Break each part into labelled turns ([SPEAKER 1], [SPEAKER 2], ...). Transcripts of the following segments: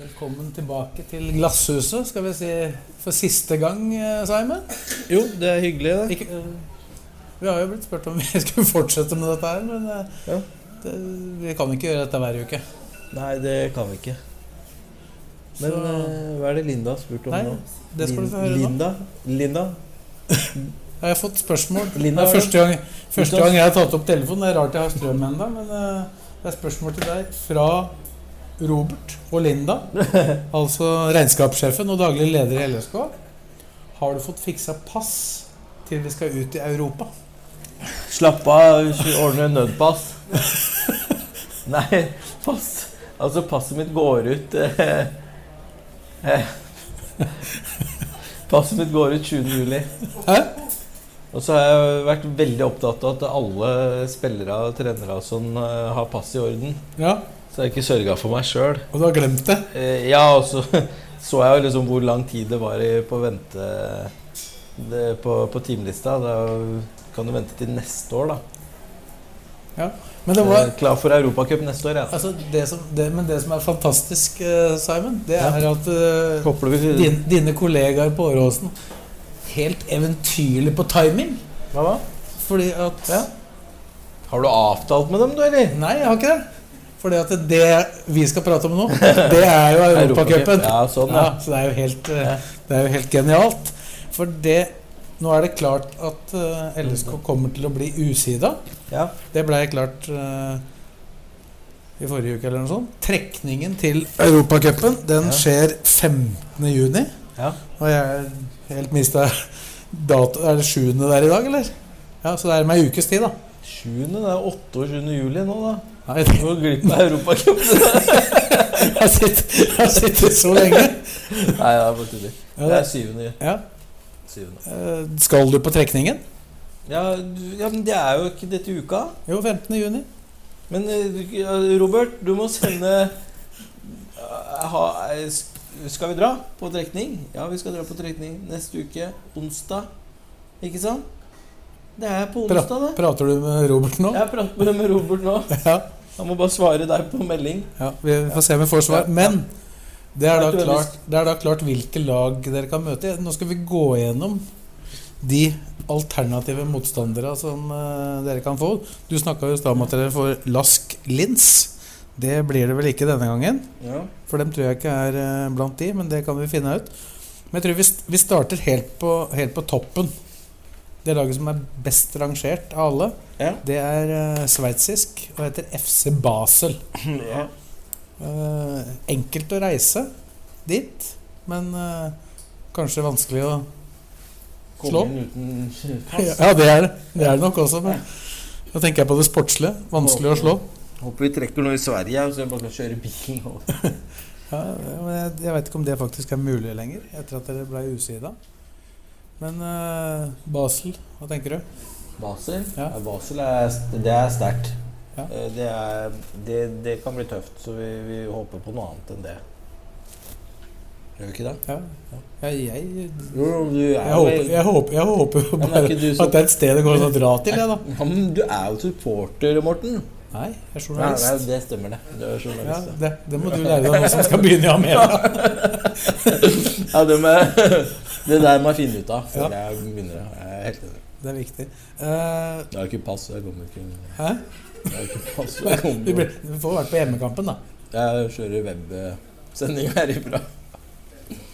[SPEAKER 1] Velkommen tilbake til Glasshuset, skal vi si for siste gang, eh, Simon.
[SPEAKER 2] Jo, det er hyggelig, det.
[SPEAKER 1] Ikke, eh, vi har jo blitt spurt om vi skulle fortsette med dette her, men eh,
[SPEAKER 2] Ja.
[SPEAKER 1] det, vi kan ikke gjøre dette hver uke.
[SPEAKER 2] Nei, det kan vi ikke. Men
[SPEAKER 1] Så-
[SPEAKER 2] eh, hva er det Linda har spurt om
[SPEAKER 1] Nei,
[SPEAKER 2] nå?
[SPEAKER 1] det skal du
[SPEAKER 2] Lin-
[SPEAKER 1] få høre nå.
[SPEAKER 2] Linda? Linda?
[SPEAKER 1] Jeg har fått spørsmål.
[SPEAKER 2] Linda,
[SPEAKER 1] det er første gang, første
[SPEAKER 2] Linda-
[SPEAKER 1] gang jeg har tatt opp telefonen. Det er rart jeg har strøm ennå, men eh, det er spørsmål til deg fra Robert og Linda. altså regnskapssjefen og daglig leder i LSK. Har du fått fiksa pass til vi skal ut i Europa?
[SPEAKER 2] Slapp av, vi ordner nødpass. Nei, pass. Altså, passet mitt går ut eh, eh. Passet mitt går ut 20. juli.
[SPEAKER 1] Hæ?
[SPEAKER 2] Og så har jeg vært veldig opptatt av at alle spillere og trenere og sånn eh, har pass i orden.
[SPEAKER 1] Ja,
[SPEAKER 2] Så jeg har ikke sørga for meg sjøl.
[SPEAKER 1] og du har glemt det?
[SPEAKER 2] Eh, Ja, og så så jeg jo liksom hvor lang tid det var i- på å vente det, på, på timelista. Da kan du vente til neste år, da.
[SPEAKER 1] Men det var,
[SPEAKER 2] Eh, Klar for Europacup neste år, ja.
[SPEAKER 1] altså, det som, det, men det som er fantastisk, eh, Simon, det
[SPEAKER 2] Ja.
[SPEAKER 1] er at eh,
[SPEAKER 2] Håper du vil
[SPEAKER 1] din, dine kollegaer på Åråsen Helt eventyrlig på timing.
[SPEAKER 2] Hva da?
[SPEAKER 1] Fordi at
[SPEAKER 2] Har du avtalt med dem, du, eller?
[SPEAKER 1] Nei, jeg har ikke det. Fordi at det vi skal prate om nå, det er jo Europacupen.
[SPEAKER 2] Ja, sånn,
[SPEAKER 1] Ja,
[SPEAKER 2] ja.
[SPEAKER 1] så det er, jo helt, eh, det er jo helt genialt. For det Nå er det klart at eh, LSK
[SPEAKER 2] Mm.
[SPEAKER 1] kommer til å bli usida.
[SPEAKER 2] ja.
[SPEAKER 1] Det blei klart eh, i forrige uke eller noe sånt. Trekningen til Europacupen den
[SPEAKER 2] Ja.
[SPEAKER 1] skjer 15. juni.
[SPEAKER 2] Ja.
[SPEAKER 1] Og jeg er helt mista dato Er det 7. der i dag, eller? Ja, Så det er om ei ukes tid, da.
[SPEAKER 2] 7. Det er 28. juli nå, da.
[SPEAKER 1] Nei,
[SPEAKER 2] Du går glipp av Europacup.
[SPEAKER 1] jeg sitter, jeg sitter så lenge.
[SPEAKER 2] Nei, det er bare tuller.
[SPEAKER 1] Ja,
[SPEAKER 2] Det er
[SPEAKER 1] det,
[SPEAKER 2] 7.
[SPEAKER 1] ja.
[SPEAKER 2] Syvende.
[SPEAKER 1] Eh, Skal du på trekningen?
[SPEAKER 2] Ja, du- ja, men det er jo ikke dette uka.
[SPEAKER 1] Jo, 15. juni.
[SPEAKER 2] Men eh, ja, Robert, du må sende eh, ha, eh, sk- Skal vi dra på trekning? Ja, vi skal dra på trekning neste uke, onsdag. Ikke sant? Det er på
[SPEAKER 1] Bra.
[SPEAKER 2] onsdag, det.
[SPEAKER 1] Prater du med Robert nå?
[SPEAKER 2] Jeg prater med Robert nå.
[SPEAKER 1] Ja.
[SPEAKER 2] Han må bare svare deg på melding.
[SPEAKER 1] Ja, vi får se om vi får svar.
[SPEAKER 2] Ja.
[SPEAKER 1] Men det er, da
[SPEAKER 2] Aktuelle
[SPEAKER 1] klart, det er da klart hvilke lag dere kan møte. Nå skal vi gå gjennom de alternative motstandere som eh, dere kan få. Du snakka jo i stad om at dere får Lask Lins. Det blir det vel ikke denne gangen.
[SPEAKER 2] Ja.
[SPEAKER 1] For dem tror jeg ikke er eh, blant de, men det kan vi finne ut. Men jeg tror vi, st- vi starter helt på, helt på toppen. Det laget som er best rangert av alle,
[SPEAKER 2] Ja.
[SPEAKER 1] det er eh, sveitsisk og heter FC Basel. Eh, enkelt å reise dit, men eh, kanskje vanskelig å Slå.
[SPEAKER 2] Kom inn uten pass.
[SPEAKER 1] Ja, det er det. Det er det nok også, men da tenker jeg på det sportslige. Vanskelig å slå.
[SPEAKER 2] Håper vi trekker noe i Sverige, så jeg bare kan kjøre bilen over.
[SPEAKER 1] Ja, men jeg, jeg vet ikke om det faktisk er mulig lenger, etter at dere ble usida. Men eh, Basel, hva tenker du?
[SPEAKER 2] Basel?
[SPEAKER 1] Ja.
[SPEAKER 2] Ja, Basel er, st- det er sterkt.
[SPEAKER 1] Ja.
[SPEAKER 2] Eh, Det, er- det, det kan bli tøft, så vi, vi håper på noe annet enn det. Gjør vi ikke det?
[SPEAKER 1] Ja. Ja, jeg, jeg,
[SPEAKER 2] Jo, jo, du er jo
[SPEAKER 1] håper, jeg, håper, jeg håper jo
[SPEAKER 2] men er
[SPEAKER 1] bare
[SPEAKER 2] ikke du som-
[SPEAKER 1] at det er et sted det går an å dra til, jeg, da.
[SPEAKER 2] ja, men du er jo supporter, Morten.
[SPEAKER 1] Nei, jeg er
[SPEAKER 2] Nei, nei,
[SPEAKER 1] journalist.
[SPEAKER 2] det stemmer, det. Du er
[SPEAKER 1] Ja,
[SPEAKER 2] journalist.
[SPEAKER 1] det, det må du lære deg nå som skal begynne i Amerika.
[SPEAKER 2] Ja, ja det, med, det der må jeg finne ut av før jeg begynner. Jeg er helt enig.
[SPEAKER 1] Det er viktig. Eh,
[SPEAKER 2] Jeg har ikke pass, så jeg kommer ikke Jeg
[SPEAKER 1] hæ?
[SPEAKER 2] har ikke pass, så jeg
[SPEAKER 1] Vi,
[SPEAKER 2] kommer
[SPEAKER 1] blir, vi får vært på hjemmekampen, da.
[SPEAKER 2] Jeg kjører websending herifra.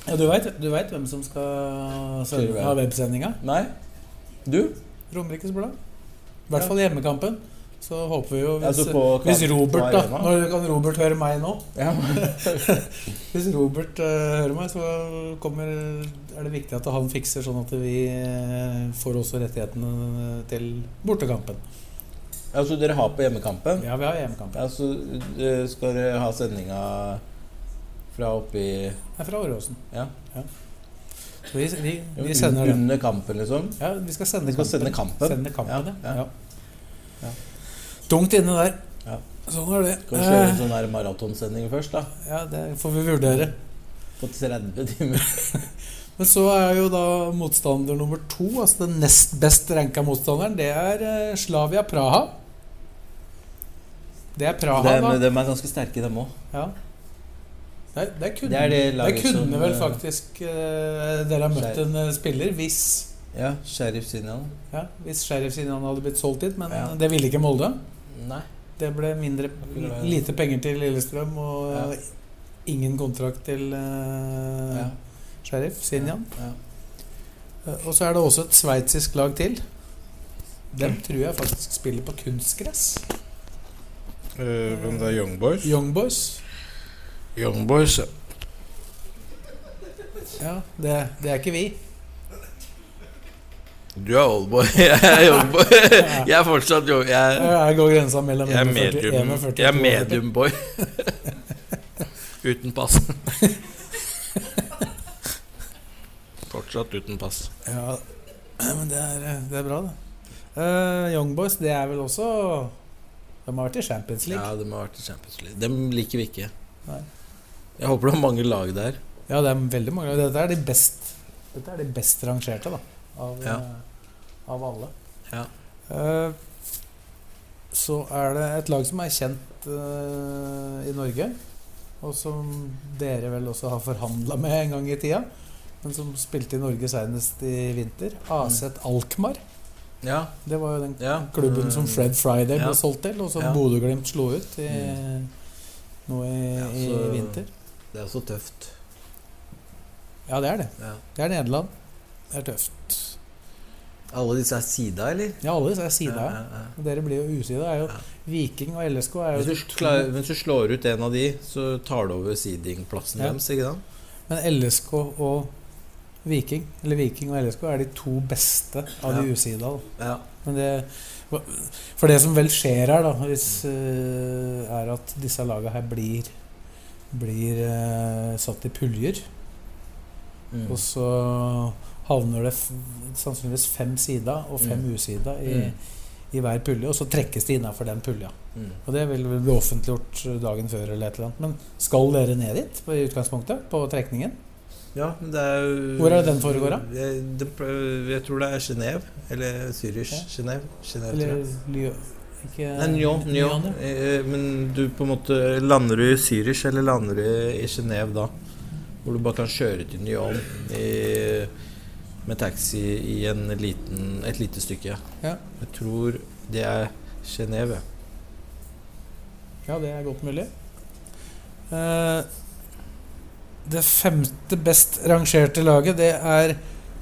[SPEAKER 1] Ja, du veit du vet hvem som skal
[SPEAKER 2] Kjøre
[SPEAKER 1] sende
[SPEAKER 2] web.
[SPEAKER 1] av websendinga?
[SPEAKER 2] Nei? Du?
[SPEAKER 1] Romerikes Blad. I hvert fall hjemmekampen. Så håper vi jo hvis,
[SPEAKER 2] Altså på kamp-
[SPEAKER 1] hvis
[SPEAKER 2] på
[SPEAKER 1] Robert da
[SPEAKER 2] arena.
[SPEAKER 1] Når kan Robert høre meg nå?
[SPEAKER 2] Ja.
[SPEAKER 1] Hvis Robert eh, hører meg, så kommer, er det viktig at han fikser sånn at vi eh, får også rettighetene til bortekampen.
[SPEAKER 2] Altså, dere har på hjemmekampen?
[SPEAKER 3] Altså,
[SPEAKER 1] Ja, vi har hjemmekamp.
[SPEAKER 2] Ja, så eh, skal dere ha sendinga
[SPEAKER 3] Fra oppi
[SPEAKER 1] Det er fra Åråsen.
[SPEAKER 3] Ja.
[SPEAKER 1] Så vi, vi, vi sender den.
[SPEAKER 3] Under kampen, liksom.
[SPEAKER 1] Ja, vi skal sende
[SPEAKER 3] Vi skal sende kampen.
[SPEAKER 1] Sende kampen,
[SPEAKER 3] Ja,
[SPEAKER 1] ja.
[SPEAKER 3] ja.
[SPEAKER 1] ja. Tungt inne der.
[SPEAKER 3] Ja.
[SPEAKER 1] Sånn er det.
[SPEAKER 3] Skal vi kjøre en
[SPEAKER 1] Eh,
[SPEAKER 3] sånn der maratonsending først, da?
[SPEAKER 1] Ja, Det får vi vurdere.
[SPEAKER 3] På 30 timer.
[SPEAKER 1] Men så er jo da motstander nummer to, altså den nest best ranka motstanderen, det er eh, Slavia Praha. Det er Praha,
[SPEAKER 3] Det er, men
[SPEAKER 1] da.
[SPEAKER 3] de er ganske sterke, dem òg.
[SPEAKER 1] Ja. Der, der kunne,
[SPEAKER 3] Det er det
[SPEAKER 1] der
[SPEAKER 3] laget
[SPEAKER 1] kunne
[SPEAKER 3] som,
[SPEAKER 1] vel
[SPEAKER 3] eh,
[SPEAKER 1] faktisk eh, dere har møtt en eh, spiller hvis,
[SPEAKER 3] Ja, Sheriff Sinan.
[SPEAKER 1] ja, hvis Sheriff Sinan hadde blitt solgt dit, men
[SPEAKER 3] Ja.
[SPEAKER 1] det ville ikke Molde.
[SPEAKER 3] Nei.
[SPEAKER 1] Det ble mindre,
[SPEAKER 3] kunne være-
[SPEAKER 1] lite penger til Lillestrøm og
[SPEAKER 3] Ja.
[SPEAKER 1] eh, ingen kontrakt til eh,
[SPEAKER 3] Ja.
[SPEAKER 1] Sheriff Sinjan.
[SPEAKER 3] Ja.
[SPEAKER 1] Eh, Og så er det også et sveitsisk lag til.
[SPEAKER 3] Mm.
[SPEAKER 1] Dem tror jeg faktisk spiller på kunstgress.
[SPEAKER 2] Eh, Hvem det er Young Boys?
[SPEAKER 1] Young Boys.
[SPEAKER 2] Young Boys, ja.
[SPEAKER 1] Ja, det, det er ikke vi.
[SPEAKER 2] Du er oldboy, jeg er youngboy. Jeg er fortsatt young. Jeg,
[SPEAKER 1] Eh, Her går grensa mellom
[SPEAKER 2] jeg er
[SPEAKER 1] 41
[SPEAKER 2] medium,
[SPEAKER 1] og 42.
[SPEAKER 2] jeg er mediumboy. Uten pass. Fortsatt uten pass.
[SPEAKER 1] Ja, men det er, eh, det er bra, det. Eh, Young Boys, det er vel også De har vært i Champions League.
[SPEAKER 2] Ja, de har vært i Champions League. Dem liker vi ikke.
[SPEAKER 1] Nei.
[SPEAKER 2] Jeg håper det er mange lag der.
[SPEAKER 1] Ja, det er veldig mange. Dette er de best, dette er de best rangerte, da. Av,
[SPEAKER 2] Ja.
[SPEAKER 1] eh, av alle.
[SPEAKER 2] Ja.
[SPEAKER 1] Eh, så er det et lag som er kjent eh, i Norge, og som dere vel også har forhandla med en gang i tida. Men som spilte i Norge senest i vinter. AZ Alkmaar.
[SPEAKER 2] Ja,
[SPEAKER 1] Det var jo den
[SPEAKER 2] Mm. ja.
[SPEAKER 1] klubben som Fred Friday
[SPEAKER 2] Ja.
[SPEAKER 1] ble solgt til, og som
[SPEAKER 2] Ja. Mm.
[SPEAKER 1] Bodø-Glimt slo ut i, nå i,
[SPEAKER 2] Ja,
[SPEAKER 1] i
[SPEAKER 2] så-
[SPEAKER 1] vinter.
[SPEAKER 2] Det er så tøft.
[SPEAKER 1] Ja, det er det.
[SPEAKER 2] Ja.
[SPEAKER 1] Det er Nederland. Det er tøft.
[SPEAKER 2] Alle disse er sida, eller?
[SPEAKER 1] Ja, alle disse er sida.
[SPEAKER 2] Ja, ja, ja.
[SPEAKER 1] Men Dere blir jo usida. Er jo Viking og LSK er jo
[SPEAKER 2] Hvis
[SPEAKER 1] de
[SPEAKER 2] du,
[SPEAKER 1] to-
[SPEAKER 2] klar, hvis du slår ut en av de, så tar du over seedingplassen
[SPEAKER 1] Ja.
[SPEAKER 2] deres, ikke sant?
[SPEAKER 1] Men LSK og Viking Eller Viking og LSK er de to beste av de
[SPEAKER 2] Ja.
[SPEAKER 1] usida. da.
[SPEAKER 2] Ja.
[SPEAKER 1] Men det, for det som vel skjer her, da, hvis,
[SPEAKER 2] Mm.
[SPEAKER 1] eh, er at disse laga her blir blir eh, satt i puljer.
[SPEAKER 2] Mm.
[SPEAKER 1] Og så havner det f sannsynligvis fem sida og fem
[SPEAKER 2] Mm.
[SPEAKER 1] usida i,
[SPEAKER 2] Mm.
[SPEAKER 1] i hver pulje. Og så trekkes de innafor den pulja.
[SPEAKER 2] Mm.
[SPEAKER 1] Og det vil vel bli offentliggjort dagen før eller et eller annet. Men skal dere ned dit på- i utgangspunktet? På trekningen?
[SPEAKER 2] Ja, men det er jo
[SPEAKER 1] Hvor er det den foregår, da?
[SPEAKER 2] Jeg, det, pl- jeg tror det er Genéve. Eller Zürich.
[SPEAKER 1] Ja.
[SPEAKER 2] Genève. Genève, tror
[SPEAKER 1] Eller
[SPEAKER 2] jeg.
[SPEAKER 1] Lyon? Ikke
[SPEAKER 2] Nei, Nyon. Nyon.
[SPEAKER 1] ja.
[SPEAKER 2] Eh, Men du på en måte Lander du i Zürich, eller lander du i Genéve da? Hvor du bare kan kjøre til Nyon i, med taxi i en liten, et lite stykke.
[SPEAKER 1] Ja.
[SPEAKER 2] Jeg tror det er Genéve.
[SPEAKER 1] ja, det er godt mulig. Eh, det femte best rangerte laget, det er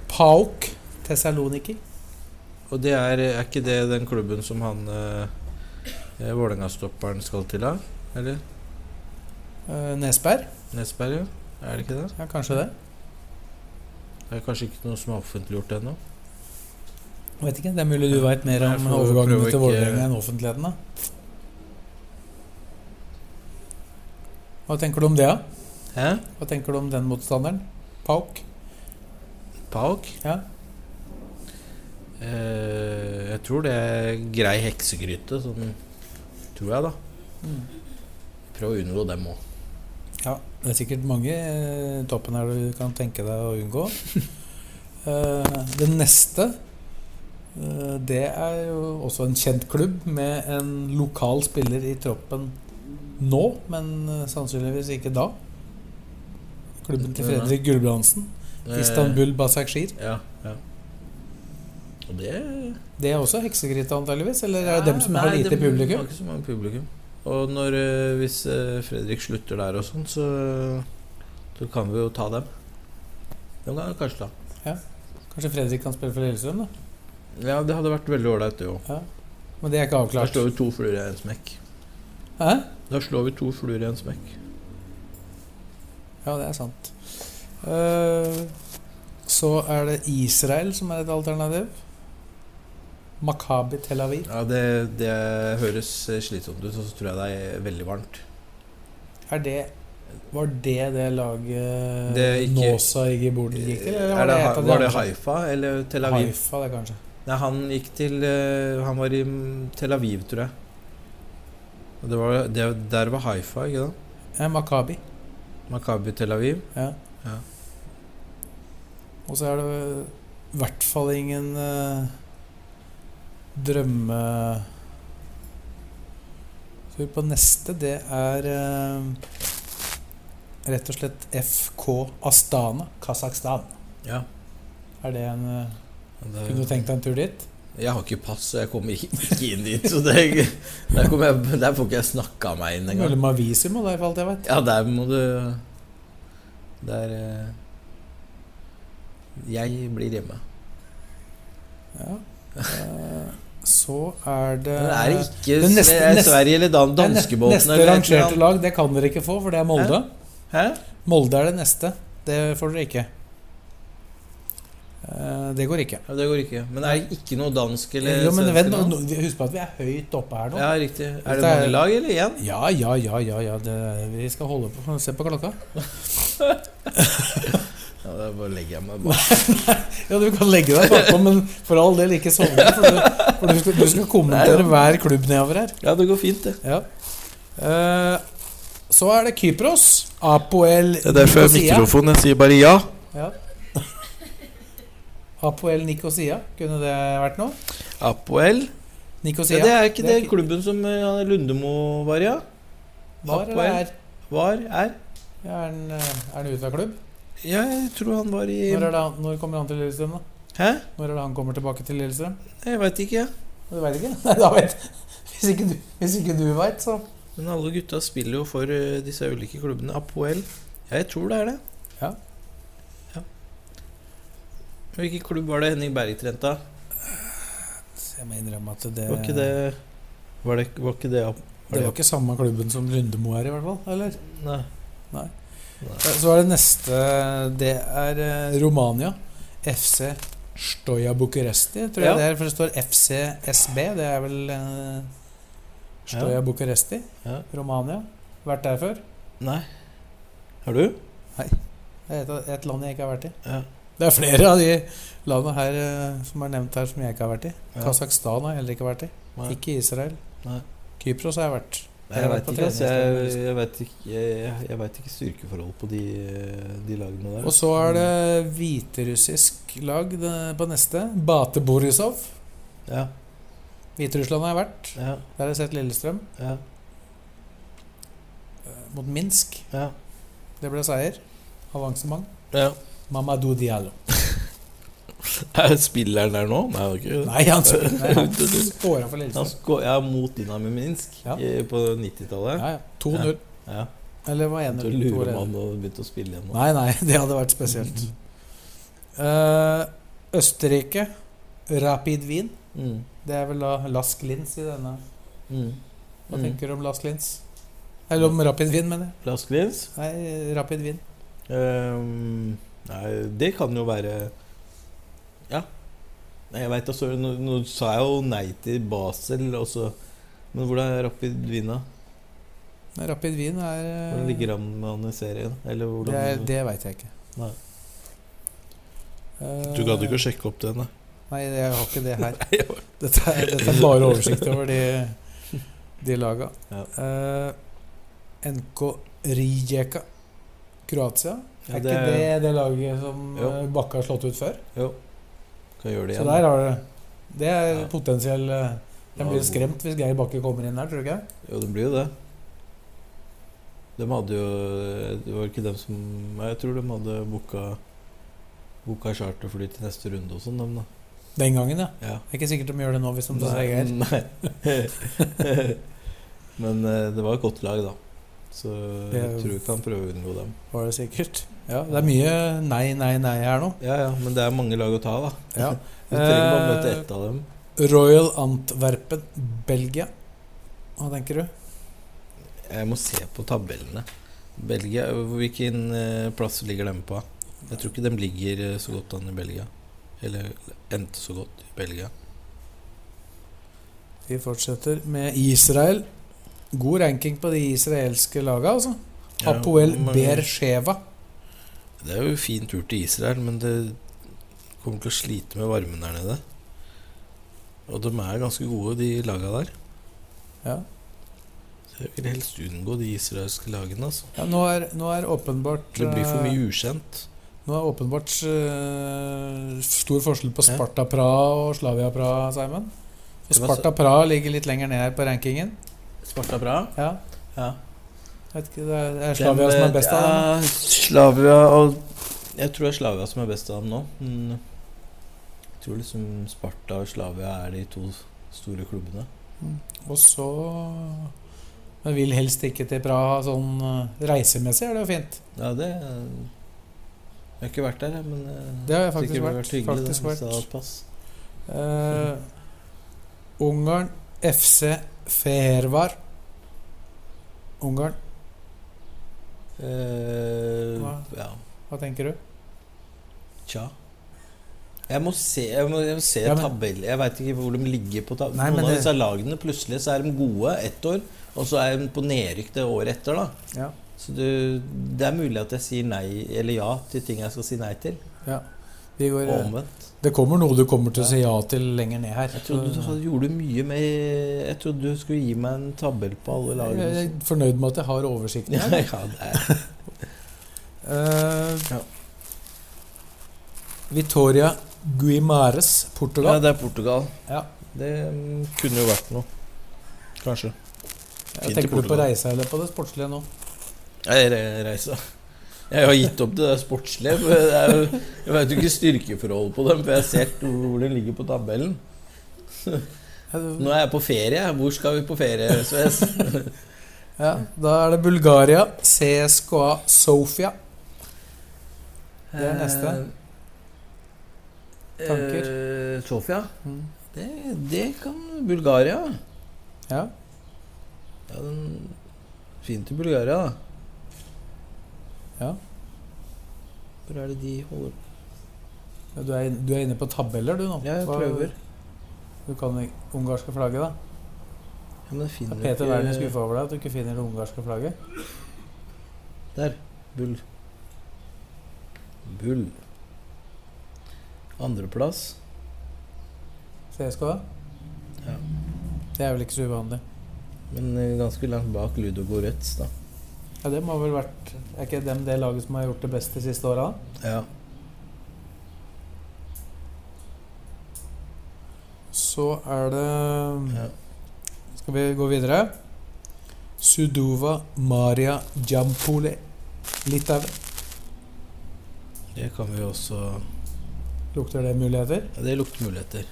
[SPEAKER 1] Pauk Tessaloniki.
[SPEAKER 2] Og det er, er ikke det den klubben som han eh, eh, Vålerenga-stopperen skal til, da? Eller?
[SPEAKER 1] Eh, Nesberg.
[SPEAKER 2] Nesberg, ja? Er det ikke det?
[SPEAKER 1] Ja, kanskje det.
[SPEAKER 2] Det er kanskje ikke noe som er offentliggjort ennå.
[SPEAKER 1] Vet ikke, Det er mulig du veit mer
[SPEAKER 2] Jeg
[SPEAKER 1] om
[SPEAKER 2] får
[SPEAKER 1] overgangene
[SPEAKER 2] prøve ikke-
[SPEAKER 1] til Vålerenga enn offentligheten, da. Hva tenker du om det, da?
[SPEAKER 2] Hæ?
[SPEAKER 1] Hva tenker du om den motstanderen? Pauk?
[SPEAKER 2] Pauk?
[SPEAKER 1] Ja.
[SPEAKER 2] Eh, jeg tror det er grei heksegryte, sånn tror jeg, da.
[SPEAKER 1] Mm.
[SPEAKER 2] Prøv å unngå dem òg.
[SPEAKER 1] Ja, det er sikkert mange eh, toppen her du kan tenke deg å unngå. Eh, det neste eh, Det er jo også en kjent klubb med en lokal spiller i troppen nå, men eh, sannsynligvis ikke da. Klubben til Fredrik Gulbrandsen.
[SPEAKER 4] Eh.
[SPEAKER 1] Istanbul Basakshir.
[SPEAKER 2] Eh, Ja, ja. Og det
[SPEAKER 1] Det er også heksegryte, antageligvis? Eller er det dem som har
[SPEAKER 2] Nei,
[SPEAKER 1] lite
[SPEAKER 2] dem
[SPEAKER 1] publikum?
[SPEAKER 2] Har ikke så mange publikum. Og når, eh, hvis eh, Fredrik slutter der og sånn, så, så kan vi jo ta dem. Dem kan vi kanskje ta.
[SPEAKER 1] Kanskje Fredrik kan spille for Lillestrøm, da?
[SPEAKER 2] Ja, det hadde vært veldig ålreit, det òg.
[SPEAKER 1] Men det er
[SPEAKER 2] Da
[SPEAKER 1] ikke avklart.
[SPEAKER 2] slår vi to fluer i en smekk.
[SPEAKER 1] Hæ?
[SPEAKER 2] Da slår vi to fluer i en smekk.
[SPEAKER 1] Ja, det er sant. Eh, så er det Israel som er et alternativ. Makabi Tel Aviv.
[SPEAKER 2] Ja, det, det høres slitsomt ut, og så tror jeg det er veldig varmt.
[SPEAKER 1] Er det Var det det laget
[SPEAKER 4] Det gikk-
[SPEAKER 1] Nåsa i Gibord gikk til? Eller
[SPEAKER 4] Er
[SPEAKER 1] var det,
[SPEAKER 4] det,
[SPEAKER 1] et av de
[SPEAKER 4] var det
[SPEAKER 1] andre?
[SPEAKER 4] Haifa eller Tel Aviv?
[SPEAKER 1] Haifa, det kanskje.
[SPEAKER 4] Nei, han gikk til eh, Han var i mm, Tel Aviv, tror jeg. Og det var, det, der var Haifa, ikke sant?
[SPEAKER 1] Ja, Makabi.
[SPEAKER 4] Makabi Tel Aviv.
[SPEAKER 1] Ja.
[SPEAKER 4] Ja.
[SPEAKER 1] Og så er det i hvert fall ingen eh, drømme... Så vi på neste, det er eh, rett og slett FK Astana, Kasakhstan.
[SPEAKER 4] Ja.
[SPEAKER 1] Er det en... eh,
[SPEAKER 4] Og det-
[SPEAKER 1] kunne du tenkt deg en tur dit?
[SPEAKER 4] Jeg har ikke pass, så jeg kommer ikke ikke inn dit. Så det, der, kommer jeg, der får ikke jeg snakka meg inn engang.
[SPEAKER 1] Mulig med visum, og det er for alt jeg vet.
[SPEAKER 4] Ja, der må du Der eh, Jeg blir hjemme.
[SPEAKER 1] Ja. Eh, Så er det
[SPEAKER 4] Men er det ikke
[SPEAKER 1] Den neste-
[SPEAKER 4] Sve- eh,
[SPEAKER 1] neste-
[SPEAKER 4] Sverige eller Dan
[SPEAKER 1] Det er ne-
[SPEAKER 4] danskebåten
[SPEAKER 1] Neste
[SPEAKER 4] eller et eller
[SPEAKER 1] rangerte
[SPEAKER 4] annet?
[SPEAKER 1] lag, det kan dere ikke få, for det er Molde.
[SPEAKER 2] Hæ?
[SPEAKER 1] Molde er det neste. Det får dere ikke. Eh, Det går ikke.
[SPEAKER 4] Ja, det går ikke. Men er det ikke noe dansk eller
[SPEAKER 1] Jo, men
[SPEAKER 2] eh,
[SPEAKER 4] svensk
[SPEAKER 1] vent,
[SPEAKER 4] eller noe?
[SPEAKER 1] nå- vi- Husk på at vi er høyt oppe her nå.
[SPEAKER 4] Ja, riktig. Er
[SPEAKER 1] Dette
[SPEAKER 4] det
[SPEAKER 1] er-
[SPEAKER 4] mange lag eller én?
[SPEAKER 1] Ja, ja, ja, ja, ja. Det, vi skal holde på Se på klokka.
[SPEAKER 4] Ja, da bare legger jeg meg bak.
[SPEAKER 1] Ja, Du kan legge deg bakpå, men for all del ikke sovne. For du, for du, skal, du skal kommentere hver klubb nedover her.
[SPEAKER 2] Ja, det går fint, det.
[SPEAKER 1] Ja. Eh, så er det Kypros. Apoel Nikosia.
[SPEAKER 2] mikrofonen. Jeg sier bare ja.
[SPEAKER 1] Ja. Apoel Nikosia, kunne det vært noe?
[SPEAKER 2] Apoel.
[SPEAKER 1] Nikosia.
[SPEAKER 2] Ja, det er ikke det
[SPEAKER 1] ikke-
[SPEAKER 2] klubben som eh, Lundemo var i, ja?
[SPEAKER 1] Var eller
[SPEAKER 2] Apoel.
[SPEAKER 1] er?
[SPEAKER 2] Var, er?
[SPEAKER 1] Ja, er den, eh, er den ute av klubb?
[SPEAKER 2] Jeg tror han var i
[SPEAKER 1] Når, er det, han- når kommer han til Lillestrøm, da?
[SPEAKER 2] Hæ?
[SPEAKER 1] Når er det han kommer tilbake til Lillestrøm?
[SPEAKER 2] Jeg veit ikke, jeg.
[SPEAKER 1] Du veit ikke? Nei, da vet Hvis ikke du, hvis ikke du veit, så
[SPEAKER 2] Men alle gutta spiller jo for eh, disse ulike klubbene. Apoel. Jeg tror det er det.
[SPEAKER 1] Ja.
[SPEAKER 2] Ja. Hvilken klubb var det Henning Berg trente? av?
[SPEAKER 1] Jeg må innrømme at det
[SPEAKER 2] Var ikke det
[SPEAKER 1] Eh.
[SPEAKER 2] Var det, var ikke det Ap-
[SPEAKER 1] Det var ikke samme klubben som Lundemo er i, hvert fall? Eller?
[SPEAKER 2] Nei.
[SPEAKER 1] Så er det neste Det er eh, Romania. FC Stoja Bucuresti, tror jeg
[SPEAKER 2] Ja.
[SPEAKER 1] det er. For det står FCSB. Det er vel eh, Stoja Bucuresti.
[SPEAKER 2] Ja.
[SPEAKER 1] Romania. Vært der før.
[SPEAKER 2] Nei. Har du?
[SPEAKER 1] Det er et, et land jeg ikke har vært i.
[SPEAKER 2] Ja.
[SPEAKER 1] Det er flere av de landene her eh, som er nevnt her, som jeg ikke har vært i.
[SPEAKER 2] Ja.
[SPEAKER 1] Kasakhstan har jeg heller ikke vært i.
[SPEAKER 2] Nei.
[SPEAKER 1] Ikke Israel.
[SPEAKER 2] Nei.
[SPEAKER 1] Kypros har jeg vært.
[SPEAKER 2] Nei, jeg
[SPEAKER 1] Jeg har vært
[SPEAKER 2] veit
[SPEAKER 1] på
[SPEAKER 2] ikke, altså, jeg,
[SPEAKER 1] treningsleir.
[SPEAKER 2] jeg, vet ikke, jeg, jeg- jeg vet ikke styrkeforholdet på de, de lagene der.
[SPEAKER 1] Og så er det hviterussisk lag det- på neste. Bate Borisov.
[SPEAKER 2] Ja,
[SPEAKER 1] Hviterussland har jeg vært.
[SPEAKER 2] ja,
[SPEAKER 1] Der har jeg sett Lillestrøm
[SPEAKER 2] ja,
[SPEAKER 1] eh, mot Minsk.
[SPEAKER 2] ja.
[SPEAKER 1] Det ble seier. Avansement.
[SPEAKER 2] ja.
[SPEAKER 1] Mamadou Diallo.
[SPEAKER 2] Er spilleren der nå? Nei, det er ikke
[SPEAKER 1] Nei, han skåra for
[SPEAKER 2] Han
[SPEAKER 1] Lillestrøm.
[SPEAKER 2] skå- ja, mot Dinamo Minsk
[SPEAKER 1] Ja.
[SPEAKER 2] eh, på 90-tallet.
[SPEAKER 1] Ja, ja. 2-0.
[SPEAKER 2] Ja.
[SPEAKER 1] Eller var
[SPEAKER 2] Så
[SPEAKER 1] 1-0.
[SPEAKER 2] lurer
[SPEAKER 1] 2-1.
[SPEAKER 2] man og begynte å spille igjen. nå.
[SPEAKER 1] Nei, nei, det hadde vært spesielt. Eh, Østerrike, Rapid Wien.
[SPEAKER 2] Mm.
[SPEAKER 1] Det er vel da Lask Linz i denne.
[SPEAKER 2] Mm.
[SPEAKER 1] Hva
[SPEAKER 2] Mm.
[SPEAKER 1] tenker du om Lask Linz? Eller om Rapid Wien, mener jeg.
[SPEAKER 2] Plasklins?
[SPEAKER 1] Nei, Rapid Wien.
[SPEAKER 2] Ehm, nei, det kan jo være Ja. Nei, jeg veit da søren. Nå, nå sa jeg jo nei til Basel også. Men hvordan er Rapid Wien, da?
[SPEAKER 1] Nei, Rapid Wien er eh,
[SPEAKER 2] Hvordan ligger han med han i serien? Eller hvordan
[SPEAKER 1] Det, er- det veit jeg ikke.
[SPEAKER 2] Nei.
[SPEAKER 1] Eh,
[SPEAKER 2] sjekke opp den, da?
[SPEAKER 1] Nei, jeg har ikke det her. Dette er, dette er bare oversikt over de, de laga.
[SPEAKER 2] Ja.
[SPEAKER 1] Eh, NK Rijeka, Kroatia.
[SPEAKER 2] Ja,
[SPEAKER 1] er
[SPEAKER 2] det
[SPEAKER 1] ikke
[SPEAKER 2] er-
[SPEAKER 1] det det laget som
[SPEAKER 2] Jo.
[SPEAKER 1] eh, Bakke har slått ut før?
[SPEAKER 2] Jo. Kan gjøre det
[SPEAKER 1] Så
[SPEAKER 2] igjen.
[SPEAKER 1] der har du Det er
[SPEAKER 2] Ja.
[SPEAKER 1] potensiell eh,
[SPEAKER 2] Ja,
[SPEAKER 1] Den blir
[SPEAKER 2] god.
[SPEAKER 1] skremt hvis Geir Bakke kommer inn der, tror du ikke?
[SPEAKER 2] Jo, det blir jo det. De hadde jo Det var ikke dem som Nei, Jeg tror de hadde booka Booka charterfly til neste runde og sånn, dem, da.
[SPEAKER 1] Den gangen, ja.
[SPEAKER 2] Ja.
[SPEAKER 1] Det er ikke sikkert de gjør det nå hvis de tar seg Geir.
[SPEAKER 2] nei. Men eh, det var et godt lag, da. Så jeg
[SPEAKER 1] Det-
[SPEAKER 2] tror ikke han prøver å unngå dem.
[SPEAKER 1] Var det sikkert. Ja, det er mye nei, nei, nei her nå.
[SPEAKER 2] Ja ja, men det er mange lag å ta, da.
[SPEAKER 1] Ja.
[SPEAKER 2] Du trenger bare å
[SPEAKER 1] Eh,
[SPEAKER 2] møte ett av dem.
[SPEAKER 1] Royal Antwerpen, Belgia. Hva tenker du?
[SPEAKER 2] Jeg må se på tabellene. Belgia, Hvilken eh, plass ligger dem på? Jeg tror ikke de ligger eh, så godt an i Belgia. Eller endte så godt i Belgia.
[SPEAKER 1] Vi fortsetter med Israel. God ranking på de israelske laga, altså. Apoel
[SPEAKER 5] men-
[SPEAKER 1] Bersheva.
[SPEAKER 5] Det er jo fin tur til Israel, men det kommer til å slite med varmen der nede. Og de er ganske gode, de laga der.
[SPEAKER 1] Ja.
[SPEAKER 5] Så jeg vil helst unngå de israelske lagene. Altså.
[SPEAKER 1] Ja, nå, er, nå er åpenbart
[SPEAKER 5] Det blir for
[SPEAKER 1] eh,
[SPEAKER 5] mye ukjent.
[SPEAKER 1] Nå er åpenbart eh, stor forskjell på
[SPEAKER 5] Ja.
[SPEAKER 1] Sparta Praha og Slavia Praha, Simon. Og
[SPEAKER 5] Det var
[SPEAKER 1] Sparta Praha ligger litt lenger ned her på rankingen.
[SPEAKER 2] Sparta bra.
[SPEAKER 1] Ja.
[SPEAKER 2] Ja.
[SPEAKER 1] Vet ikke, det er- det er Slavia som
[SPEAKER 5] eh,
[SPEAKER 1] er best av dem.
[SPEAKER 2] eh, Ja, Slavia og Jeg tror det er Slavia som er best av dem nå. Men jeg tror liksom Sparta og Slavia er de to store klubbene.
[SPEAKER 1] Og så Men vil helst ikke til Praha sånn eh, reisemessig, er det jo fint.
[SPEAKER 2] Ja, det eh, Jeg har ikke vært der, jeg, men eh,
[SPEAKER 1] Det har jeg
[SPEAKER 2] sikkert
[SPEAKER 1] faktisk
[SPEAKER 2] ville
[SPEAKER 1] vært.
[SPEAKER 2] vært hyggelig
[SPEAKER 1] Faktisk
[SPEAKER 2] da, hvis
[SPEAKER 1] vært.
[SPEAKER 2] det hadde hatt pass.
[SPEAKER 1] Eh, Ungarn FC Fehervar. Ungarn,
[SPEAKER 2] Eh,
[SPEAKER 1] Hva?
[SPEAKER 2] ja.
[SPEAKER 1] hva tenker du?
[SPEAKER 2] Tja. Jeg må se, jeg må, jeg må se
[SPEAKER 1] Ja, men-
[SPEAKER 2] tabell. Jeg veit ikke hvor de ligger på tabellen.
[SPEAKER 1] Nei, men
[SPEAKER 2] Noen av
[SPEAKER 1] det-
[SPEAKER 2] disse lagene plutselig så er de gode ett år, og så er de på nedrykk det året etter. da
[SPEAKER 1] Ja.
[SPEAKER 2] Så du, det er mulig at jeg sier nei eller ja til ting jeg skal si nei til.
[SPEAKER 1] ja. Vi går, eh,
[SPEAKER 2] Og omvendt.
[SPEAKER 1] det kommer noe du kommer til å si ja til lenger ned her.
[SPEAKER 2] Jeg trodde du hadde- gjorde mye med Jeg trodde du skulle gi meg en tabell på alle
[SPEAKER 1] Jeg
[SPEAKER 2] lagene.
[SPEAKER 1] er
[SPEAKER 2] som-
[SPEAKER 1] fornøyd med at jeg har oversikten
[SPEAKER 2] Ja,
[SPEAKER 1] her.
[SPEAKER 2] ja, det er
[SPEAKER 1] Eh, Vitoria Guimares,
[SPEAKER 2] ja,
[SPEAKER 1] Portugal.
[SPEAKER 2] det er Portugal.
[SPEAKER 1] Ja.
[SPEAKER 2] Det mm, kunne jo vært noe. Kanskje. fint i
[SPEAKER 1] tenker du på
[SPEAKER 2] Portugal.
[SPEAKER 1] reise eller på det sportslige nå?
[SPEAKER 2] Jeg re- reiser. Jeg har gitt opp det der sportslige. for det er jo- Jeg vet jo ikke styrkeforholdet på dem, for jeg har sett hvor den ligger på tabellen. Nå er jeg på ferie. Hvor skal vi på ferie? Så jeg, s-
[SPEAKER 1] Ja, da er det Bulgaria, CSKA Sofia. Det er neste.
[SPEAKER 2] Eh,
[SPEAKER 1] Tanker?
[SPEAKER 2] eh, Sofia?
[SPEAKER 1] Mm.
[SPEAKER 2] Det, det kan Bulgaria.
[SPEAKER 1] Ja.
[SPEAKER 2] Ja, den, fint i Bulgaria, da.
[SPEAKER 1] Ja.
[SPEAKER 2] Hvor er det de holder
[SPEAKER 1] Ja, Du er, du er inne på tabeller, du nå?
[SPEAKER 2] Ja, jeg
[SPEAKER 1] Hva-
[SPEAKER 2] prøver.
[SPEAKER 1] Du kan det ungarske flagget, da?
[SPEAKER 2] Ja, men jeg finner
[SPEAKER 1] Er Peter
[SPEAKER 2] ikke-
[SPEAKER 1] Werner skuffa over deg at du ikke finner det ungarske flagget?
[SPEAKER 2] Der. Bull. Bull. Andreplass.
[SPEAKER 1] CSKA?
[SPEAKER 2] Ja.
[SPEAKER 1] Det er vel ikke så uvanlig.
[SPEAKER 2] Men eh, ganske langt bak Ludo Goretz, da.
[SPEAKER 1] Ja, det må vel vært Er ikke dem det laget som har gjort det best de siste åra?
[SPEAKER 2] Ja.
[SPEAKER 1] Så er det Skal vi gå videre? Sudova Maria Jampole. Litauen.
[SPEAKER 2] Det kan vi også
[SPEAKER 1] Lukter det muligheter?
[SPEAKER 2] ja, Det lukter muligheter.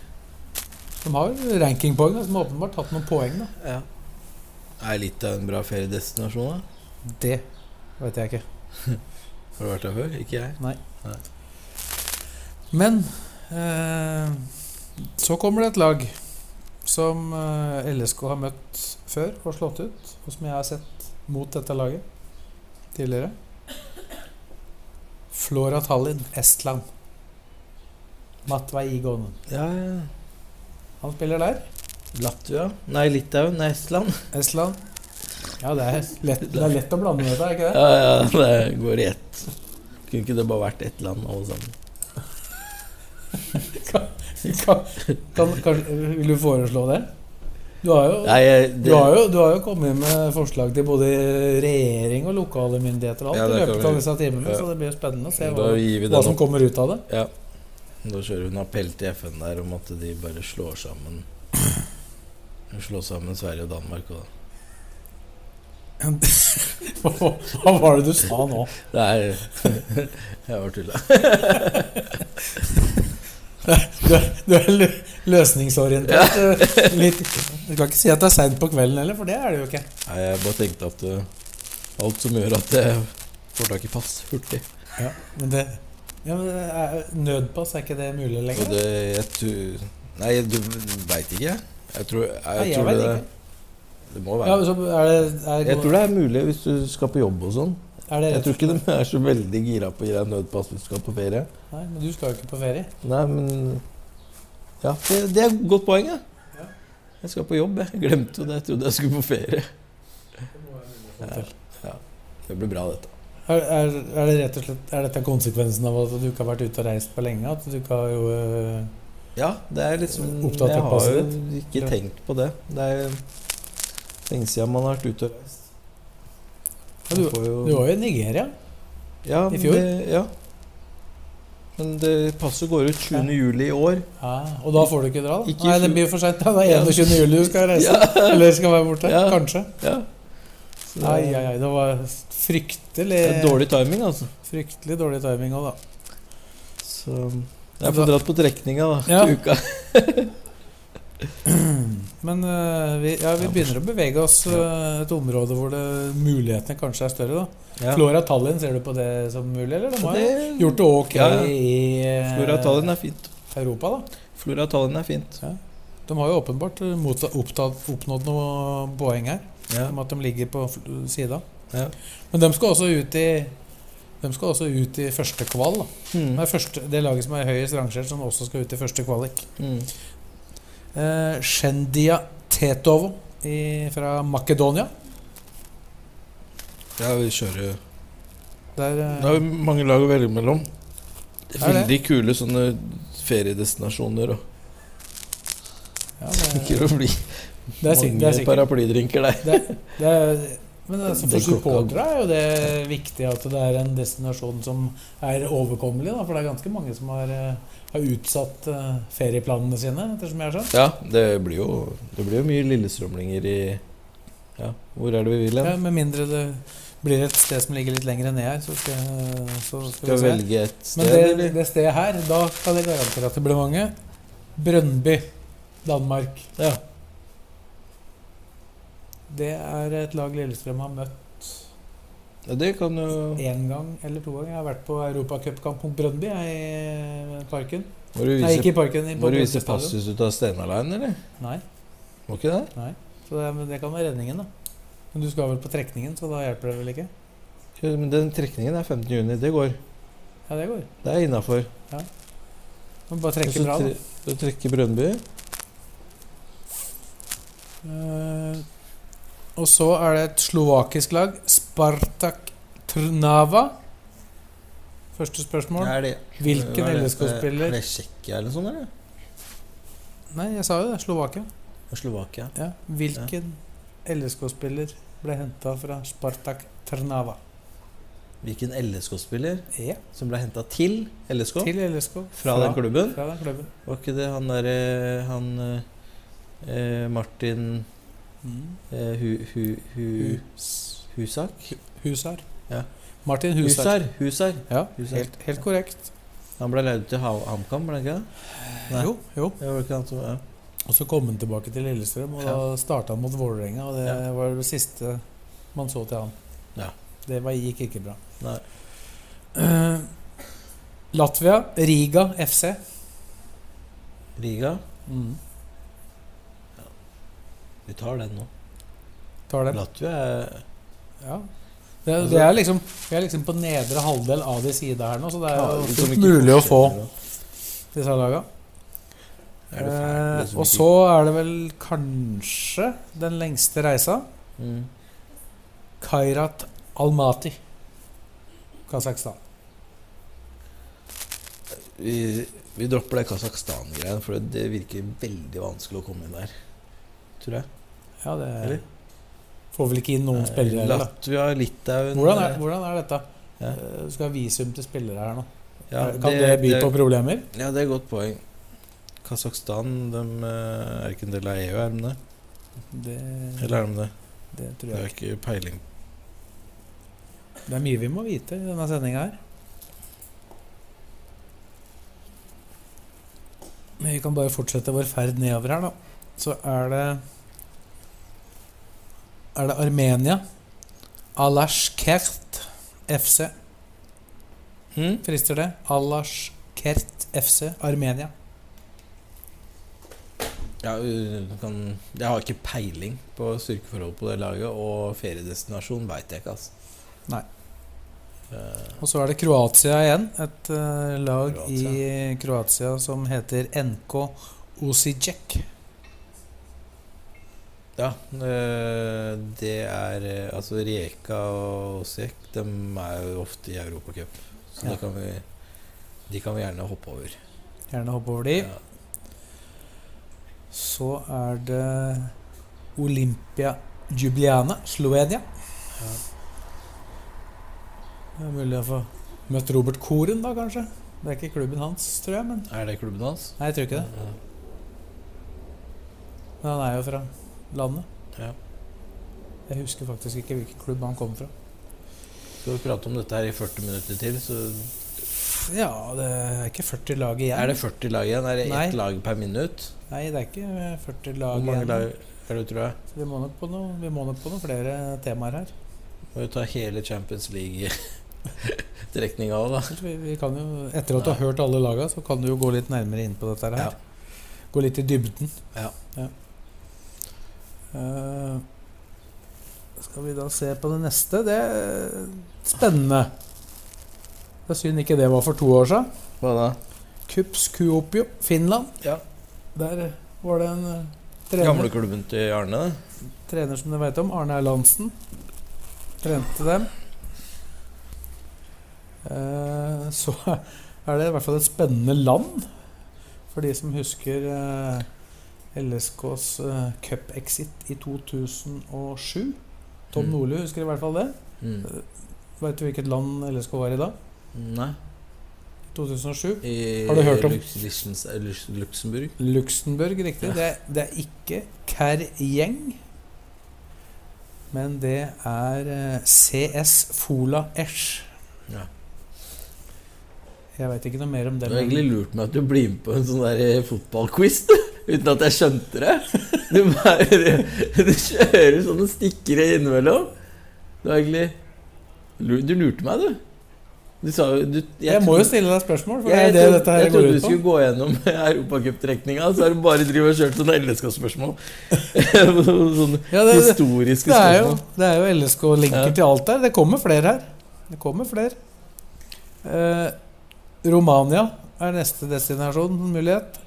[SPEAKER 1] De har jo rankingpoeng, da, som har åpenbart tatt noen poeng. da
[SPEAKER 2] Ja. Er litt av en bra feriedestinasjon, da?
[SPEAKER 1] Det vet jeg ikke.
[SPEAKER 2] Har du vært der før? Ikke jeg.
[SPEAKER 1] Men eh, så kommer det et lag som eh, LSK har møtt før og slått ut, og som jeg har sett mot dette laget tidligere. Flora Tallinn, Estland. Matvei Igonen.
[SPEAKER 2] Ja, ja.
[SPEAKER 1] Han spiller der.
[SPEAKER 2] Latvia? Nei, Litauen? Nei, Estland?
[SPEAKER 1] Estland. Ja, det er lett, det er lett å blande dette, er ikke det?
[SPEAKER 2] Ja, ja, det går i ett. Kunne ikke det bare vært ett land, alle sammen?
[SPEAKER 1] Kan, kan, kanskje- vil du foreslå det? Du har jo
[SPEAKER 2] Nei, jeg- det,
[SPEAKER 1] Du har, jo, du har jo kommet med forslag til både regjering og lokale myndigheter og alt
[SPEAKER 2] Ja, det
[SPEAKER 1] i
[SPEAKER 2] kan
[SPEAKER 1] løpet
[SPEAKER 2] vi-
[SPEAKER 1] av disse timene,
[SPEAKER 2] ja.
[SPEAKER 1] så det blir jo spennende å se hva,
[SPEAKER 2] Da gir vi
[SPEAKER 1] hva
[SPEAKER 2] den
[SPEAKER 1] som
[SPEAKER 2] opp.
[SPEAKER 1] kommer ut av det.
[SPEAKER 2] Ja. Da kjører hun appell til FN der om at de bare slår sammen Slår sammen Sverige og Danmark. Og
[SPEAKER 1] Hva var det du sa nå?
[SPEAKER 2] det er Jeg var tulla.
[SPEAKER 1] Du, er- du er lø- løsningsorientert. eh, Litt, du kan ikke si at det er seint på kvelden heller, for det er det jo ikke.
[SPEAKER 2] Nei, jeg bare tenkte at eh, alt som gjør at jeg får tak i pass hurtig
[SPEAKER 1] Men det, ja, men det er, nødpass, er ikke det mulig
[SPEAKER 2] Og
[SPEAKER 1] lenger?
[SPEAKER 2] det jeg tu- Nei, du veit ikke, jeg. Jeg tror, jeg,
[SPEAKER 1] Nei, jeg
[SPEAKER 2] tror
[SPEAKER 1] vet
[SPEAKER 2] det,
[SPEAKER 1] ikke.
[SPEAKER 2] det må
[SPEAKER 1] Ja,
[SPEAKER 2] være
[SPEAKER 1] så er det, er,
[SPEAKER 2] Jeg tror det er mulig hvis du skal på jobb og sånn.
[SPEAKER 1] er det
[SPEAKER 2] Jeg tror ikke de er så veldig gira på å gi deg nødpass hvis du skal på ferie.
[SPEAKER 1] Nei, men du skal jo ikke på ferie.
[SPEAKER 2] Nei, men Ja, det, det er et godt poeng, ja. Jeg skal på jobb, jeg. Glemte jo det. Jeg trodde jeg skulle på ferie. Ja, ja.
[SPEAKER 6] Det blir bra, dette.
[SPEAKER 1] Er, er, er det rett og slett Er dette konsekvensen av at du ikke har vært ute og reist på lenge? At du ikke har jo eh,
[SPEAKER 2] Ja, det er liksom
[SPEAKER 1] Opptatt
[SPEAKER 2] Jeg
[SPEAKER 1] av
[SPEAKER 2] har
[SPEAKER 1] passet
[SPEAKER 2] jo
[SPEAKER 1] ditt?
[SPEAKER 2] ikke
[SPEAKER 1] Ja.
[SPEAKER 2] tenkt på det. Det er lenge siden man har vært ute og reist.
[SPEAKER 1] ja,
[SPEAKER 2] Man
[SPEAKER 1] du,
[SPEAKER 2] får jo-
[SPEAKER 1] du var jo i Nigeria.
[SPEAKER 2] ja,
[SPEAKER 1] i
[SPEAKER 2] men
[SPEAKER 1] fjor?
[SPEAKER 2] Det, ja. Men det passet går ut 20. juli i år.
[SPEAKER 1] Ja, og da får du ikke dra, da?
[SPEAKER 2] Ikke i
[SPEAKER 1] Nei, det
[SPEAKER 2] fjor.
[SPEAKER 1] blir for seint. Det er 21. juli du skal reise. Eller skal være borte.
[SPEAKER 2] Ja.
[SPEAKER 1] Kanskje.
[SPEAKER 2] Ja. Så det er-
[SPEAKER 1] Ai, ai, ai. Det var fryktelig
[SPEAKER 2] Det er dårlig timing, altså.
[SPEAKER 1] Fryktelig dårlig timing òg, da.
[SPEAKER 2] Så jeg får dratt på trekninga da,
[SPEAKER 1] Ja.
[SPEAKER 2] til uka.
[SPEAKER 1] Men eh, vi, ja, vi begynner å bevege oss eh, et område hvor det, mulighetene kanskje er større. da
[SPEAKER 2] Ja.
[SPEAKER 1] Flora Tallinn, ser du på det som mulig, eller? De har jo
[SPEAKER 2] Det-
[SPEAKER 1] gjort det ok
[SPEAKER 2] Ja, ja.
[SPEAKER 1] i eh,
[SPEAKER 2] Flora Tallinn er fint.
[SPEAKER 1] Europa, da.
[SPEAKER 2] Flora Tallinn er fint.
[SPEAKER 1] De har jo åpenbart motta- opptatt, oppnådd noe poeng her,
[SPEAKER 2] Ja.
[SPEAKER 1] om at de ligger på fl- sida.
[SPEAKER 2] Ja.
[SPEAKER 1] Men de skal også ut i de skal også ut i første kval. Da.
[SPEAKER 2] Mm.
[SPEAKER 1] Det, er første, det laget som er høyest rangert, som også skal ut i første kvalik.
[SPEAKER 2] Mm.
[SPEAKER 1] Eh, Shendia Tetovo i, fra Makedonia.
[SPEAKER 2] Ja, vi kjører
[SPEAKER 1] Der, eh,
[SPEAKER 2] Det er jo mange lag å velge mellom. Det er
[SPEAKER 1] Er det?
[SPEAKER 2] veldig kule sånne feriedestinasjoner. Og
[SPEAKER 1] ja, det,
[SPEAKER 2] sikkert å bli
[SPEAKER 1] det er sikkert. Det er
[SPEAKER 2] mange
[SPEAKER 1] sikkert.
[SPEAKER 2] paraplydrinker der.
[SPEAKER 1] Det, det er, men altså,
[SPEAKER 2] Det
[SPEAKER 1] for
[SPEAKER 2] er klokka.
[SPEAKER 1] supportere er jo det viktig at det er en destinasjon som er overkommelig. Da, for det er ganske mange som har, eh, har utsatt eh, ferieplanene sine, ettersom jeg har skjønt.
[SPEAKER 2] Ja, det blir jo, det blir jo mye lillestrømlinger i Ja, hvor er det vi vil
[SPEAKER 1] Ja,
[SPEAKER 2] hen?
[SPEAKER 1] med mindre det blir et sted som ligger litt lenger ned her, så skal, så skal
[SPEAKER 2] Skal vi
[SPEAKER 1] vi se.
[SPEAKER 2] velge et sted,
[SPEAKER 1] Men det,
[SPEAKER 2] eller?
[SPEAKER 1] det stedet her, da kan jeg garantere at det blir mange. Brønnby, Danmark.
[SPEAKER 2] Ja.
[SPEAKER 1] Det er et lag Lillestrøm har møtt
[SPEAKER 2] ja, det kan jo
[SPEAKER 1] én gang eller to ganger. Jeg har vært på europacupkamp mot Brøndby jeg, i parken.
[SPEAKER 2] Må du
[SPEAKER 1] Nei,
[SPEAKER 2] vise,
[SPEAKER 1] ikke i parken. i- på
[SPEAKER 2] må du vise
[SPEAKER 1] Brøndby stadion.
[SPEAKER 2] passus ut av Stena Line, eller?
[SPEAKER 1] Nei,
[SPEAKER 2] Må ikke det?
[SPEAKER 1] så det, men det kan være redningen, da. Men du skal vel på trekningen, så da hjelper det vel ikke?
[SPEAKER 2] Ja, Men den trekningen er 15. juni. Det går.
[SPEAKER 1] Ja, det går.
[SPEAKER 2] Det er innafor.
[SPEAKER 1] Men bare trekke bra, da.
[SPEAKER 2] Du trekker Brønnby.
[SPEAKER 1] Eh, og så er det et slovakisk lag, Spartak Trnava. Første spørsmål.
[SPEAKER 2] Er det
[SPEAKER 1] Hvilken LSK-spiller
[SPEAKER 2] Er det Tsjekkia eller noe sånt, eller?
[SPEAKER 1] Nei, jeg sa jo det. Slovakia.
[SPEAKER 2] Slovakia.
[SPEAKER 1] Ja. Hvilken LSK-spiller ble henta fra Spartak Trnava?
[SPEAKER 2] Hvilken LSK-spiller
[SPEAKER 1] Ja,
[SPEAKER 2] som ble henta til LSK
[SPEAKER 1] E. til LSK.
[SPEAKER 2] fra den klubben?
[SPEAKER 1] Fra den klubben.
[SPEAKER 2] Var ikke det han derre Han eh, eh, Martin
[SPEAKER 1] Mm.
[SPEAKER 2] eh, hu, hu, hu,
[SPEAKER 1] Hus.
[SPEAKER 2] Husak?
[SPEAKER 1] Husar.
[SPEAKER 2] Ja.
[SPEAKER 1] Martin Husar.
[SPEAKER 2] Husar. Husar.
[SPEAKER 1] Ja,
[SPEAKER 2] Husar.
[SPEAKER 1] helt, helt korrekt.
[SPEAKER 2] Han ble leid ut til Ha- HamKam, ble han ikke det? Nei.
[SPEAKER 1] Jo, jo.
[SPEAKER 2] Ja, var det ikke han som ja.
[SPEAKER 1] Og så kom han tilbake til Lillestrøm, og da starta han mot Vålerenga. Og det
[SPEAKER 2] Ja.
[SPEAKER 1] var det siste man så til han.
[SPEAKER 2] Ja.
[SPEAKER 1] Det var, gikk ikke bra.
[SPEAKER 2] Nei.
[SPEAKER 1] Eh, Latvia, Riga FC.
[SPEAKER 2] Riga?
[SPEAKER 1] Mm.
[SPEAKER 2] Vi tar den nå.
[SPEAKER 1] Tar den.
[SPEAKER 2] Latvia er
[SPEAKER 1] Ja. Det, det er liksom, vi er liksom på nedre halvdel av de sida her nå, så det er
[SPEAKER 2] Ja,
[SPEAKER 1] jo
[SPEAKER 2] som
[SPEAKER 1] fullt
[SPEAKER 2] ikke
[SPEAKER 1] mulig å få
[SPEAKER 2] fortsetter,
[SPEAKER 1] disse laga.
[SPEAKER 2] da. Er det fælt, det
[SPEAKER 1] Eh,
[SPEAKER 2] som
[SPEAKER 1] og
[SPEAKER 2] ikke-
[SPEAKER 1] så er det vel kanskje den lengste reisa.
[SPEAKER 2] mm.
[SPEAKER 1] Kairat Almaty, Kasakhstan.
[SPEAKER 2] Vi, vi dropper det Kasakhstan-greien, for det virker veldig vanskelig å komme inn der. Tror jeg.
[SPEAKER 1] Ja, det
[SPEAKER 2] Eller?
[SPEAKER 1] får vel ikke inn noen spillere heller. da.
[SPEAKER 2] Eh, Latvia, Litauen eh,
[SPEAKER 1] Hvordan er, hvordan er dette?
[SPEAKER 2] Ja.
[SPEAKER 1] Eh, Du skal ha visum til spillere her nå. Eh,
[SPEAKER 2] Ja,
[SPEAKER 1] kan det, by på problemer?
[SPEAKER 2] Ja, det er et godt poeng. Kasakhstan de, eh, er ikke en del av EU, er de det?
[SPEAKER 1] Det,
[SPEAKER 2] Eller er de det?
[SPEAKER 1] det tror
[SPEAKER 2] Det
[SPEAKER 1] jeg
[SPEAKER 2] er
[SPEAKER 1] ikke.
[SPEAKER 2] ikke peiling.
[SPEAKER 1] Det er mye vi må vite i denne sendinga her. Men vi kan bare fortsette vår ferd nedover her, da. Så er det Er det Armenia? Alashkert FC.
[SPEAKER 2] Hm?
[SPEAKER 1] Frister det? Alash Kert FC Armenia.
[SPEAKER 2] Ja, u- du kan, jeg har ikke peiling på styrkeforhold på det laget, og feriedestinasjon veit jeg ikke, altså.
[SPEAKER 1] Nei.
[SPEAKER 2] Eh,
[SPEAKER 1] Og så er det Kroatia igjen. Et eh, lag
[SPEAKER 2] Kroatia.
[SPEAKER 1] i Kroatia som heter NK Osijek.
[SPEAKER 2] Ja, eh, det er eh, Altså Rijeka og Osijek de er jo ofte i Europacup. Så
[SPEAKER 1] Ja.
[SPEAKER 2] det kan vi, de kan vi gjerne hoppe over.
[SPEAKER 1] Gjerne hoppe over de.
[SPEAKER 2] Ja.
[SPEAKER 1] Så er det Olympia Jubileane, Slovenia. Det er mulig å få møtt Robert Koren, da, kanskje. Det er ikke klubben hans, tror jeg. men...
[SPEAKER 2] Er det klubben hans? Eh,
[SPEAKER 1] Nei, jeg tror ikke det.
[SPEAKER 2] Ja.
[SPEAKER 1] Men han er jo fra landet.
[SPEAKER 2] Ja.
[SPEAKER 1] Jeg husker faktisk ikke hvilken klubb han kom fra.
[SPEAKER 2] Skal vi prate om dette her i 40 minutter til, så
[SPEAKER 1] Ja, det er ikke 40 lag igjen.
[SPEAKER 2] er det 40 lag igjen. Er det
[SPEAKER 1] Nei.
[SPEAKER 2] ett lag per minutt?
[SPEAKER 1] Nei, det er ikke 40 lag
[SPEAKER 2] Hvor mange
[SPEAKER 1] igjen.
[SPEAKER 2] lag er det, tror jeg?
[SPEAKER 1] Så vi må nok på noe- vi må nok på noen flere temaer her.
[SPEAKER 2] Må jo ta hele Champions League-trekninga òg, da.
[SPEAKER 1] Så Vi, vi kan jo, etter at du har hørt alle laga, så kan du jo gå litt nærmere inn på dette her.
[SPEAKER 2] Ja.
[SPEAKER 1] Gå litt i dybden.
[SPEAKER 2] Ja.
[SPEAKER 1] Eh, skal vi da se på det neste? Det er spennende. Det er synd ikke det var for to år siden.
[SPEAKER 2] Hva da?
[SPEAKER 1] Kups Kuopio, Finland.
[SPEAKER 2] Ja.
[SPEAKER 1] Der var det en eh, trener,
[SPEAKER 2] Gamleklubben til Arne?
[SPEAKER 1] trener som du veit om, Arne Erlandsen. Trente dem. Eh, så er det i hvert fall et spennende land, for de som husker eh, LSKs eh, cup-exit i 2007. Tom
[SPEAKER 2] Mm.
[SPEAKER 1] Nordli husker i hvert fall det.
[SPEAKER 2] Mm.
[SPEAKER 1] Veit du hvilket land LSK var i da?
[SPEAKER 2] Nei.
[SPEAKER 1] 2007?
[SPEAKER 2] I
[SPEAKER 1] Har du hørt om-
[SPEAKER 2] Lux- Lichens- eh, Lux- Luxemburg?
[SPEAKER 1] Luxembourg, riktig.
[SPEAKER 2] Ja.
[SPEAKER 1] Det, er- det er ikke Kerjeng, men det er eh, CS Fola Esch.
[SPEAKER 2] Ja.
[SPEAKER 1] Jeg veit ikke noe mer om
[SPEAKER 2] Det
[SPEAKER 1] det.
[SPEAKER 2] var
[SPEAKER 1] men-
[SPEAKER 2] egentlig lurt meg at du blir med på en sånn der eh, fotballquiz uten at jeg skjønte det. Du bare Du kjører sånne stikkere innimellom. Det var egentlig lu- Du lurte meg, du. Du sa jo du,
[SPEAKER 1] jeg må jo
[SPEAKER 2] trodde-
[SPEAKER 1] stille deg spørsmål, for
[SPEAKER 2] Jeg, jeg,
[SPEAKER 1] det er det
[SPEAKER 2] trodde-
[SPEAKER 1] dette her
[SPEAKER 2] jeg
[SPEAKER 1] går
[SPEAKER 2] trodde du
[SPEAKER 1] ut på.
[SPEAKER 2] skulle gå gjennom europacuptrekninga, så har du bare drivet og kjørt sånne LSK-spørsmål. sånne
[SPEAKER 1] Ja, det, det,
[SPEAKER 2] Sånn historiske
[SPEAKER 1] det er jo,
[SPEAKER 2] spørsmål.
[SPEAKER 1] det er jo LSK-linker
[SPEAKER 2] Ja.
[SPEAKER 1] til alt der. Det kommer flere her. Det kommer flere. Eh, Romania er neste destinasjon, mulighet.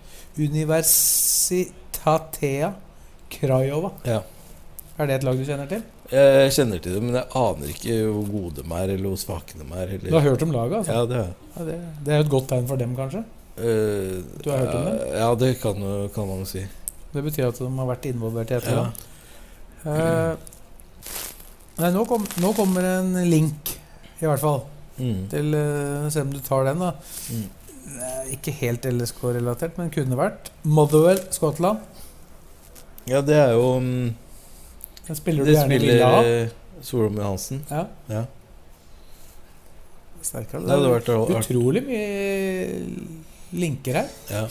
[SPEAKER 1] Universitatea Craiova.
[SPEAKER 2] Ja.
[SPEAKER 1] Er det et lag du kjenner til?
[SPEAKER 2] Jeg kjenner til det, men jeg aner ikke hvor gode de er, eller hvor svake de er.
[SPEAKER 1] Du har
[SPEAKER 2] Eller.
[SPEAKER 1] hørt om laget, altså?
[SPEAKER 2] Ja, det har jeg.
[SPEAKER 1] Ja, det, det er jo et godt tegn for dem, kanskje.
[SPEAKER 2] Eh,
[SPEAKER 1] Du har hørt om det?
[SPEAKER 2] Ja, det kan, jo- kan man jo si.
[SPEAKER 1] Det betyr at de har vært involvert i et eller
[SPEAKER 2] Ja.
[SPEAKER 1] annet. Eh, Nei, nå, kom, nå kommer en link, i hvert fall.
[SPEAKER 2] Mm.
[SPEAKER 1] til eh, Se om du tar den, da.
[SPEAKER 2] Mm.
[SPEAKER 1] Eh, Ikke helt LSK-relatert, men kunne vært. Motherwell, Skottland.
[SPEAKER 2] Ja, det er jo mm,
[SPEAKER 1] Den spiller du
[SPEAKER 2] Det
[SPEAKER 1] gjerne vil
[SPEAKER 2] spiller
[SPEAKER 1] ha.
[SPEAKER 2] eh, Solholm Johansen.
[SPEAKER 1] Ja.
[SPEAKER 2] Ja.
[SPEAKER 1] Sterkere,
[SPEAKER 2] Det hadde
[SPEAKER 1] det.
[SPEAKER 2] vært artig.
[SPEAKER 1] Utrolig mye linker her.
[SPEAKER 2] Ja.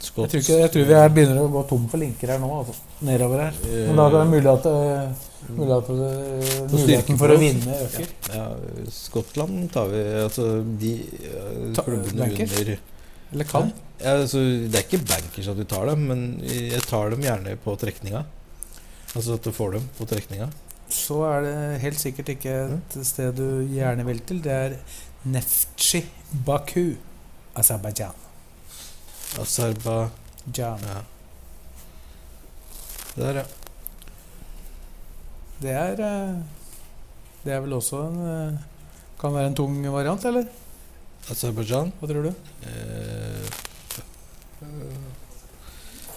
[SPEAKER 1] Jeg tror, ikke, jeg tror vi er begynner å gå tom for linker her nå. Altså. Nedover her. Men da er det mulig at, eh, mulig at eh,
[SPEAKER 2] styrke
[SPEAKER 1] muligheten for
[SPEAKER 2] på
[SPEAKER 1] å
[SPEAKER 2] oss.
[SPEAKER 1] vinne øker.
[SPEAKER 2] ja, Skottland tar vi Altså, de eh,
[SPEAKER 1] Ta-
[SPEAKER 2] klubbene
[SPEAKER 1] Bankers?
[SPEAKER 2] under
[SPEAKER 1] Eller kan.
[SPEAKER 2] ja, altså, Det er ikke bankers at du tar dem, men jeg tar dem gjerne på trekninga. Altså at du får dem på trekninga.
[SPEAKER 1] Så er det helt sikkert ikke et
[SPEAKER 2] Mm.
[SPEAKER 1] sted du gjerne vil til. Det er Neftchi Baku, Aserbajdsjan.
[SPEAKER 2] Aserba
[SPEAKER 1] Jan.
[SPEAKER 2] ja. Der, ja.
[SPEAKER 1] Det er eh, Det er vel også en eh, Kan være en tung variant, eller?
[SPEAKER 2] Aserbajdsjan.
[SPEAKER 1] Hva tror du?
[SPEAKER 2] Eh,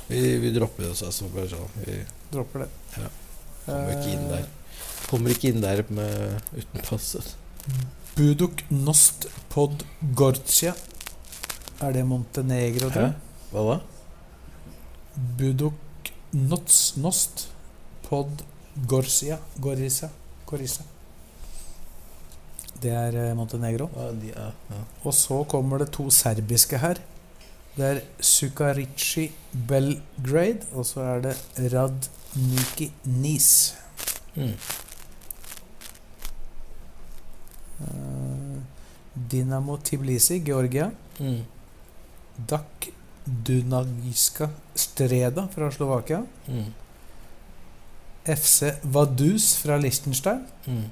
[SPEAKER 2] vi, vi dropper oss Aserbajdsjan. Vi
[SPEAKER 1] Dropper det.
[SPEAKER 2] Ja. kommer ikke inn der.
[SPEAKER 1] Eh,
[SPEAKER 2] Kommer ikke inn der med, uten pass. altså.
[SPEAKER 1] Buduk Nost Pod Gorcia. Er det Montenegro, tror
[SPEAKER 2] Hæ?
[SPEAKER 1] jeg?
[SPEAKER 2] Hva da?
[SPEAKER 1] Buduk Nots Nost Pod Gorcia. Gorissa. Gorissa. Det er eh, Montenegro.
[SPEAKER 2] Ja, de, ja, ja.
[SPEAKER 1] Og så kommer det to serbiske her. Det er Sukarici Belgrade, og så er det Radniki Nis.
[SPEAKER 2] Mm.
[SPEAKER 1] Eh, Dinamo Tiblisi, Georgia.
[SPEAKER 2] Mm.
[SPEAKER 1] Dak Dunagijska Streda fra Slovakia.
[SPEAKER 2] Mm.
[SPEAKER 1] FC Vaduz fra Liechtenstein.
[SPEAKER 2] Mm.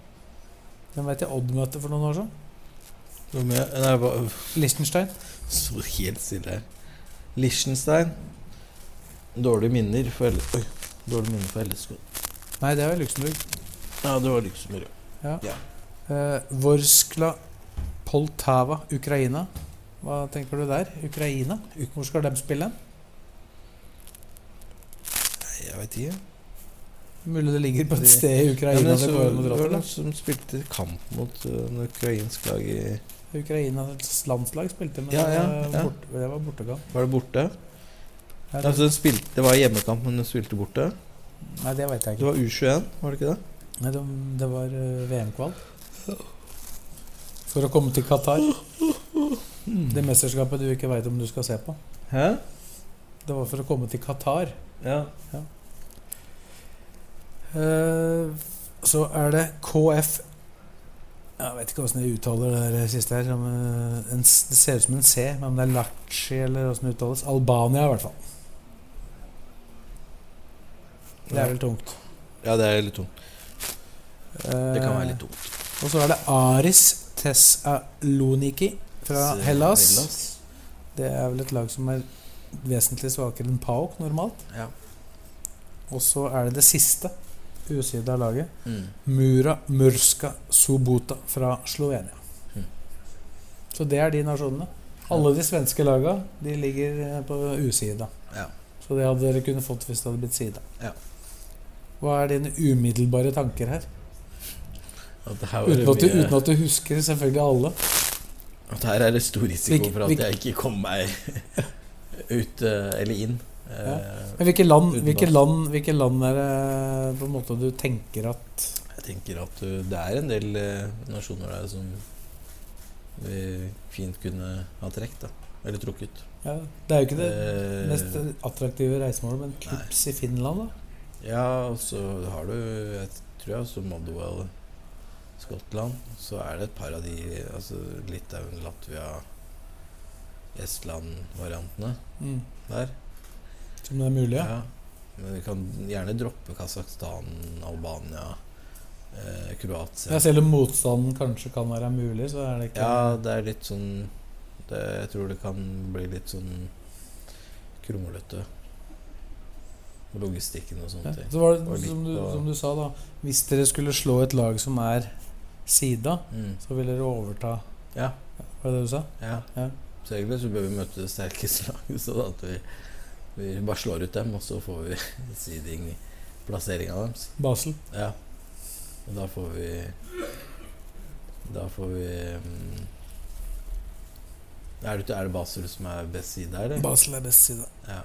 [SPEAKER 1] Den vet jeg Odd møtte for noen år siden.
[SPEAKER 2] Hva med Nei, hva
[SPEAKER 1] Liechtenstein.
[SPEAKER 2] Så helt stille her. Liechtenstein. Dårlige minner for L Oi. Dårlig minne for LSK.
[SPEAKER 1] Nei, det var Luxembourg.
[SPEAKER 2] Ja, det var Luxembourg. ja.
[SPEAKER 1] Eh, Vorskla Poltava, Ukraina. Hva tenker du der? Ukraina? Hvor skal de spille?
[SPEAKER 2] Nei, Jeg veit ikke.
[SPEAKER 1] Mulig det ligger på et sted i
[SPEAKER 2] Ja, men
[SPEAKER 1] Ukraina.
[SPEAKER 2] så,
[SPEAKER 1] det går an å dra
[SPEAKER 2] var
[SPEAKER 1] til.
[SPEAKER 2] det som spilte kamp mot uh, en ukrainsk lag i
[SPEAKER 1] da. Ukrainas landslag spilte, men
[SPEAKER 2] Ja,
[SPEAKER 1] det,
[SPEAKER 2] ja,
[SPEAKER 1] var
[SPEAKER 2] ja.
[SPEAKER 1] Bort, det var bortegang.
[SPEAKER 2] Var det borte?
[SPEAKER 1] Nei,
[SPEAKER 2] Altså, den spilte, det var hjemmekamp, men den spilte borte.
[SPEAKER 1] Nei, det veit jeg
[SPEAKER 2] Det
[SPEAKER 1] ikke.
[SPEAKER 2] var U21, var det ikke det?
[SPEAKER 1] Nei, de, det var eh, VM-kval. For å komme til Qatar. Det mesterskapet du ikke veit om du skal se på.
[SPEAKER 2] Hæ?
[SPEAKER 1] Det var for å komme til Qatar.
[SPEAKER 2] Ja.
[SPEAKER 1] Eh, Så er det KF Jeg vet ikke hvordan jeg uttaler det her siste her. Som eh, en, s- det ser ut som en C, men om det er Lachi eller hvordan det uttales. Albania, i hvert fall. Det er vel tungt.
[SPEAKER 2] ja, det er litt tungt.
[SPEAKER 1] Eh,
[SPEAKER 2] Det kan være litt tungt.
[SPEAKER 1] Og så er det Aris Tessaloniki fra Hellas. Det er vel et lag som er vesentlig svakere enn PAOK normalt.
[SPEAKER 2] Ja.
[SPEAKER 1] Og så er det det siste usida laget.
[SPEAKER 2] Mm.
[SPEAKER 1] Mura Murska Subota fra Slovenia.
[SPEAKER 2] Mm.
[SPEAKER 1] Så det er de nasjonene. Alle de svenske laga de ligger eh, på usida.
[SPEAKER 2] Ja.
[SPEAKER 1] Så det hadde dere kunne fått hvis det hadde blitt sida.
[SPEAKER 2] Ja.
[SPEAKER 1] Hva er dine umiddelbare tanker her?
[SPEAKER 2] At det her var
[SPEAKER 1] Uten at du,
[SPEAKER 2] mye-
[SPEAKER 1] uten at du husker selvfølgelig alle.
[SPEAKER 2] At her er det stor risiko
[SPEAKER 1] Hvilke-
[SPEAKER 2] for at
[SPEAKER 1] hvilke-
[SPEAKER 2] jeg ikke kommer meg ut eh, eller inn.
[SPEAKER 1] Ja.
[SPEAKER 2] Eh,
[SPEAKER 1] Men hvilke land,
[SPEAKER 2] Utenlands.
[SPEAKER 1] hvilke land, hvilke land er det på en måte du tenker at
[SPEAKER 2] Jeg tenker at uh, det er en del eh, nasjoner der som vi fint kunne ha trukket, da. Eller trukket.
[SPEAKER 1] ja, Det er jo ikke det
[SPEAKER 2] Eh,
[SPEAKER 1] mest attraktive reisemålet, men Klips i Finland, da?
[SPEAKER 2] Ja, og så har du Jeg tror jeg også Motherwell, Skottland. Så er det et par av de altså Litauen, Latvia, Estland-variantene
[SPEAKER 1] Mm.
[SPEAKER 2] der.
[SPEAKER 1] Som det er mulig, ja.
[SPEAKER 2] Men vi kan gjerne droppe Kasakhstan, Albania, eh,
[SPEAKER 1] Ja,
[SPEAKER 2] Kroatia.
[SPEAKER 1] selv om motstanden kanskje kan være mulig, så er det ikke
[SPEAKER 2] Ja, det er litt sånn det, Jeg tror det kan bli litt sånn kronglete. Logistikken og sånne
[SPEAKER 1] Ja,
[SPEAKER 2] ting.
[SPEAKER 1] Så var
[SPEAKER 2] Og
[SPEAKER 1] det
[SPEAKER 2] litt
[SPEAKER 1] som du,
[SPEAKER 2] å-
[SPEAKER 1] som du sa, da. Hvis dere skulle slå et lag som er sida,
[SPEAKER 2] Mm.
[SPEAKER 1] så vil dere overta
[SPEAKER 2] Ja.
[SPEAKER 1] Var det det du sa?
[SPEAKER 2] Ja.
[SPEAKER 1] Ja.
[SPEAKER 2] Så egentlig så bør vi møte det sterkeste laget, sånn at vi, vi bare slår ut dem, og så får vi seeding plasseringa deres.
[SPEAKER 1] Basel.
[SPEAKER 2] Ja. Og da får vi Da får vi mm, er det, er det Basel som er best side her, eller?
[SPEAKER 1] Basel er best side.
[SPEAKER 2] Ja.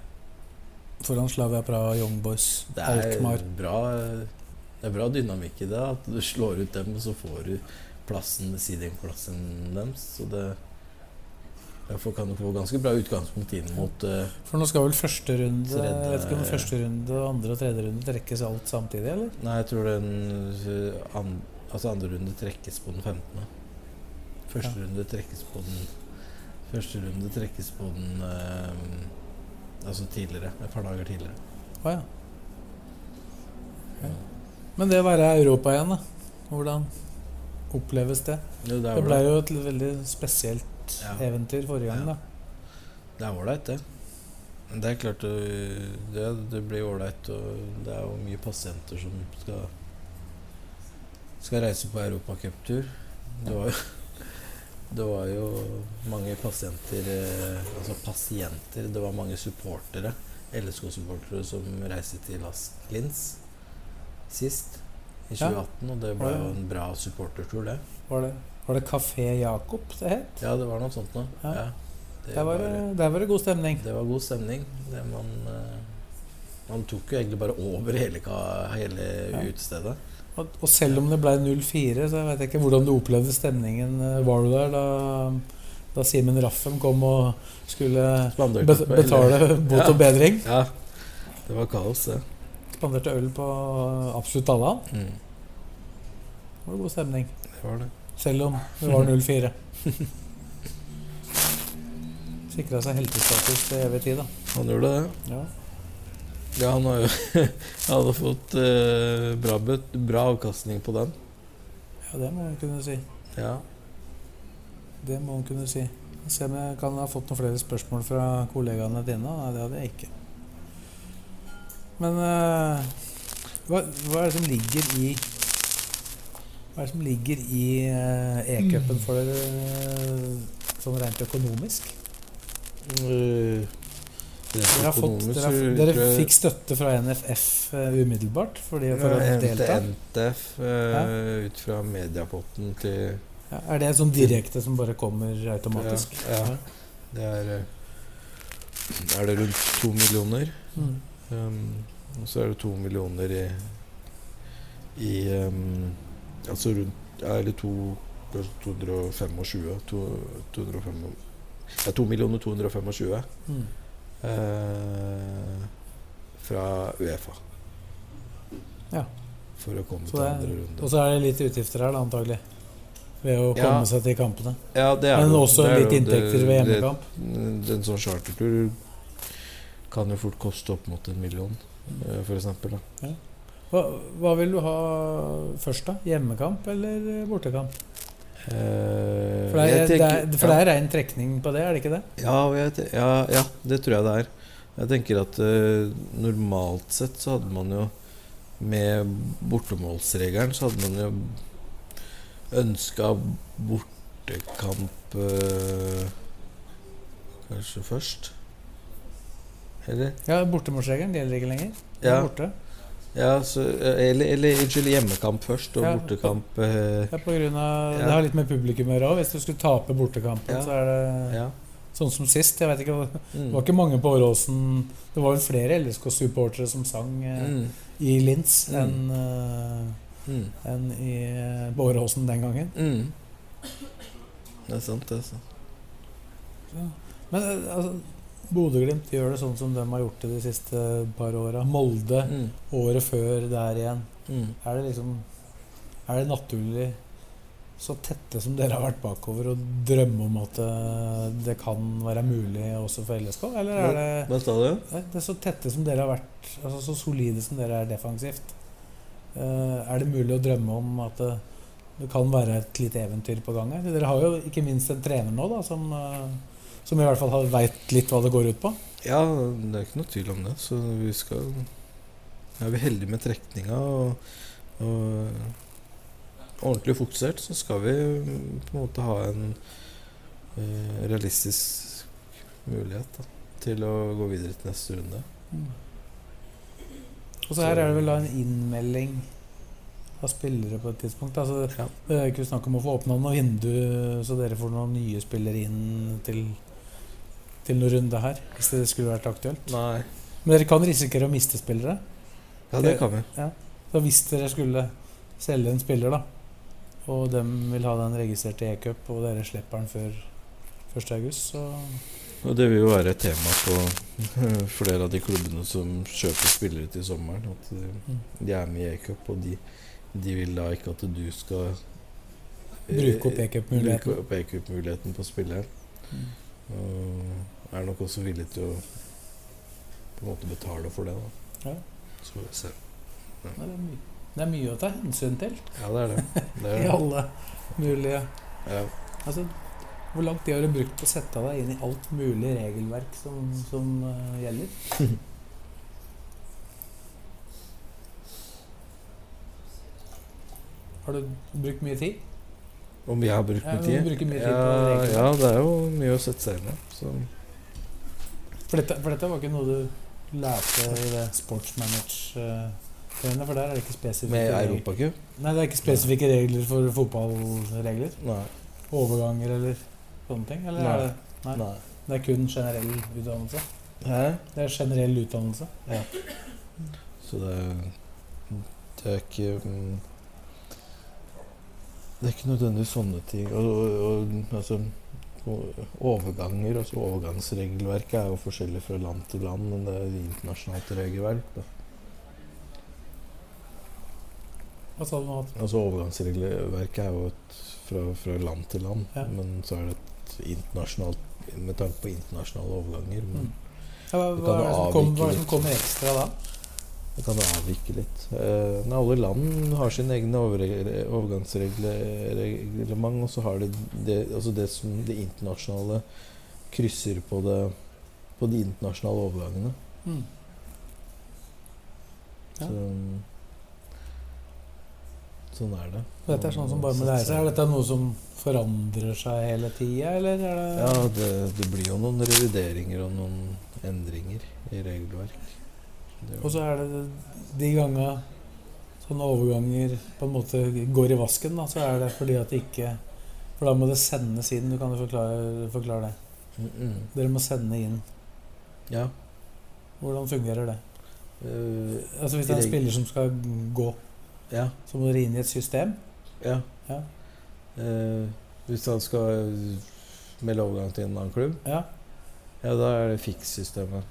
[SPEAKER 1] Foran Slavia Praha, Young Boys,
[SPEAKER 2] Det
[SPEAKER 1] Alkmaar.
[SPEAKER 2] er bra Det er bra dynamikk i det, at du slår ut dem, og så får du plassen seedingplassen deres. Så det Derfor kan du få ganske bra utgangspunkt inn mot eh,
[SPEAKER 1] For nå skal vel første runde
[SPEAKER 2] Tredje-
[SPEAKER 1] Jeg vet ikke om første runde, andre og tredje runde trekkes alt samtidig, eller?
[SPEAKER 2] Nei, jeg tror den uh, an, Altså andre runde trekkes på den 15. Første runde trekkes på den Første runde trekkes på den eh, Altså tidligere. Et par dager tidligere.
[SPEAKER 1] Å ja. Ok. Men det å være i Europa igjen, da. Hvordan oppleves det?
[SPEAKER 2] Jo, det
[SPEAKER 1] Det
[SPEAKER 2] er
[SPEAKER 1] ble
[SPEAKER 2] ålreit.
[SPEAKER 1] jo et veldig spesielt
[SPEAKER 2] Ja.
[SPEAKER 1] eventyr forrige gang,
[SPEAKER 2] Ja.
[SPEAKER 1] da.
[SPEAKER 2] Det er ålreit, det. Men Det er klart øh, det, det blir ålreit, og det er jo mye pasienter som skal skal reise på europacuptur. Det var jo det var jo mange pasienter eh, Altså pasienter Det var mange supportere, LSK-supportere, som reiste til Las Lins sist, i
[SPEAKER 1] Ja.
[SPEAKER 2] 2018. Og det ble
[SPEAKER 1] Ja.
[SPEAKER 2] jo en bra supportertur, det.
[SPEAKER 1] Var det, var det Café Jakob det het?
[SPEAKER 2] Ja, det var noe sånt noe.
[SPEAKER 1] Ja.
[SPEAKER 2] Ja.
[SPEAKER 1] Der var det, der var det god stemning.
[SPEAKER 2] Det var god stemning. Det man, eh, man tok jo egentlig bare over hele, ka- hele
[SPEAKER 1] Ja.
[SPEAKER 2] utestedet.
[SPEAKER 1] Og, og selv om det ble 0-4, så vet jeg ikke hvordan du opplevde stemningen. eh, Var du der da, da Simen Raffen kom og skulle
[SPEAKER 2] Spanderte
[SPEAKER 1] bet-
[SPEAKER 2] på hele-
[SPEAKER 1] betale bot
[SPEAKER 2] Ja.
[SPEAKER 1] og bedring?
[SPEAKER 2] Ja, det var kaos, det. Mm,
[SPEAKER 1] Spanderte øl på absolutt alle han. Det var god stemning.
[SPEAKER 2] Det var det.
[SPEAKER 1] Selv om det var 0-4. Sikra seg heltestatus til evig tid, da.
[SPEAKER 2] Han gjorde det.
[SPEAKER 1] Ja.
[SPEAKER 2] Ja, han har jo Han hadde fått eh, bra, bøt, bra avkastning på den.
[SPEAKER 1] ja, det må jeg kunne si.
[SPEAKER 2] Ja.
[SPEAKER 1] Det må man kunne si. Se om jeg kan ha fått noen flere spørsmål fra kollegaene dine. Nei, det hadde jeg ikke. Men eh, hva, hva er det som ligger i Hva er det som ligger i eh, e-cupen for dere eh, sånn rent økonomisk?
[SPEAKER 2] Eh,
[SPEAKER 1] Dere, har fått, dere, har, dere fikk støtte fra NFF eh, umiddelbart fordi for å delta?
[SPEAKER 2] NTF eh, ut fra mediapotten til
[SPEAKER 1] Ja, er det sånn direkte som bare kommer automatisk?
[SPEAKER 2] Ja, ja. Det er eh, Er det rundt to millioner?
[SPEAKER 1] Mm.
[SPEAKER 2] Um, og så er det to millioner i, i um, Altså rundt ja, Eller to kanskje 225 to, 205, Ja, 2 millioner 225
[SPEAKER 1] Mm.
[SPEAKER 2] eh, fra Uefa.
[SPEAKER 1] Ja.
[SPEAKER 2] For å komme
[SPEAKER 1] Så
[SPEAKER 2] til
[SPEAKER 1] det er-
[SPEAKER 2] andre
[SPEAKER 1] Og
[SPEAKER 2] runde.
[SPEAKER 1] så er det litt utgifter her, da, antagelig. Ved å
[SPEAKER 2] Ja.
[SPEAKER 1] komme seg til kampene.
[SPEAKER 2] Ja, det er
[SPEAKER 1] Men
[SPEAKER 2] jo-
[SPEAKER 1] også
[SPEAKER 2] det er
[SPEAKER 1] litt
[SPEAKER 2] jo- det-
[SPEAKER 1] inntekter ved
[SPEAKER 2] det-
[SPEAKER 1] hjemmekamp.
[SPEAKER 2] En sånn chartertur kan jo fort koste opp mot en million, eh, for eksempel. Da.
[SPEAKER 1] Hva, hva vil du ha først, da? Hjemmekamp eller bortekamp?
[SPEAKER 2] Eh,
[SPEAKER 1] For det er,
[SPEAKER 2] jeg tenker-
[SPEAKER 1] det er, for det er rein trekning på det, er det ikke det?
[SPEAKER 2] Ja, og jeg te- ja, ja, det tror jeg det er. Jeg tenker at eh, normalt sett så hadde man jo Med bortemålsregelen så hadde man jo ønska bortekamp eh, kanskje først. Eller?
[SPEAKER 1] Ja, Bortemålsregelen gjelder ikke lenger. Det er
[SPEAKER 2] Ja,
[SPEAKER 1] Borte.
[SPEAKER 2] ja så, eh, eller, eller unnskyld, hjemmekamp først og
[SPEAKER 1] Ja.
[SPEAKER 2] bortekamp eh,
[SPEAKER 1] Det, er på grunn av,
[SPEAKER 2] Ja.
[SPEAKER 1] det har litt med publikum å gjøre òg. Hvis du skulle tape bortekampen,
[SPEAKER 2] Ja.
[SPEAKER 1] så er det
[SPEAKER 2] Ja.
[SPEAKER 1] sånn som sist. Jeg vet ikke, hva- Det var
[SPEAKER 2] Mm.
[SPEAKER 1] ikke mange på Åråsen Det var vel flere LSK-supportere som sang eh,
[SPEAKER 2] Mm.
[SPEAKER 1] i Linz enn
[SPEAKER 2] Mm.
[SPEAKER 1] eh,
[SPEAKER 2] Mm.
[SPEAKER 1] enn i Bårehåsen den gangen.
[SPEAKER 2] Mm. Det er sant, det. altså. Er sant.
[SPEAKER 1] Men eh, altså, Bodø-Glimt gjør det sånn som de har gjort det de siste par åra. Molde
[SPEAKER 2] Mm.
[SPEAKER 1] året før der igjen.
[SPEAKER 2] Mm.
[SPEAKER 1] Er det liksom Er det naturlig så tette som dere har vært bakover, å drømme om at eh, det kan være mulig også for LSK? Eller er det
[SPEAKER 2] Hva sa du?
[SPEAKER 1] Nei, Det er så tette som dere har vært, altså så solide som dere er defensivt. Eh, er det mulig å drømme om at det, det kan være et lite eventyr på gang her? Dere har jo ikke minst en trener nå da, som, eh, som i hvert fall har- vet litt hva det går ut på.
[SPEAKER 2] Ja, det er ikke noe tvil om det. Så vi skal Er vi heldige med trekninga og, og ordentlig fokusert, så skal vi mm, på en måte ha en eh, realistisk mulighet da, til å gå videre til neste runde.
[SPEAKER 1] Og så her er det vel da en innmelding av spillere på et tidspunkt. Altså,
[SPEAKER 2] Ja.
[SPEAKER 1] Det er ikke snakk om å få åpna noe vindu, så dere får noen nye spillere inn til, til noen runde her. Hvis det skulle vært aktuelt.
[SPEAKER 2] Nei.
[SPEAKER 1] Men dere kan risikere å miste spillere.
[SPEAKER 2] Ja, det kan vi.
[SPEAKER 1] Så hvis dere skulle selge en spiller, da, og dem vil ha den registrert i e-cup, og dere slipper den før 1. august, så
[SPEAKER 2] Og det vil jo være et tema på flere av de klubbene som kjøper spillere til sommeren. At de, de er med i e-cup, og de, de vil da ikke at du skal eh,
[SPEAKER 1] bruke opp e-cup-muligheten.
[SPEAKER 2] Bruke opp e-cup-muligheten på spilleren.
[SPEAKER 1] Mm.
[SPEAKER 2] Og er nok også villig til å på en måte betale for det, da.
[SPEAKER 1] Ja.
[SPEAKER 2] Så får vi se.
[SPEAKER 1] Det er mye- det er mye å ta hensyn til
[SPEAKER 2] Ja, det er det. det,
[SPEAKER 1] i
[SPEAKER 2] er, det.
[SPEAKER 1] alle mulige
[SPEAKER 2] ja.
[SPEAKER 1] Altså, hvor lang tid har du brukt på å sette deg inn i alt mulig regelverk som, som eh, gjelder? Har du brukt mye tid?
[SPEAKER 2] Om jeg har brukt
[SPEAKER 1] Ja,
[SPEAKER 2] mye
[SPEAKER 1] men
[SPEAKER 2] tid?
[SPEAKER 1] du bruker mye tid
[SPEAKER 2] ja,
[SPEAKER 1] på det, egentlig.
[SPEAKER 2] ja, det er jo mye å sette seg inn i. Så
[SPEAKER 1] For dette, for dette var ikke noe du lærte i det sportsmanage-trenet, for der er det ikke spesifikke
[SPEAKER 2] med
[SPEAKER 1] regler.
[SPEAKER 2] Europacup?
[SPEAKER 1] Nei, det er ikke spesifikke regler for fotballregler.
[SPEAKER 2] Nei.
[SPEAKER 1] Overganger eller sånne ting. Eller er
[SPEAKER 2] Nei.
[SPEAKER 1] det, Nei.
[SPEAKER 2] Nei.
[SPEAKER 1] det er kun generell utdannelse.
[SPEAKER 2] Hæ?
[SPEAKER 1] Det er generell utdannelse.
[SPEAKER 2] Så det er, det er ikke mm, Det er ikke nødvendigvis sånne ting. Og, og, og, altså, o- overganger altså Overgangsregelverket er jo forskjellig fra land til land, men det er et internasjonalt regelverk. Da.
[SPEAKER 1] Hva sa du nå?
[SPEAKER 2] Altså Overgangsregelverket er jo et, fra, fra land til land,
[SPEAKER 1] Ja.
[SPEAKER 2] men så er det et internasjonalt med tanke på internasjonale overganger. Men
[SPEAKER 1] Mm. Ja, hva,
[SPEAKER 2] Det
[SPEAKER 1] hva,
[SPEAKER 2] kan
[SPEAKER 1] er det som
[SPEAKER 2] avvike
[SPEAKER 1] kom, hva er det som
[SPEAKER 2] litt.
[SPEAKER 1] kommer ekstra da?
[SPEAKER 2] Det kan avvike litt. Eh, men alle land har sine egne overre- overgangsreglement, og så har de det, altså det som det internasjonale krysser på, det, på de internasjonale overgangene.
[SPEAKER 1] Mm. Ja.
[SPEAKER 2] Så, sånn er det.
[SPEAKER 1] Dette er sånn som bare må lære seg. Er dette noe som forandrer seg hele tida, eller er det
[SPEAKER 2] Ja, det, det blir jo noen revideringer og noen endringer i regelverk. Det er jo-
[SPEAKER 1] Og så er det de gangene sånne overganger på en måte går i vasken, da, så er det fordi at det ikke For da må det sendes inn. Du kan jo forklare, forklare det.
[SPEAKER 2] Mm, mm.
[SPEAKER 1] Dere må sende inn.
[SPEAKER 2] Ja.
[SPEAKER 1] Hvordan fungerer det?
[SPEAKER 2] øh,
[SPEAKER 1] Altså Hvis det er en spiller som skal gå,
[SPEAKER 2] ja.
[SPEAKER 1] så må dere inn i et system.
[SPEAKER 2] Ja.
[SPEAKER 1] Ja.
[SPEAKER 2] Eh, hvis han skal eh, melde overgang til en annen klubb,
[SPEAKER 1] Ja,
[SPEAKER 2] ja, da er det fiks-systemet.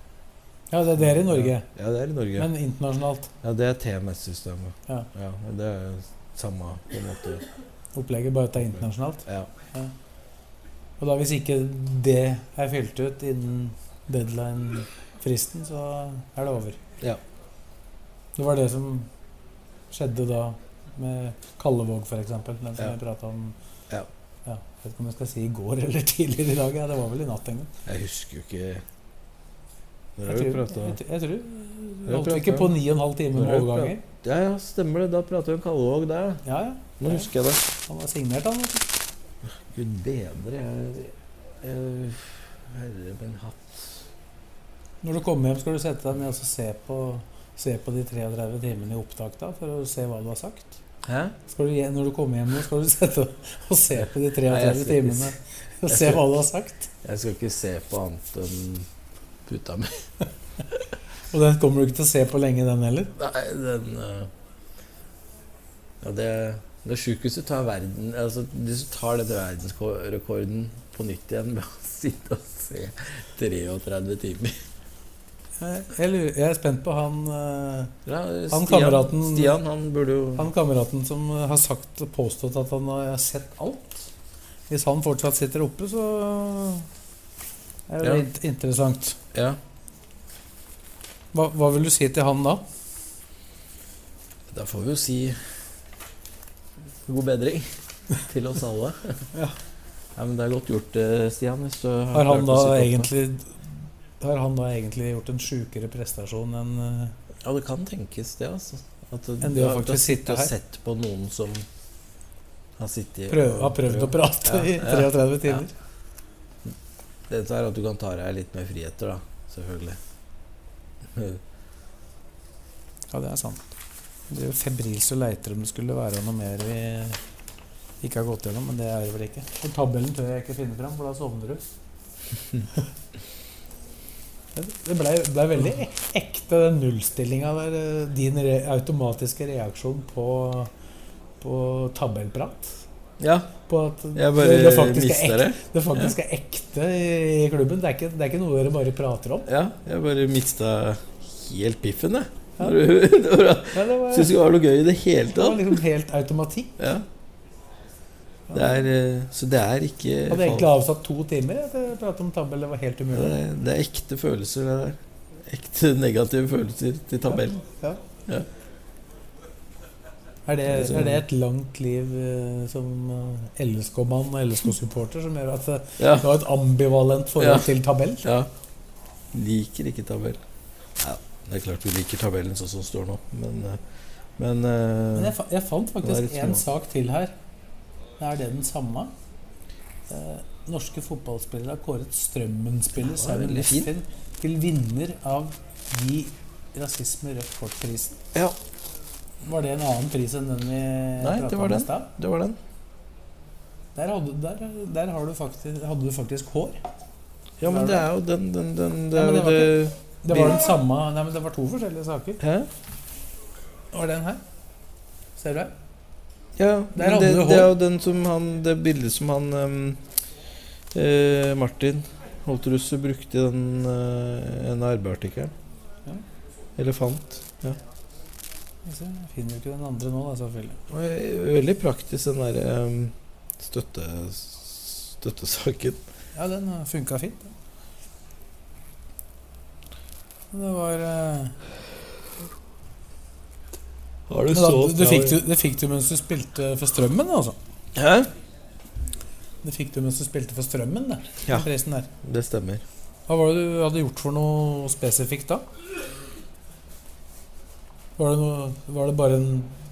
[SPEAKER 1] ja det er dere i Norge,
[SPEAKER 2] Ja, det er i Norge.
[SPEAKER 1] men internasjonalt.
[SPEAKER 2] ja, det er TMS-systemet.
[SPEAKER 1] Ja.
[SPEAKER 2] og det er samme på en måte.
[SPEAKER 1] Opplegget bare at det er internasjonalt.
[SPEAKER 2] Ja.
[SPEAKER 1] Og da hvis ikke det er fylt ut innen deadline-fristen, så er det over.
[SPEAKER 2] Ja.
[SPEAKER 1] Det var det som skjedde da med Kallevåg, f.eks., den som
[SPEAKER 2] Ja.
[SPEAKER 1] jeg prata om
[SPEAKER 2] Ja.
[SPEAKER 1] Ja, jeg vet ikke om jeg skal si i går eller tidligere i dag. Ja, det var vel i natt en gang.
[SPEAKER 2] Jeg husker jo ikke Når har
[SPEAKER 1] Jeg
[SPEAKER 2] vi
[SPEAKER 1] tror,
[SPEAKER 2] prata
[SPEAKER 1] jeg, jeg tror
[SPEAKER 2] har
[SPEAKER 1] Holdt vi
[SPEAKER 2] pratet
[SPEAKER 1] ikke
[SPEAKER 2] om-
[SPEAKER 1] på ni og en halv time
[SPEAKER 2] Når
[SPEAKER 1] med
[SPEAKER 2] har vi
[SPEAKER 1] overganger?
[SPEAKER 2] Ja, ja, stemmer det. Da prater vi om Kallevåg der. da.
[SPEAKER 1] Ja, ja.
[SPEAKER 2] Nå husker jeg det.
[SPEAKER 1] Han var signert, han. vet du.
[SPEAKER 2] Gud bedre. Jeg, jeg, herre min hatt.
[SPEAKER 1] Når du kommer hjem, skal du sette deg ned og så se på, se på de 33 timene i opptak da, for å se hva du har sagt.
[SPEAKER 2] Hæ?
[SPEAKER 1] Skal du, hjem- når du kommer hjem, nå, skal du sette deg og se på de 33
[SPEAKER 2] skal ikke
[SPEAKER 1] timene
[SPEAKER 2] jeg
[SPEAKER 1] og se
[SPEAKER 2] skal-
[SPEAKER 1] hva du har sagt.
[SPEAKER 2] Jeg skal ikke se på annet enn puta mi.
[SPEAKER 1] Og den kommer du ikke til å se på lenge, den heller.
[SPEAKER 2] Nei, den øh, Ja, det Når sjukehuset tar verden Altså, hvis du tar denne verdensrekorden på nytt igjen ved å sitte og se 33 timer
[SPEAKER 1] Jeg, jeg lurer- jeg er spent på han, eh,
[SPEAKER 2] ja,
[SPEAKER 1] Han kameraten-
[SPEAKER 2] Stian, han burde jo
[SPEAKER 1] han kameraten som eh, har sagt og påstått at han har sett alt. Hvis han fortsatt sitter oppe, så er det
[SPEAKER 2] Ja.
[SPEAKER 1] int- interessant.
[SPEAKER 2] Ja.
[SPEAKER 1] Hva, hva vil du si til han da?
[SPEAKER 2] Da får vi jo si god bedring til oss alle.
[SPEAKER 1] Ja.
[SPEAKER 2] Ja, men det er godt gjort, eh, Stian. Hvis du har,
[SPEAKER 1] Har han
[SPEAKER 2] klart å
[SPEAKER 1] da
[SPEAKER 2] sitte oppe.
[SPEAKER 1] egentlig har han da egentlig gjort en sjukere prestasjon enn eh,
[SPEAKER 2] Ja, det kan tenkes, det, altså. At
[SPEAKER 1] Enn det å
[SPEAKER 2] har-
[SPEAKER 1] faktisk sitte
[SPEAKER 2] Du har
[SPEAKER 1] her.
[SPEAKER 2] sett på noen som har sittet
[SPEAKER 1] prøv, har prøvd å prate i
[SPEAKER 2] Ja, ja.
[SPEAKER 1] 33 timer?
[SPEAKER 2] Dette er at du kan ta deg litt mer friheter, da. Selvfølgelig.
[SPEAKER 1] Ja, det er sant. Du er febrilsk og leiter om det skulle være noe mer vi ikke har gått gjennom, men det er det vel ikke. Og tabellen tør jeg ikke finne fram, for da sovner du. Det blei ble veldig ek- ekte, den nullstillinga der. eh, Din re automatiske reaksjon på, på tabellprat.
[SPEAKER 2] Ja,
[SPEAKER 1] På at
[SPEAKER 2] jeg bare
[SPEAKER 1] det faktisk er
[SPEAKER 2] mister det.
[SPEAKER 1] Det faktisk er ekte i klubben. Det er ikke, det er ikke noe dere bare prater om.
[SPEAKER 2] Ja, jeg bare mista helt piffen, jeg.
[SPEAKER 1] Ja.
[SPEAKER 2] Når du- når du-
[SPEAKER 1] Ja, det, var,
[SPEAKER 2] Syns ikke det var noe gøy i det hele
[SPEAKER 1] det var
[SPEAKER 2] tatt.
[SPEAKER 1] liksom helt automatikk.
[SPEAKER 2] Ja. Det er, eh, så det er ikke
[SPEAKER 1] Hadde egentlig avsatt to timer jeg, til å prate om tabell. Det var helt
[SPEAKER 2] Ja,
[SPEAKER 1] umulig.
[SPEAKER 2] det, er, det er ekte følelser, det der. Ekte negative følelser til tabellen.
[SPEAKER 1] Er det, er det et langt liv eh, som eh, LSK-mann og LSK-supporter som gjør at eh,
[SPEAKER 2] Ja.
[SPEAKER 1] du har et ambivalent
[SPEAKER 2] Ja.
[SPEAKER 1] forhold til tabell?
[SPEAKER 2] ja. Liker ikke tabell. Ja, det er klart vi liker tabellen sånn som den står nå, men eh, Men, eh,
[SPEAKER 1] Men jeg, fa- jeg fant
[SPEAKER 2] Det er
[SPEAKER 1] faktisk
[SPEAKER 2] litt
[SPEAKER 1] en
[SPEAKER 2] skummelt.
[SPEAKER 1] sak til her. Er det den samme? Eh, norske fotballspillere har kåret Strømmen-spiller
[SPEAKER 2] var
[SPEAKER 1] Simon
[SPEAKER 2] veldig fin.
[SPEAKER 1] Lefin til vinner av Gi rasisme rødt kort-prisen.
[SPEAKER 2] Ja.
[SPEAKER 1] Var det en annen pris enn den vi
[SPEAKER 2] Nei, det
[SPEAKER 1] pratet
[SPEAKER 2] var
[SPEAKER 1] om i
[SPEAKER 2] den.
[SPEAKER 1] stad?
[SPEAKER 2] det var den.
[SPEAKER 1] Der, hadde, der, der har du faktisk, hadde du faktisk hår.
[SPEAKER 2] Ja, men det er jo den, den, den det
[SPEAKER 1] Ja,
[SPEAKER 2] er jo
[SPEAKER 1] men det var
[SPEAKER 2] det
[SPEAKER 1] Det var den samme Nei, men det var to forskjellige saker.
[SPEAKER 2] Hæ?
[SPEAKER 1] Var den her? Ser du her?
[SPEAKER 2] Ja,
[SPEAKER 1] Der
[SPEAKER 2] men
[SPEAKER 1] hadde
[SPEAKER 2] det,
[SPEAKER 1] du
[SPEAKER 2] det er
[SPEAKER 1] hår.
[SPEAKER 2] jo den som han Det bildet som han ehm, eh, Martin Holterudse brukte i den eh, NRB-artikkelen.
[SPEAKER 1] Ja.
[SPEAKER 2] Elefant.
[SPEAKER 1] Jeg ser, jeg finner jo ikke den andre nå, da, selvfølgelig.
[SPEAKER 2] Og, eh, Veldig praktisk, den derre ehm, støtte, støttesaken.
[SPEAKER 1] Ja, den funka fint. den. Det var eh,
[SPEAKER 2] Har
[SPEAKER 1] men da, du, fikk du, Det fikk du mens du spilte for Strømmen, altså.
[SPEAKER 2] Hæ?
[SPEAKER 1] Det fikk du mens du spilte for Strømmen, det.
[SPEAKER 2] Ja.
[SPEAKER 1] den Prisen der.
[SPEAKER 2] Det stemmer.
[SPEAKER 1] Hva var det du hadde gjort for noe spesifikt da? Var det, noe, var det bare en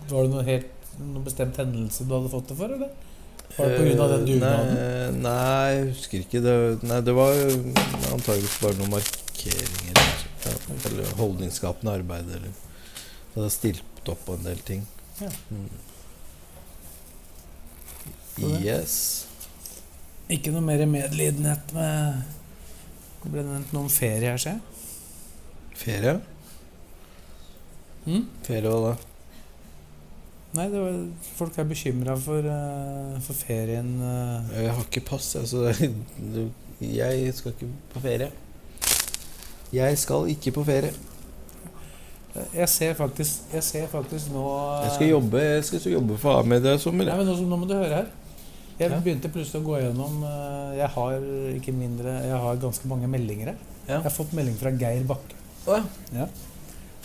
[SPEAKER 1] Var det noe helt noen bestemt hendelse du hadde fått det for, eller? Var det pga. den
[SPEAKER 2] Eh,
[SPEAKER 1] dugnaden?
[SPEAKER 2] Nei, nei, jeg husker ikke. Det, nei, det var jo antageligvis bare noen markeringer. Ja, eller holdningsskapende arbeid. Eller. Så det har stilt opp på en del ting.
[SPEAKER 1] Ja.
[SPEAKER 2] Mm. Yes.
[SPEAKER 1] Ikke noe mer medlidenhet med Det ble nevnt noe om ferie her, ser jeg.
[SPEAKER 2] Ferie?
[SPEAKER 1] Mm?
[SPEAKER 2] Ferie hva da?
[SPEAKER 1] Nei, det var, folk er bekymra for, eh, for ferien. eh.
[SPEAKER 2] Jeg har ikke pass, jeg, så det- jeg skal ikke på ferie. Jeg skal ikke på ferie.
[SPEAKER 1] Jeg ser faktisk, jeg ser faktisk nå eh,
[SPEAKER 2] Jeg skal jobbe, jeg skal jobbe for A-media i sommer.
[SPEAKER 1] Nei,
[SPEAKER 2] jeg.
[SPEAKER 1] men nå, nå må du høre her. Jeg
[SPEAKER 2] Ja.
[SPEAKER 1] begynte plutselig å gå gjennom eh, Jeg har ikke mindre Jeg har ganske mange meldinger her.
[SPEAKER 2] Ja.
[SPEAKER 1] Jeg har fått melding fra Geir Bakke.
[SPEAKER 2] Å
[SPEAKER 1] ja.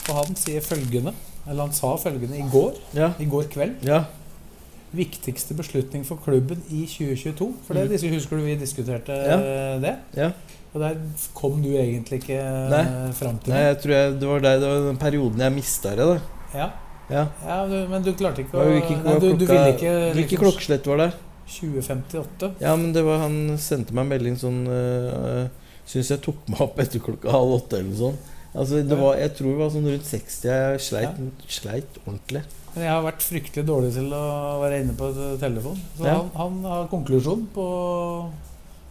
[SPEAKER 1] Og han sier følgende Eller han sa følgende i går.
[SPEAKER 2] Ja.
[SPEAKER 1] I går kveld.
[SPEAKER 2] Ja.
[SPEAKER 1] Viktigste beslutning for klubben i 2022. For det dis- husker du vi diskuterte
[SPEAKER 2] Mm. Ja.
[SPEAKER 1] eh, det?
[SPEAKER 2] Ja.
[SPEAKER 1] Og der kom du egentlig ikke
[SPEAKER 2] Nei.
[SPEAKER 1] Nei. fram til
[SPEAKER 2] Nei, jeg tror jeg, det var deg, det var den perioden jeg mista det. da.
[SPEAKER 1] noe. Ja.
[SPEAKER 2] Ja.
[SPEAKER 1] Ja, du, men du klarte ikke å
[SPEAKER 2] Hva- hvilken-
[SPEAKER 1] nei,
[SPEAKER 2] hva
[SPEAKER 1] du, du
[SPEAKER 2] klokka-
[SPEAKER 1] ville ikke
[SPEAKER 2] Hvilket
[SPEAKER 1] liksom,
[SPEAKER 2] klokkeslett var det?
[SPEAKER 1] 2058.
[SPEAKER 2] Ja, men det var Han sendte meg en melding sånn øh, Syns jeg tok meg opp etter klokka halv åtte eller noe sånt. Altså, det
[SPEAKER 1] Ja.
[SPEAKER 2] var, jeg tror det var sånn rundt 60 jeg sleit,
[SPEAKER 1] Ja.
[SPEAKER 2] sleit ordentlig.
[SPEAKER 1] Men jeg har vært fryktelig dårlig til å være inne på t- telefon. Så
[SPEAKER 2] Ja.
[SPEAKER 1] han, han har konklusjon på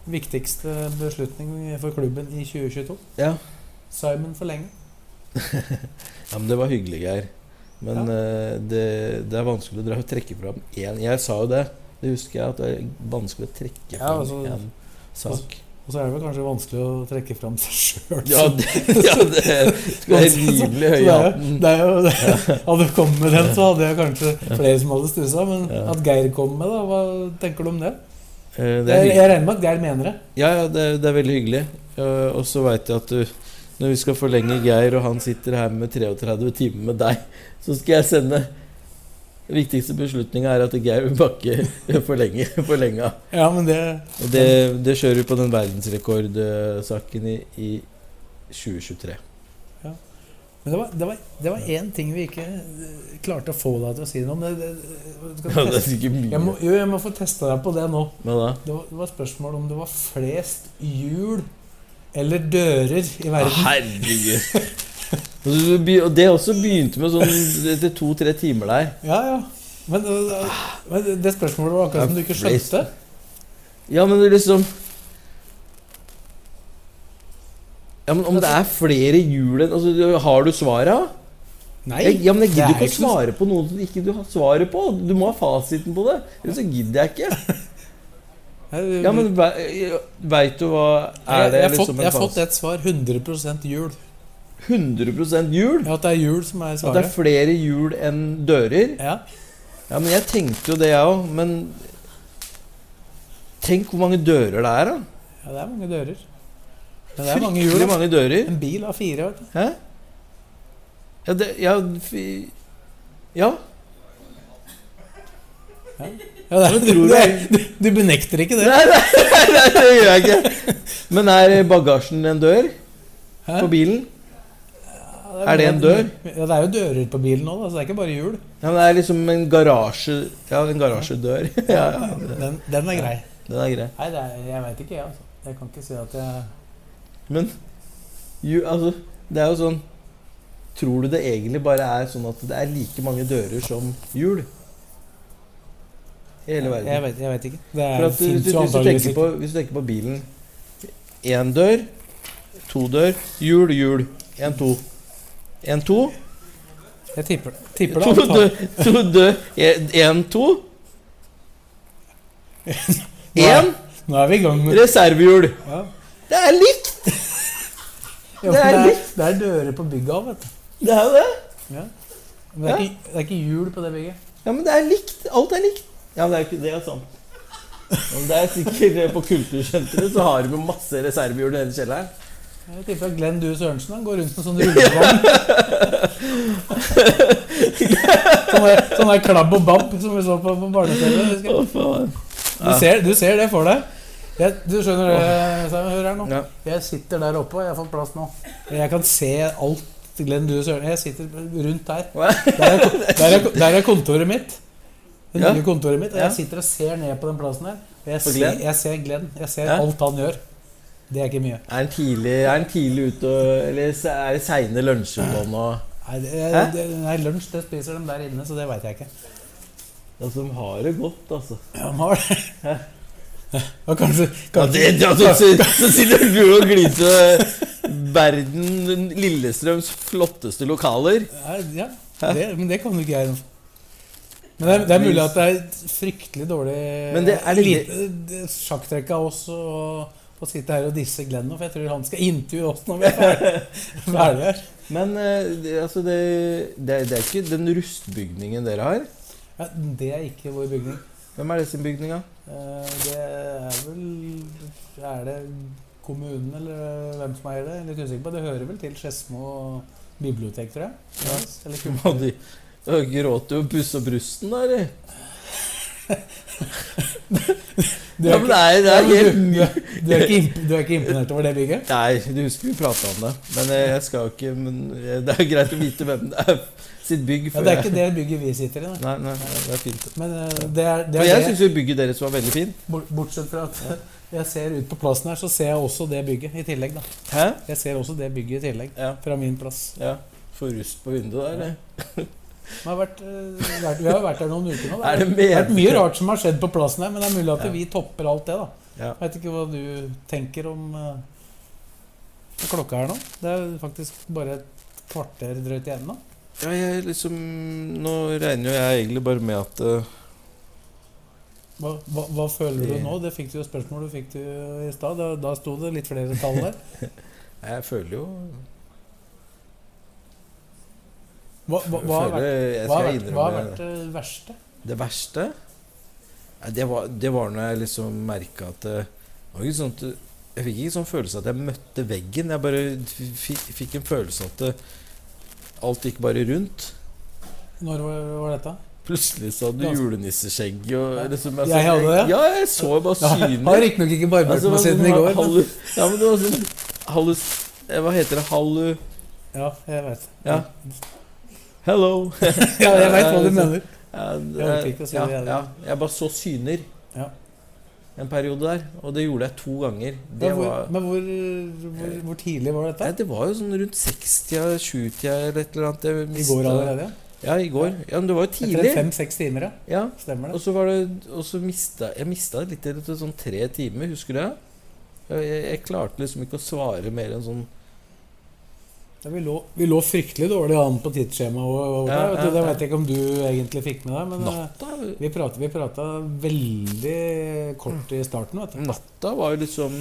[SPEAKER 1] viktigste beslutning for klubben i 2022.
[SPEAKER 2] Ja.
[SPEAKER 1] Simon for lenge.
[SPEAKER 2] ja, men det var hyggelig, Geir. Men
[SPEAKER 1] Ja.
[SPEAKER 2] øh, det, det er vanskelig å dra, trekke fram én Jeg sa jo det. Det husker jeg. At det er vanskelig å trekke
[SPEAKER 1] Ja,
[SPEAKER 2] fram
[SPEAKER 1] altså-
[SPEAKER 2] én sak.
[SPEAKER 1] Og så er det vel kanskje vanskelig å trekke fram seg sjøl.
[SPEAKER 2] Ja, det, ja, det skulle jeg rimelig høy i hatten.
[SPEAKER 1] det er jo, det er jo, hadde du kommet med den, så hadde jeg kanskje flere som hadde stussa. Men
[SPEAKER 2] Ja.
[SPEAKER 1] at Geir kom med, da, hva tenker du om det?
[SPEAKER 2] Eh, det er
[SPEAKER 1] Jeg,
[SPEAKER 2] hyggelig.
[SPEAKER 1] jeg regner med at Geir mener det.
[SPEAKER 2] Ja, ja det, er- det er veldig hyggelig. Eh, og så veit jeg at du Når vi skal forlenge Geir, og han sitter her med 33 timer med deg, så skal jeg sende Viktigste beslutninga er at Geir Bakke forlenger forlenga.
[SPEAKER 1] Ja, men det
[SPEAKER 2] Og det, det kjører vi på den verdensrekordsaken i, i 2023.
[SPEAKER 1] Men det var, det, var, det var én ting vi ikke eh, klarte å få deg til å si noe om. Det, det,
[SPEAKER 2] Ja,
[SPEAKER 1] skal
[SPEAKER 2] det er
[SPEAKER 1] teste-
[SPEAKER 2] sikkert
[SPEAKER 1] jeg må,
[SPEAKER 2] mye.
[SPEAKER 1] jo, jeg må få testa deg på det nå.
[SPEAKER 2] Hva da?
[SPEAKER 1] Det var, det var spørsmål om det var flest hjul eller dører i
[SPEAKER 2] Å,
[SPEAKER 1] verden.
[SPEAKER 2] Ah, Herregud. Og så be- Og det også begynte med sånn etter to-tre timer der.
[SPEAKER 1] Ja, ja. Men, eh, men det- det spørsmålet var akkurat som du ikke skjønte.
[SPEAKER 2] Ja, men det er liksom Ja, men Om det er flere hjul enn altså, du- Har du svaret? Jeg, ja, men jeg gidder
[SPEAKER 1] det er
[SPEAKER 2] ikke å
[SPEAKER 1] ikke noe-
[SPEAKER 2] svare på noe som ikke du har svaret på. Du må ha fasiten på det. Ellers så gidder jeg ikke.
[SPEAKER 1] Jeg-
[SPEAKER 2] Ja, men Veit du hva er
[SPEAKER 1] Eh, jeg,
[SPEAKER 2] det
[SPEAKER 1] jeg, har fått,
[SPEAKER 2] liksom
[SPEAKER 1] jeg
[SPEAKER 2] en
[SPEAKER 1] har fått
[SPEAKER 2] fasit?
[SPEAKER 1] et svar 100 hjul.
[SPEAKER 2] 100 hjul?
[SPEAKER 1] Ja, At det er hjul som er
[SPEAKER 2] At det er
[SPEAKER 1] svaret.
[SPEAKER 2] flere hjul enn dører?
[SPEAKER 1] Ja,
[SPEAKER 2] Ja, men jeg tenkte jo det, jeg òg. Men tenk hvor mange dører det er, da.
[SPEAKER 1] ja, det er mange dører. Men det er mange hjul.
[SPEAKER 2] Fryktelig
[SPEAKER 1] da.
[SPEAKER 2] mange dører.
[SPEAKER 1] En bil har fire. vet du.
[SPEAKER 2] Hæ? Ja, det, ja, fi, ja.
[SPEAKER 1] Ja, det er,
[SPEAKER 2] tror
[SPEAKER 1] du, du, du benekter ikke det?
[SPEAKER 2] Nei, nei, nei, det gjør jeg ikke. Men er bagasjen en dør
[SPEAKER 1] Hæ?
[SPEAKER 2] på bilen?
[SPEAKER 1] Ja,
[SPEAKER 2] Er det en dør?
[SPEAKER 1] Ja, det er jo dører på bilen nå, da, så det er ikke bare hjul.
[SPEAKER 2] Ja, men det er liksom en garasje Ja, en garasjedør. Ja, ja,
[SPEAKER 1] Den, den er grei.
[SPEAKER 2] den er grei.
[SPEAKER 1] Nei, det er, jeg veit ikke, jeg. Altså. Jeg kan ikke si at jeg
[SPEAKER 2] Men ju, altså, det er jo sånn Tror du det egentlig bare er sånn at det er like mange dører som hjul? I hele verden.
[SPEAKER 1] Jeg vet, jeg vet ikke.
[SPEAKER 2] For
[SPEAKER 1] Det er,
[SPEAKER 2] at, hvis,
[SPEAKER 1] finnes
[SPEAKER 2] du-
[SPEAKER 1] jo
[SPEAKER 2] hvis, du
[SPEAKER 1] antakeligvis
[SPEAKER 2] tenker
[SPEAKER 1] ikke.
[SPEAKER 2] på, hvis du tenker på bilen Én dør, to dør, hjul, hjul. Én, to. Én, to.
[SPEAKER 1] Jeg tipper, tipper
[SPEAKER 2] To
[SPEAKER 1] det.
[SPEAKER 2] dør,
[SPEAKER 1] antag-
[SPEAKER 2] to dør. Én, to. Én
[SPEAKER 1] Nå er vi i gang med
[SPEAKER 2] reservehjul.
[SPEAKER 1] Ja.
[SPEAKER 2] Det er likt!
[SPEAKER 1] Ja, for
[SPEAKER 2] det er
[SPEAKER 1] det, er,
[SPEAKER 2] litt-
[SPEAKER 1] det er dører på bygget òg, vet du.
[SPEAKER 2] Det er jo det.
[SPEAKER 1] Men det er, ikke, det er ikke hjul på det bygget.
[SPEAKER 2] Ja, men det er likt. Alt er likt. Ja, men det er jo ikke det er sant. Men det er sikkert eh, På kultursenteret så har de jo masse reservehjul nede i kjelleren.
[SPEAKER 1] Jeg tipper at Glenn Due Sørensen han går rundt med sånn rullevogn. sånn, der, sånn der klabb og babb som vi så på på barne-TV. husker jeg.
[SPEAKER 2] Å, faen.
[SPEAKER 1] Du, ser- du ser det for deg. Jeg, du skjønner det, Simon? Hør her nå.
[SPEAKER 2] Ja.
[SPEAKER 1] Jeg sitter der oppe, og jeg har fått plass nå. Jeg kan se alt fest. Glenn, du og Søren, jeg sitter rundt der. Der er, ko- der er, ko- der er kontoret mitt. Det
[SPEAKER 2] Ja.
[SPEAKER 1] nye kontoret mitt. Og
[SPEAKER 2] Ja.
[SPEAKER 1] jeg sitter og ser ned på den plassen der. Og jeg,
[SPEAKER 2] På
[SPEAKER 1] ser,
[SPEAKER 2] Glenn?
[SPEAKER 1] jeg ser Glenn. Jeg ser
[SPEAKER 2] Ja.
[SPEAKER 1] alt han gjør. Det er ikke mye.
[SPEAKER 2] Er han tidlig, er han tidlig ute og- Eller se- er det seine lunsjer på han og
[SPEAKER 1] Nei, det,
[SPEAKER 2] Hæ?
[SPEAKER 1] det, nei lunsj det spiser de der inne, så det veit jeg ikke.
[SPEAKER 2] Altså, de har det godt, altså.
[SPEAKER 1] Ja, de har det. Og kanskje, kanskje
[SPEAKER 2] så sitter du og gliser verden Lillestrøms flotteste lokaler.
[SPEAKER 1] Nei, Ja, det, men det kan jo ikke jeg. noe for. Men det er, det er mulig at det er et fryktelig dårlig
[SPEAKER 2] Men det er litt-
[SPEAKER 1] lite sjakktrekk av oss å å sitte her og disse Glenn nå, for jeg tror han skal intervjue oss når vi er ferdig- ferdig her.
[SPEAKER 2] Men eh, det- altså, det, det, er- det er ikke den rustbygningen dere har.
[SPEAKER 1] Ja, det er ikke vår bygning.
[SPEAKER 2] Hvem er det sin bygning, da?
[SPEAKER 1] Eh, Det er vel Er det kommunen eller hvem som eier det? Jeg er Litt usikker på. Det hører vel til Skedsmo bibliotek, tror jeg. Eller
[SPEAKER 2] Du
[SPEAKER 1] kun-
[SPEAKER 2] må de- Å, Gråter du og pusser opp rusten, da, eller?
[SPEAKER 1] Du
[SPEAKER 2] Ja,
[SPEAKER 1] er
[SPEAKER 2] men det
[SPEAKER 1] ikke,
[SPEAKER 2] er, det er
[SPEAKER 1] Ja,
[SPEAKER 2] helt
[SPEAKER 1] men
[SPEAKER 2] ny...
[SPEAKER 1] du er ikke, imp- du er ikke imponert over det bygget?
[SPEAKER 2] Nei, du husker vi prata om det. Men eh, jeg skal jo ikke Men eh, det er greit å vite hvem det er sitt bygg.
[SPEAKER 1] Ja,
[SPEAKER 2] før
[SPEAKER 1] det er ikke
[SPEAKER 2] jeg-
[SPEAKER 1] det bygget vi sitter i, da.
[SPEAKER 2] Nei, nei, nei, det er fint.
[SPEAKER 1] Men eh, det er det,
[SPEAKER 2] Og
[SPEAKER 1] er
[SPEAKER 2] jeg
[SPEAKER 1] det
[SPEAKER 2] syns jo bygget deres var veldig fint.
[SPEAKER 1] bort- bortsett fra at jeg ser ut på plassen her, så ser jeg også det bygget i tillegg. da.
[SPEAKER 2] Hæ?
[SPEAKER 1] Jeg ser også det bygget i tillegg,
[SPEAKER 2] Ja.
[SPEAKER 1] fra min plass.
[SPEAKER 2] ja. Får rust på vinduet der, eller?
[SPEAKER 1] Vi har vært, eh, vært, vi har jo vært her noen uker nå. da.
[SPEAKER 2] Er det
[SPEAKER 1] Det har vært
[SPEAKER 2] med?
[SPEAKER 1] mye rart som har skjedd på plassen her, men det er mulig at
[SPEAKER 2] Ja.
[SPEAKER 1] vi topper alt det. da.
[SPEAKER 2] Ja.
[SPEAKER 1] Jeg vet ikke hva du tenker om eh, hva klokka her nå. Det er jo faktisk bare et kvarter drøyt igjen nå.
[SPEAKER 2] Ja, jeg liksom Nå regner jo jeg egentlig bare med at eh,
[SPEAKER 1] Hva, hva, hva føler du
[SPEAKER 2] Det-
[SPEAKER 1] nå? Det fikk du jo spørsmål du fikk du i stad. Da, da sto det litt flere tall der.
[SPEAKER 2] Jeg føler jo
[SPEAKER 1] Hva, hva, hva har vært
[SPEAKER 2] føler, Jeg
[SPEAKER 1] Hva har
[SPEAKER 2] skal
[SPEAKER 1] vært, hva
[SPEAKER 2] innrømme
[SPEAKER 1] har vært eh,
[SPEAKER 2] det.
[SPEAKER 1] det verste?
[SPEAKER 2] Det verste Nei, det var, det var når jeg liksom merka at eh, det var ikke sånn at du- Jeg fikk ikke sånn følelse at jeg møtte veggen. Jeg bare fikk, fikk en følelse at eh, alt gikk bare rundt.
[SPEAKER 1] Når var, var dette?
[SPEAKER 2] Plutselig så hadde
[SPEAKER 1] Ja.
[SPEAKER 2] du julenisseskjegg og liksom
[SPEAKER 1] Jeg hadde det?
[SPEAKER 2] Ja, jeg så bare
[SPEAKER 1] Jeg
[SPEAKER 2] synet.
[SPEAKER 1] har riktignok ikke barbert
[SPEAKER 2] Altså,
[SPEAKER 1] meg siden i
[SPEAKER 2] sånn
[SPEAKER 1] går. Men,
[SPEAKER 2] hallu, ja, men det var sånn hallu, eh, Hva heter det? Hallu...
[SPEAKER 1] ja, jeg vet
[SPEAKER 2] Ja. Hello.
[SPEAKER 1] ja, jeg vet hva du
[SPEAKER 2] Ja,
[SPEAKER 1] mener.
[SPEAKER 2] Ja, det-
[SPEAKER 1] Jeg orker ikke å si
[SPEAKER 2] ja,
[SPEAKER 1] det, jeg.
[SPEAKER 2] ja, jeg bare så syner
[SPEAKER 1] Ja.
[SPEAKER 2] en periode der. Og det gjorde jeg to ganger. Det
[SPEAKER 1] Men hvor,
[SPEAKER 2] var,
[SPEAKER 1] men hvor, hvor, hvor tidlig var
[SPEAKER 2] nei,
[SPEAKER 1] dette?
[SPEAKER 2] det var jo sånn rundt 60-tida, 70-tida eller et eller annet. jeg
[SPEAKER 1] I
[SPEAKER 2] mistet-
[SPEAKER 1] går allerede?
[SPEAKER 2] Ja, i går. Ja, men det var jo
[SPEAKER 1] Etter
[SPEAKER 2] tidlig.
[SPEAKER 1] fem-seks timer, ja.
[SPEAKER 2] Ja,
[SPEAKER 1] Stemmer
[SPEAKER 2] Og
[SPEAKER 1] det.
[SPEAKER 2] så var det Og så mista jeg mista det litt etter sånn tre timer, husker du det? Jeg, jeg, jeg klarte liksom ikke å svare mer enn sånn
[SPEAKER 1] Ja, vi, lå, vi lå fryktelig dårlig an på tidsskjemaet. og- og-
[SPEAKER 2] Ja,
[SPEAKER 1] vet du,
[SPEAKER 2] ja,
[SPEAKER 1] Det
[SPEAKER 2] ja.
[SPEAKER 1] vet jeg ikke om du egentlig fikk med deg, men eh,
[SPEAKER 2] Natta,
[SPEAKER 1] vi prata, vi prata veldig kort i starten. vet du.
[SPEAKER 2] natta var jo liksom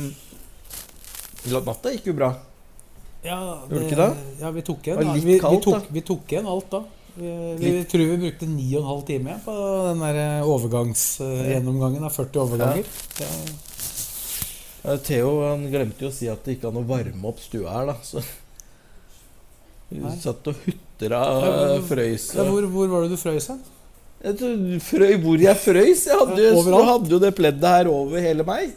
[SPEAKER 2] Natta gikk jo bra.
[SPEAKER 1] Ja,
[SPEAKER 2] Gjorde ikke det?
[SPEAKER 1] Ja, vi tok
[SPEAKER 2] Det
[SPEAKER 1] igjen,
[SPEAKER 2] var litt
[SPEAKER 1] vi, vi
[SPEAKER 2] kaldt, da.
[SPEAKER 1] tok, vi tok igjen alt da. Vi, vi
[SPEAKER 2] Litt.
[SPEAKER 1] tror vi brukte 9,5 time på den der eh, overgangsgjennomgangen av 40 overganger. Ja.
[SPEAKER 2] Ja, Eh, Theo han glemte jo å si at det gikk an å varme opp stua her, da. Så Vi
[SPEAKER 1] Nei.
[SPEAKER 2] satt og hutra
[SPEAKER 1] Ja,
[SPEAKER 2] og
[SPEAKER 1] hvor-
[SPEAKER 2] frøys.
[SPEAKER 1] Ja, hvor, hvor var det du frøys hen?
[SPEAKER 2] Jeg tror- frøy hvor jeg frøys. Jeg hadde,
[SPEAKER 1] Ja,
[SPEAKER 2] jo-
[SPEAKER 1] overalt.
[SPEAKER 2] jeg hadde jo det pleddet her over hele meg.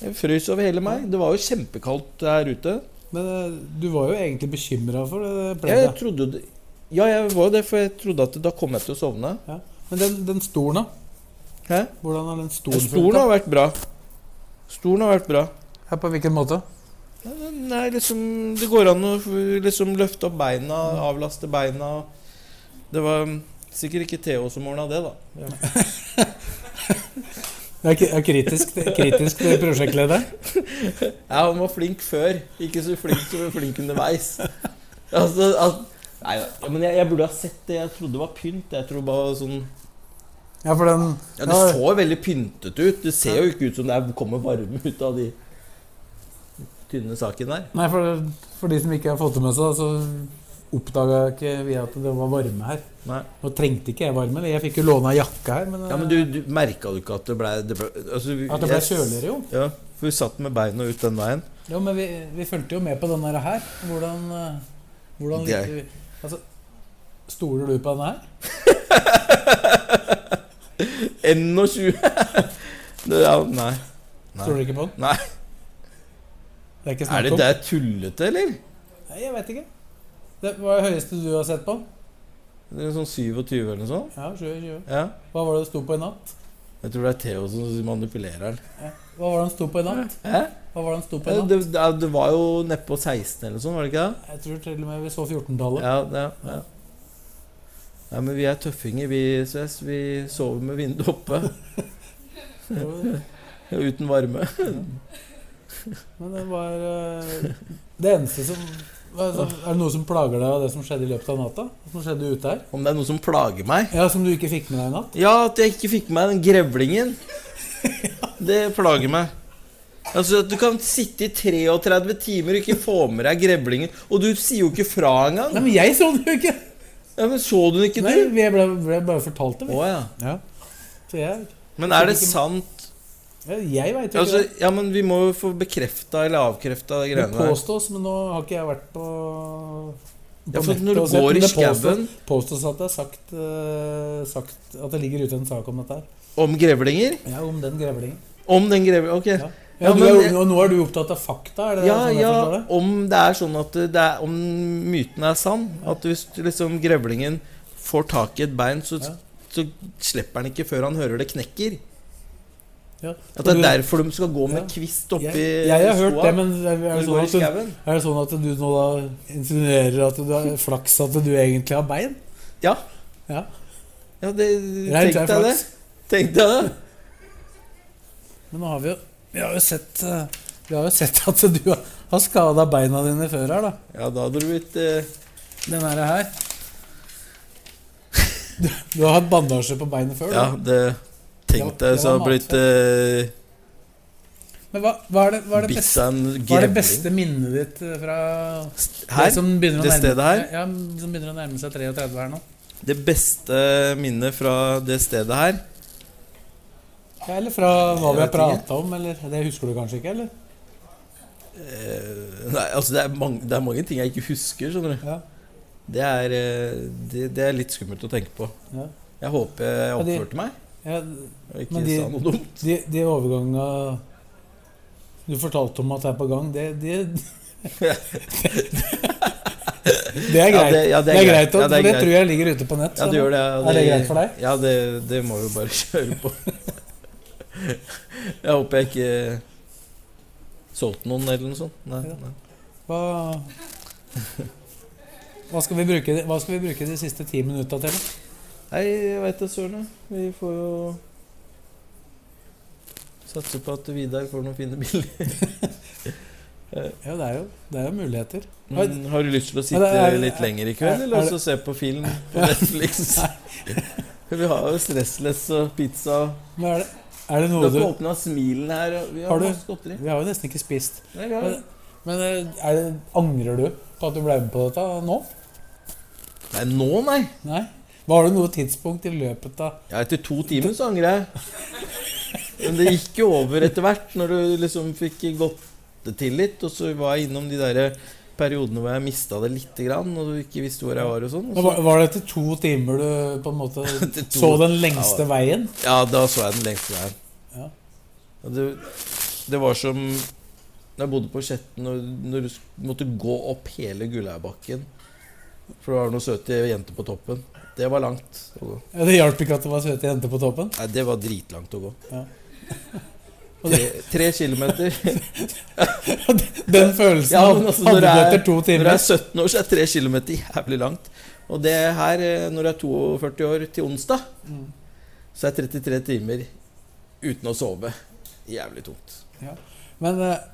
[SPEAKER 2] Jeg frøys over hele meg. Det var jo kjempekaldt her ute.
[SPEAKER 1] Men eh, du var jo egentlig bekymra for
[SPEAKER 2] Jeg
[SPEAKER 1] det pleddet.
[SPEAKER 2] trodde jo det Ja, jeg var jo det, for jeg trodde at da kom jeg til å sovne.
[SPEAKER 1] Ja. Men den, den stolen, da?
[SPEAKER 2] Hæ?
[SPEAKER 1] Hvordan har den stolen
[SPEAKER 2] Stolen har vært bra. Stolen har vært bra.
[SPEAKER 1] Ja, på hvilken måte?
[SPEAKER 2] Ja, den er liksom Det går an å f- liksom løfte opp beina, avlaste beina. Det var mm, sikkert ikke Theo som ordna det, da. Ja.
[SPEAKER 1] Det er ki- ja, kritisk, det- kritisk til prosjektleder.
[SPEAKER 2] ja, han var flink før. Ikke så flink som flink underveis. Altså, al- Nei da. Ja, men jeg, jeg burde ha sett det. Jeg trodde det var pynt. Jeg tror bare sånn
[SPEAKER 1] Ja, for den
[SPEAKER 2] Ja, Det så veldig pyntet ut. Det ser jo ikke ut som det er- kommer varme ut av de tynne sakene der.
[SPEAKER 1] Nei, for, for de som ikke har fått det med seg, så oppdaga ikke vi at det var varme her.
[SPEAKER 2] Nei.
[SPEAKER 1] Nå trengte ikke jeg varme. eller Jeg fikk jo låne jakka her, men, eh,
[SPEAKER 2] Ja, Men du, du merka du ikke at det ble, det ble altså, vi-
[SPEAKER 1] at det ble
[SPEAKER 2] jeg-
[SPEAKER 1] kjøligere, jo.
[SPEAKER 2] Ja, for vi satt med beina ut den veien.
[SPEAKER 1] Jo, Men vi, vi fulgte jo med på denne her. Hvordan, eh, hvordan
[SPEAKER 2] Det er-
[SPEAKER 1] likte vi- altså, Stoler du på denne her?
[SPEAKER 2] 21 det, ja, Nei.
[SPEAKER 1] Stoler du ikke på den?
[SPEAKER 2] Nei.
[SPEAKER 1] Det er ikke
[SPEAKER 2] Er
[SPEAKER 1] snakk
[SPEAKER 2] det
[SPEAKER 1] om.
[SPEAKER 2] der tullete, eller?
[SPEAKER 1] Nei, jeg vet ikke. Det var det høyeste du har sett på?
[SPEAKER 2] Det er sånn 27 eller noe sånt.
[SPEAKER 1] Ja, 27.
[SPEAKER 2] Ja.
[SPEAKER 1] Hva var det det sto på i natt?
[SPEAKER 2] Jeg tror det er Theo som manipulerer den.
[SPEAKER 1] Hva var det han sto på i natt?
[SPEAKER 2] Hæ?
[SPEAKER 1] Hva var det han sto på i
[SPEAKER 2] Ja,
[SPEAKER 1] natt?
[SPEAKER 2] Det, det, det var jo nedpå 16 eller noe sånt, var det ikke det?
[SPEAKER 1] Jeg tror til og med vi så 14-tallet.
[SPEAKER 2] Ja, det, ja. Nei, men vi er tøffinger, vi, Sves. Vi sover med vinduet oppe. Uten varme.
[SPEAKER 1] Men det var eh, Det eneste som hva er det som- Er det noe som plager deg av det som skjedde i løpet av natta? Som skjedde ute her?
[SPEAKER 2] Om det er noe som plager meg?
[SPEAKER 1] Ja, Som du ikke fikk med deg i natt?
[SPEAKER 2] Ja, at jeg ikke fikk med meg den grevlingen. Det plager meg. Altså, at Du kan sitte i 33 timer og ikke få med deg grevlingen. Og du sier jo ikke fra engang.
[SPEAKER 1] Nei, men jeg så den jo ikke!
[SPEAKER 2] Ja, men Så du den ikke,
[SPEAKER 1] Nei,
[SPEAKER 2] du?
[SPEAKER 1] Vi ble, ble bare fortalt det.
[SPEAKER 2] Å
[SPEAKER 1] Vi.
[SPEAKER 2] ja.
[SPEAKER 1] Ja. Så jeg,
[SPEAKER 2] Men er det sant?
[SPEAKER 1] jeg, jeg veit jo ikke.
[SPEAKER 2] Altså,
[SPEAKER 1] det.
[SPEAKER 2] ja, men Vi må jo få bekrefta eller avkrefta de
[SPEAKER 1] det
[SPEAKER 2] greiene der.
[SPEAKER 1] påstås, men nå har ikke jeg vært på, på
[SPEAKER 2] Ja, for
[SPEAKER 1] nettet
[SPEAKER 2] når du
[SPEAKER 1] og sett,
[SPEAKER 2] går
[SPEAKER 1] men
[SPEAKER 2] i
[SPEAKER 1] det påstås-
[SPEAKER 2] skauen-
[SPEAKER 1] Påstås at det er sagt, eh, sagt At det ligger ute en sak om dette her.
[SPEAKER 2] Om grevlinger?
[SPEAKER 1] Ja, om den grevlingen.
[SPEAKER 2] Om den grevlingen Ok.
[SPEAKER 1] Ja.
[SPEAKER 2] Ja,
[SPEAKER 1] Ja, du,
[SPEAKER 2] men
[SPEAKER 1] er-
[SPEAKER 2] det-
[SPEAKER 1] og nå er du opptatt av fakta? Er det
[SPEAKER 2] ja,
[SPEAKER 1] sånn jeg forstår det?
[SPEAKER 2] om det er sånn at det er, Om myten er sann. At hvis liksom grevlingen får tak i et bein, så,
[SPEAKER 1] Ja.
[SPEAKER 2] så slipper han ikke før han hører det knekker.
[SPEAKER 1] Ja.
[SPEAKER 2] At det
[SPEAKER 1] Og
[SPEAKER 2] er
[SPEAKER 1] du-
[SPEAKER 2] derfor de skal gå med
[SPEAKER 1] Ja.
[SPEAKER 2] kvist oppi
[SPEAKER 1] jeg, jeg har hørt
[SPEAKER 2] skoa
[SPEAKER 1] det, men er
[SPEAKER 2] når de går
[SPEAKER 1] det, sånn
[SPEAKER 2] i
[SPEAKER 1] at du,
[SPEAKER 2] skauen.
[SPEAKER 1] er det sånn at du nå da insinuerer at du har flaks at du egentlig har bein?
[SPEAKER 2] Ja.
[SPEAKER 1] Ja.
[SPEAKER 2] ja det,
[SPEAKER 1] Reint
[SPEAKER 2] tenk
[SPEAKER 1] er
[SPEAKER 2] deg det.
[SPEAKER 1] flaks.
[SPEAKER 2] Tenk deg det.
[SPEAKER 1] Men nå har vi jo Vi har jo sett eh, Vi har jo sett at du har- har skada beina dine før her, da.
[SPEAKER 2] Ja, da hadde du blitt eh,
[SPEAKER 1] Den her. her. Du, du har hatt bandasje på beinet før?
[SPEAKER 2] Ja,
[SPEAKER 1] da.
[SPEAKER 2] det Tenk
[SPEAKER 1] Det var-
[SPEAKER 2] deg
[SPEAKER 1] det
[SPEAKER 2] så
[SPEAKER 1] var
[SPEAKER 2] hadde blitt eh,
[SPEAKER 1] Men hva, hva er det, hva er det,
[SPEAKER 2] bitt
[SPEAKER 1] beste,
[SPEAKER 2] seg en
[SPEAKER 1] hva er det
[SPEAKER 2] grevling.
[SPEAKER 1] beste minnet ditt eh, fra
[SPEAKER 2] Her?
[SPEAKER 1] det som begynner å
[SPEAKER 2] Det
[SPEAKER 1] nærme-
[SPEAKER 2] stedet her?
[SPEAKER 1] Ja, som begynner å nærme seg 33 her nå?
[SPEAKER 2] Det beste minnet fra det stedet her
[SPEAKER 1] Ja, eller fra hva
[SPEAKER 2] Jeg
[SPEAKER 1] vi har
[SPEAKER 2] vet
[SPEAKER 1] prata om, eller Det husker du kanskje ikke, eller?
[SPEAKER 2] Nei, altså det er, mange, det er mange ting jeg ikke husker, skjønner du.
[SPEAKER 1] Ja.
[SPEAKER 2] Det, er, eh, det, det er litt skummelt å tenke på.
[SPEAKER 1] Ja.
[SPEAKER 2] Jeg håper jeg
[SPEAKER 1] Ja, de-
[SPEAKER 2] oppførte meg
[SPEAKER 1] Ja,
[SPEAKER 2] og ikke
[SPEAKER 1] men de-
[SPEAKER 2] sa noe dumt.
[SPEAKER 1] de, de overganga du fortalte om at det er på gang, det Det, det er
[SPEAKER 2] Ja,
[SPEAKER 1] greit.
[SPEAKER 2] det- ja,
[SPEAKER 1] det, er greit,
[SPEAKER 2] Ja,
[SPEAKER 1] for det, tror jeg ligger ute på nett.
[SPEAKER 2] Ja,
[SPEAKER 1] så
[SPEAKER 2] det gjør det. Ja,
[SPEAKER 1] Er det greit for deg?
[SPEAKER 2] Ja, det, det må vi bare kjøre på. jeg håper jeg ikke solgte noen eller noe sånt. Nei,
[SPEAKER 1] Ja.
[SPEAKER 2] nei.
[SPEAKER 1] Hva, hva, skal vi bruke, hva skal vi bruke de siste ti minutta til?
[SPEAKER 2] Nei, jeg veit da søren. jeg. Vi får jo satse på at Vidar får noen fine bilder.
[SPEAKER 1] Ja, det er jo, det er jo muligheter.
[SPEAKER 2] Men har du lyst til å
[SPEAKER 1] Men
[SPEAKER 2] sitte
[SPEAKER 1] det er-
[SPEAKER 2] litt lenger i kveld,
[SPEAKER 1] er-
[SPEAKER 2] eller
[SPEAKER 1] er
[SPEAKER 2] også se på film på Netflix? Vi har jo Stressless og pizza.
[SPEAKER 1] Men er det, er det
[SPEAKER 2] Du
[SPEAKER 1] noe
[SPEAKER 2] har
[SPEAKER 1] du
[SPEAKER 2] ikke åpna smilen her. og Vi har,
[SPEAKER 1] Har du?
[SPEAKER 2] masse godteri.
[SPEAKER 1] Vi har jo nesten ikke spist.
[SPEAKER 2] Nei, vi har
[SPEAKER 1] Men,
[SPEAKER 2] det.
[SPEAKER 1] men eh, er det, angrer du på at du ble med på dette nå?
[SPEAKER 2] Nei, nå, nei.
[SPEAKER 1] Nei? Var det noe tidspunkt i løpet av
[SPEAKER 2] Ja, etter to timer så angrer jeg. Men det gikk jo over etter hvert, når du liksom fikk gått det til litt. Og så var jeg innom de der periodene hvor jeg mista det lite grann, og du ikke visste hvor jeg var og sånn. Og så,
[SPEAKER 1] Var, var det etter to timer du på en måte
[SPEAKER 2] Etter to-
[SPEAKER 1] så den lengste
[SPEAKER 2] Ja.
[SPEAKER 1] veien?
[SPEAKER 2] ja, da så jeg den lengste veien.
[SPEAKER 1] Ja.
[SPEAKER 2] Og det, det var som da jeg bodde på Skjetten, når, når du sk- måtte gå opp hele Gullaugbakken For det var noen søte jenter på toppen. Det var langt å gå.
[SPEAKER 1] Ja, det hjalp ikke at det var søte jenter på toppen.
[SPEAKER 2] Nei, det var dritlangt å gå.
[SPEAKER 1] Ja.
[SPEAKER 2] Tre, tre kilometer.
[SPEAKER 1] Den følelsen
[SPEAKER 2] Ja, men
[SPEAKER 1] hadde,
[SPEAKER 2] altså,
[SPEAKER 1] hadde
[SPEAKER 2] når
[SPEAKER 1] du
[SPEAKER 2] det er-
[SPEAKER 1] etter to
[SPEAKER 2] Når
[SPEAKER 1] timer.
[SPEAKER 2] jeg er 17 år, så er 3 km jævlig langt. Og det her, eh, når jeg er 42 år til onsdag,
[SPEAKER 1] Mm.
[SPEAKER 2] så er 33 timer uten å sove jævlig tungt.
[SPEAKER 1] Men eh,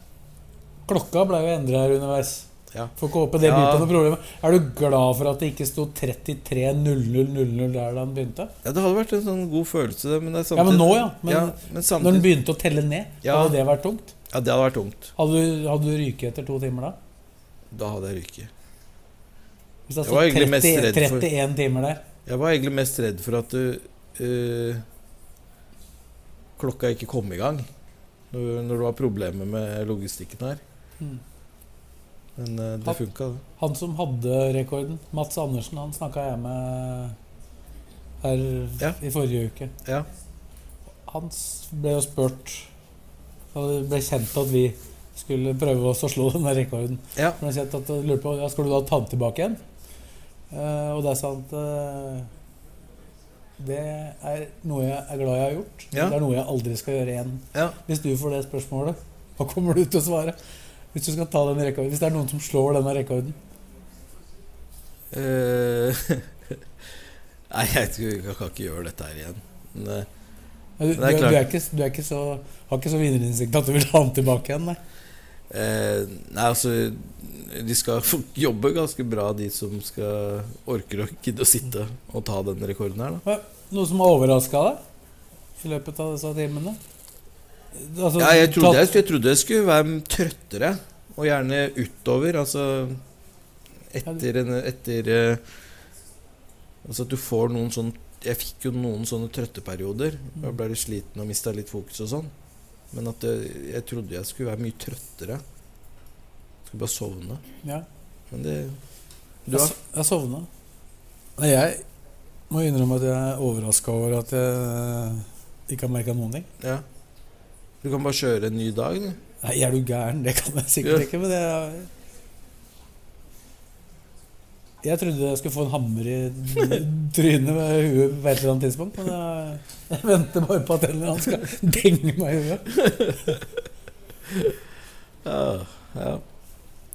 [SPEAKER 1] klokka ble jo endra her underveis.
[SPEAKER 2] Ja.
[SPEAKER 1] Får ikke håpe det
[SPEAKER 2] Ja.
[SPEAKER 1] blir på noe problem. Er du glad for at det ikke sto 33.00.00 der da den begynte?
[SPEAKER 2] Ja, det hadde vært en sånn god følelse, det, men det er
[SPEAKER 1] Ja,
[SPEAKER 2] samtidig
[SPEAKER 1] men nå, ja. Men
[SPEAKER 2] ja, men
[SPEAKER 1] når den
[SPEAKER 2] samtidig
[SPEAKER 1] begynte å telle ned,
[SPEAKER 2] Ja.
[SPEAKER 1] hadde det vært tungt?
[SPEAKER 2] Ja, det hadde vært tungt.
[SPEAKER 1] Hadde du, hadde du ryket etter to timer da?
[SPEAKER 2] Da hadde jeg ryket.
[SPEAKER 1] Hvis det
[SPEAKER 2] Jeg var
[SPEAKER 1] hadde
[SPEAKER 2] egentlig
[SPEAKER 1] stått
[SPEAKER 2] mest
[SPEAKER 1] 30,
[SPEAKER 2] redd for-
[SPEAKER 1] 31 timer der?
[SPEAKER 2] Jeg var egentlig mest redd for at du eh, Klokka ikke kom i gang når, når det var problemer med logistikken her.
[SPEAKER 1] Mm.
[SPEAKER 2] Men eh, det
[SPEAKER 1] Hatt-
[SPEAKER 2] funka, det.
[SPEAKER 1] Han som hadde rekorden, Mats Andersen, han snakka jeg med her
[SPEAKER 2] Ja.
[SPEAKER 1] i forrige uke.
[SPEAKER 2] Ja.
[SPEAKER 1] Han s- ble jo spurt Og det ble kjent at vi skulle prøve oss å slå den der rekorden.
[SPEAKER 2] Ja.
[SPEAKER 1] eh, Ble kjent at, jeg lurte på, ja, skal du da ta den tilbake igjen? Eh, og det er sant eh, Det er noe jeg er glad jeg har gjort.
[SPEAKER 2] Ja.
[SPEAKER 1] Det er noe jeg aldri skal gjøre igjen.
[SPEAKER 2] Ja.
[SPEAKER 1] Hvis du får det spørsmålet, hva kommer du til å svare? Hvis du skal ta den rekorden Hvis det er noen som slår denne rekorden.
[SPEAKER 2] Eh, Nei, jeg, tror jeg kan ikke gjøre dette her igjen. Men, eh,
[SPEAKER 1] Du, du,
[SPEAKER 2] Det er
[SPEAKER 1] er-
[SPEAKER 2] klart.
[SPEAKER 1] du, er ikke, du er ikke så, har ikke så vinnerinnsikt at du vil ha den tilbake igjen. Nei.
[SPEAKER 2] Eh, nei, altså De skal få jobbe ganske bra, de som skal orker å gidde å sitte og ta den rekorden her, da.
[SPEAKER 1] Noe som har overraska deg i løpet av disse timene? Altså,
[SPEAKER 2] Ja, jeg, trodde, jeg,
[SPEAKER 1] tatt-
[SPEAKER 2] jeg trodde jeg skulle være trøttere, og gjerne utover. Altså etter en Etter eh, Altså at du får noen sånn Jeg fikk jo noen sånne trøtteperioder.
[SPEAKER 1] Mm.
[SPEAKER 2] Da ble jeg litt sliten og mista litt fokus og sånn. Men at jeg, jeg trodde jeg skulle være mye trøttere. Skulle bare sovne.
[SPEAKER 1] ja.
[SPEAKER 2] Men det Du
[SPEAKER 1] Jeg,
[SPEAKER 2] har
[SPEAKER 1] so- jeg sovna. Nei, jeg må innrømme at jeg er overraska over at jeg ikke har merka noen ting.
[SPEAKER 2] Ja. Du kan bare kjøre en ny dag, du.
[SPEAKER 1] Nei, er du gæren? Det kan jeg sikkert
[SPEAKER 2] Ja.
[SPEAKER 1] ikke, men det er Jeg trodde jeg skulle få en hammer i trynet med huet på et eller annet tidspunkt, men jeg, jeg venter bare på at en eller annen skal denge meg i huet.
[SPEAKER 2] Ja. ja.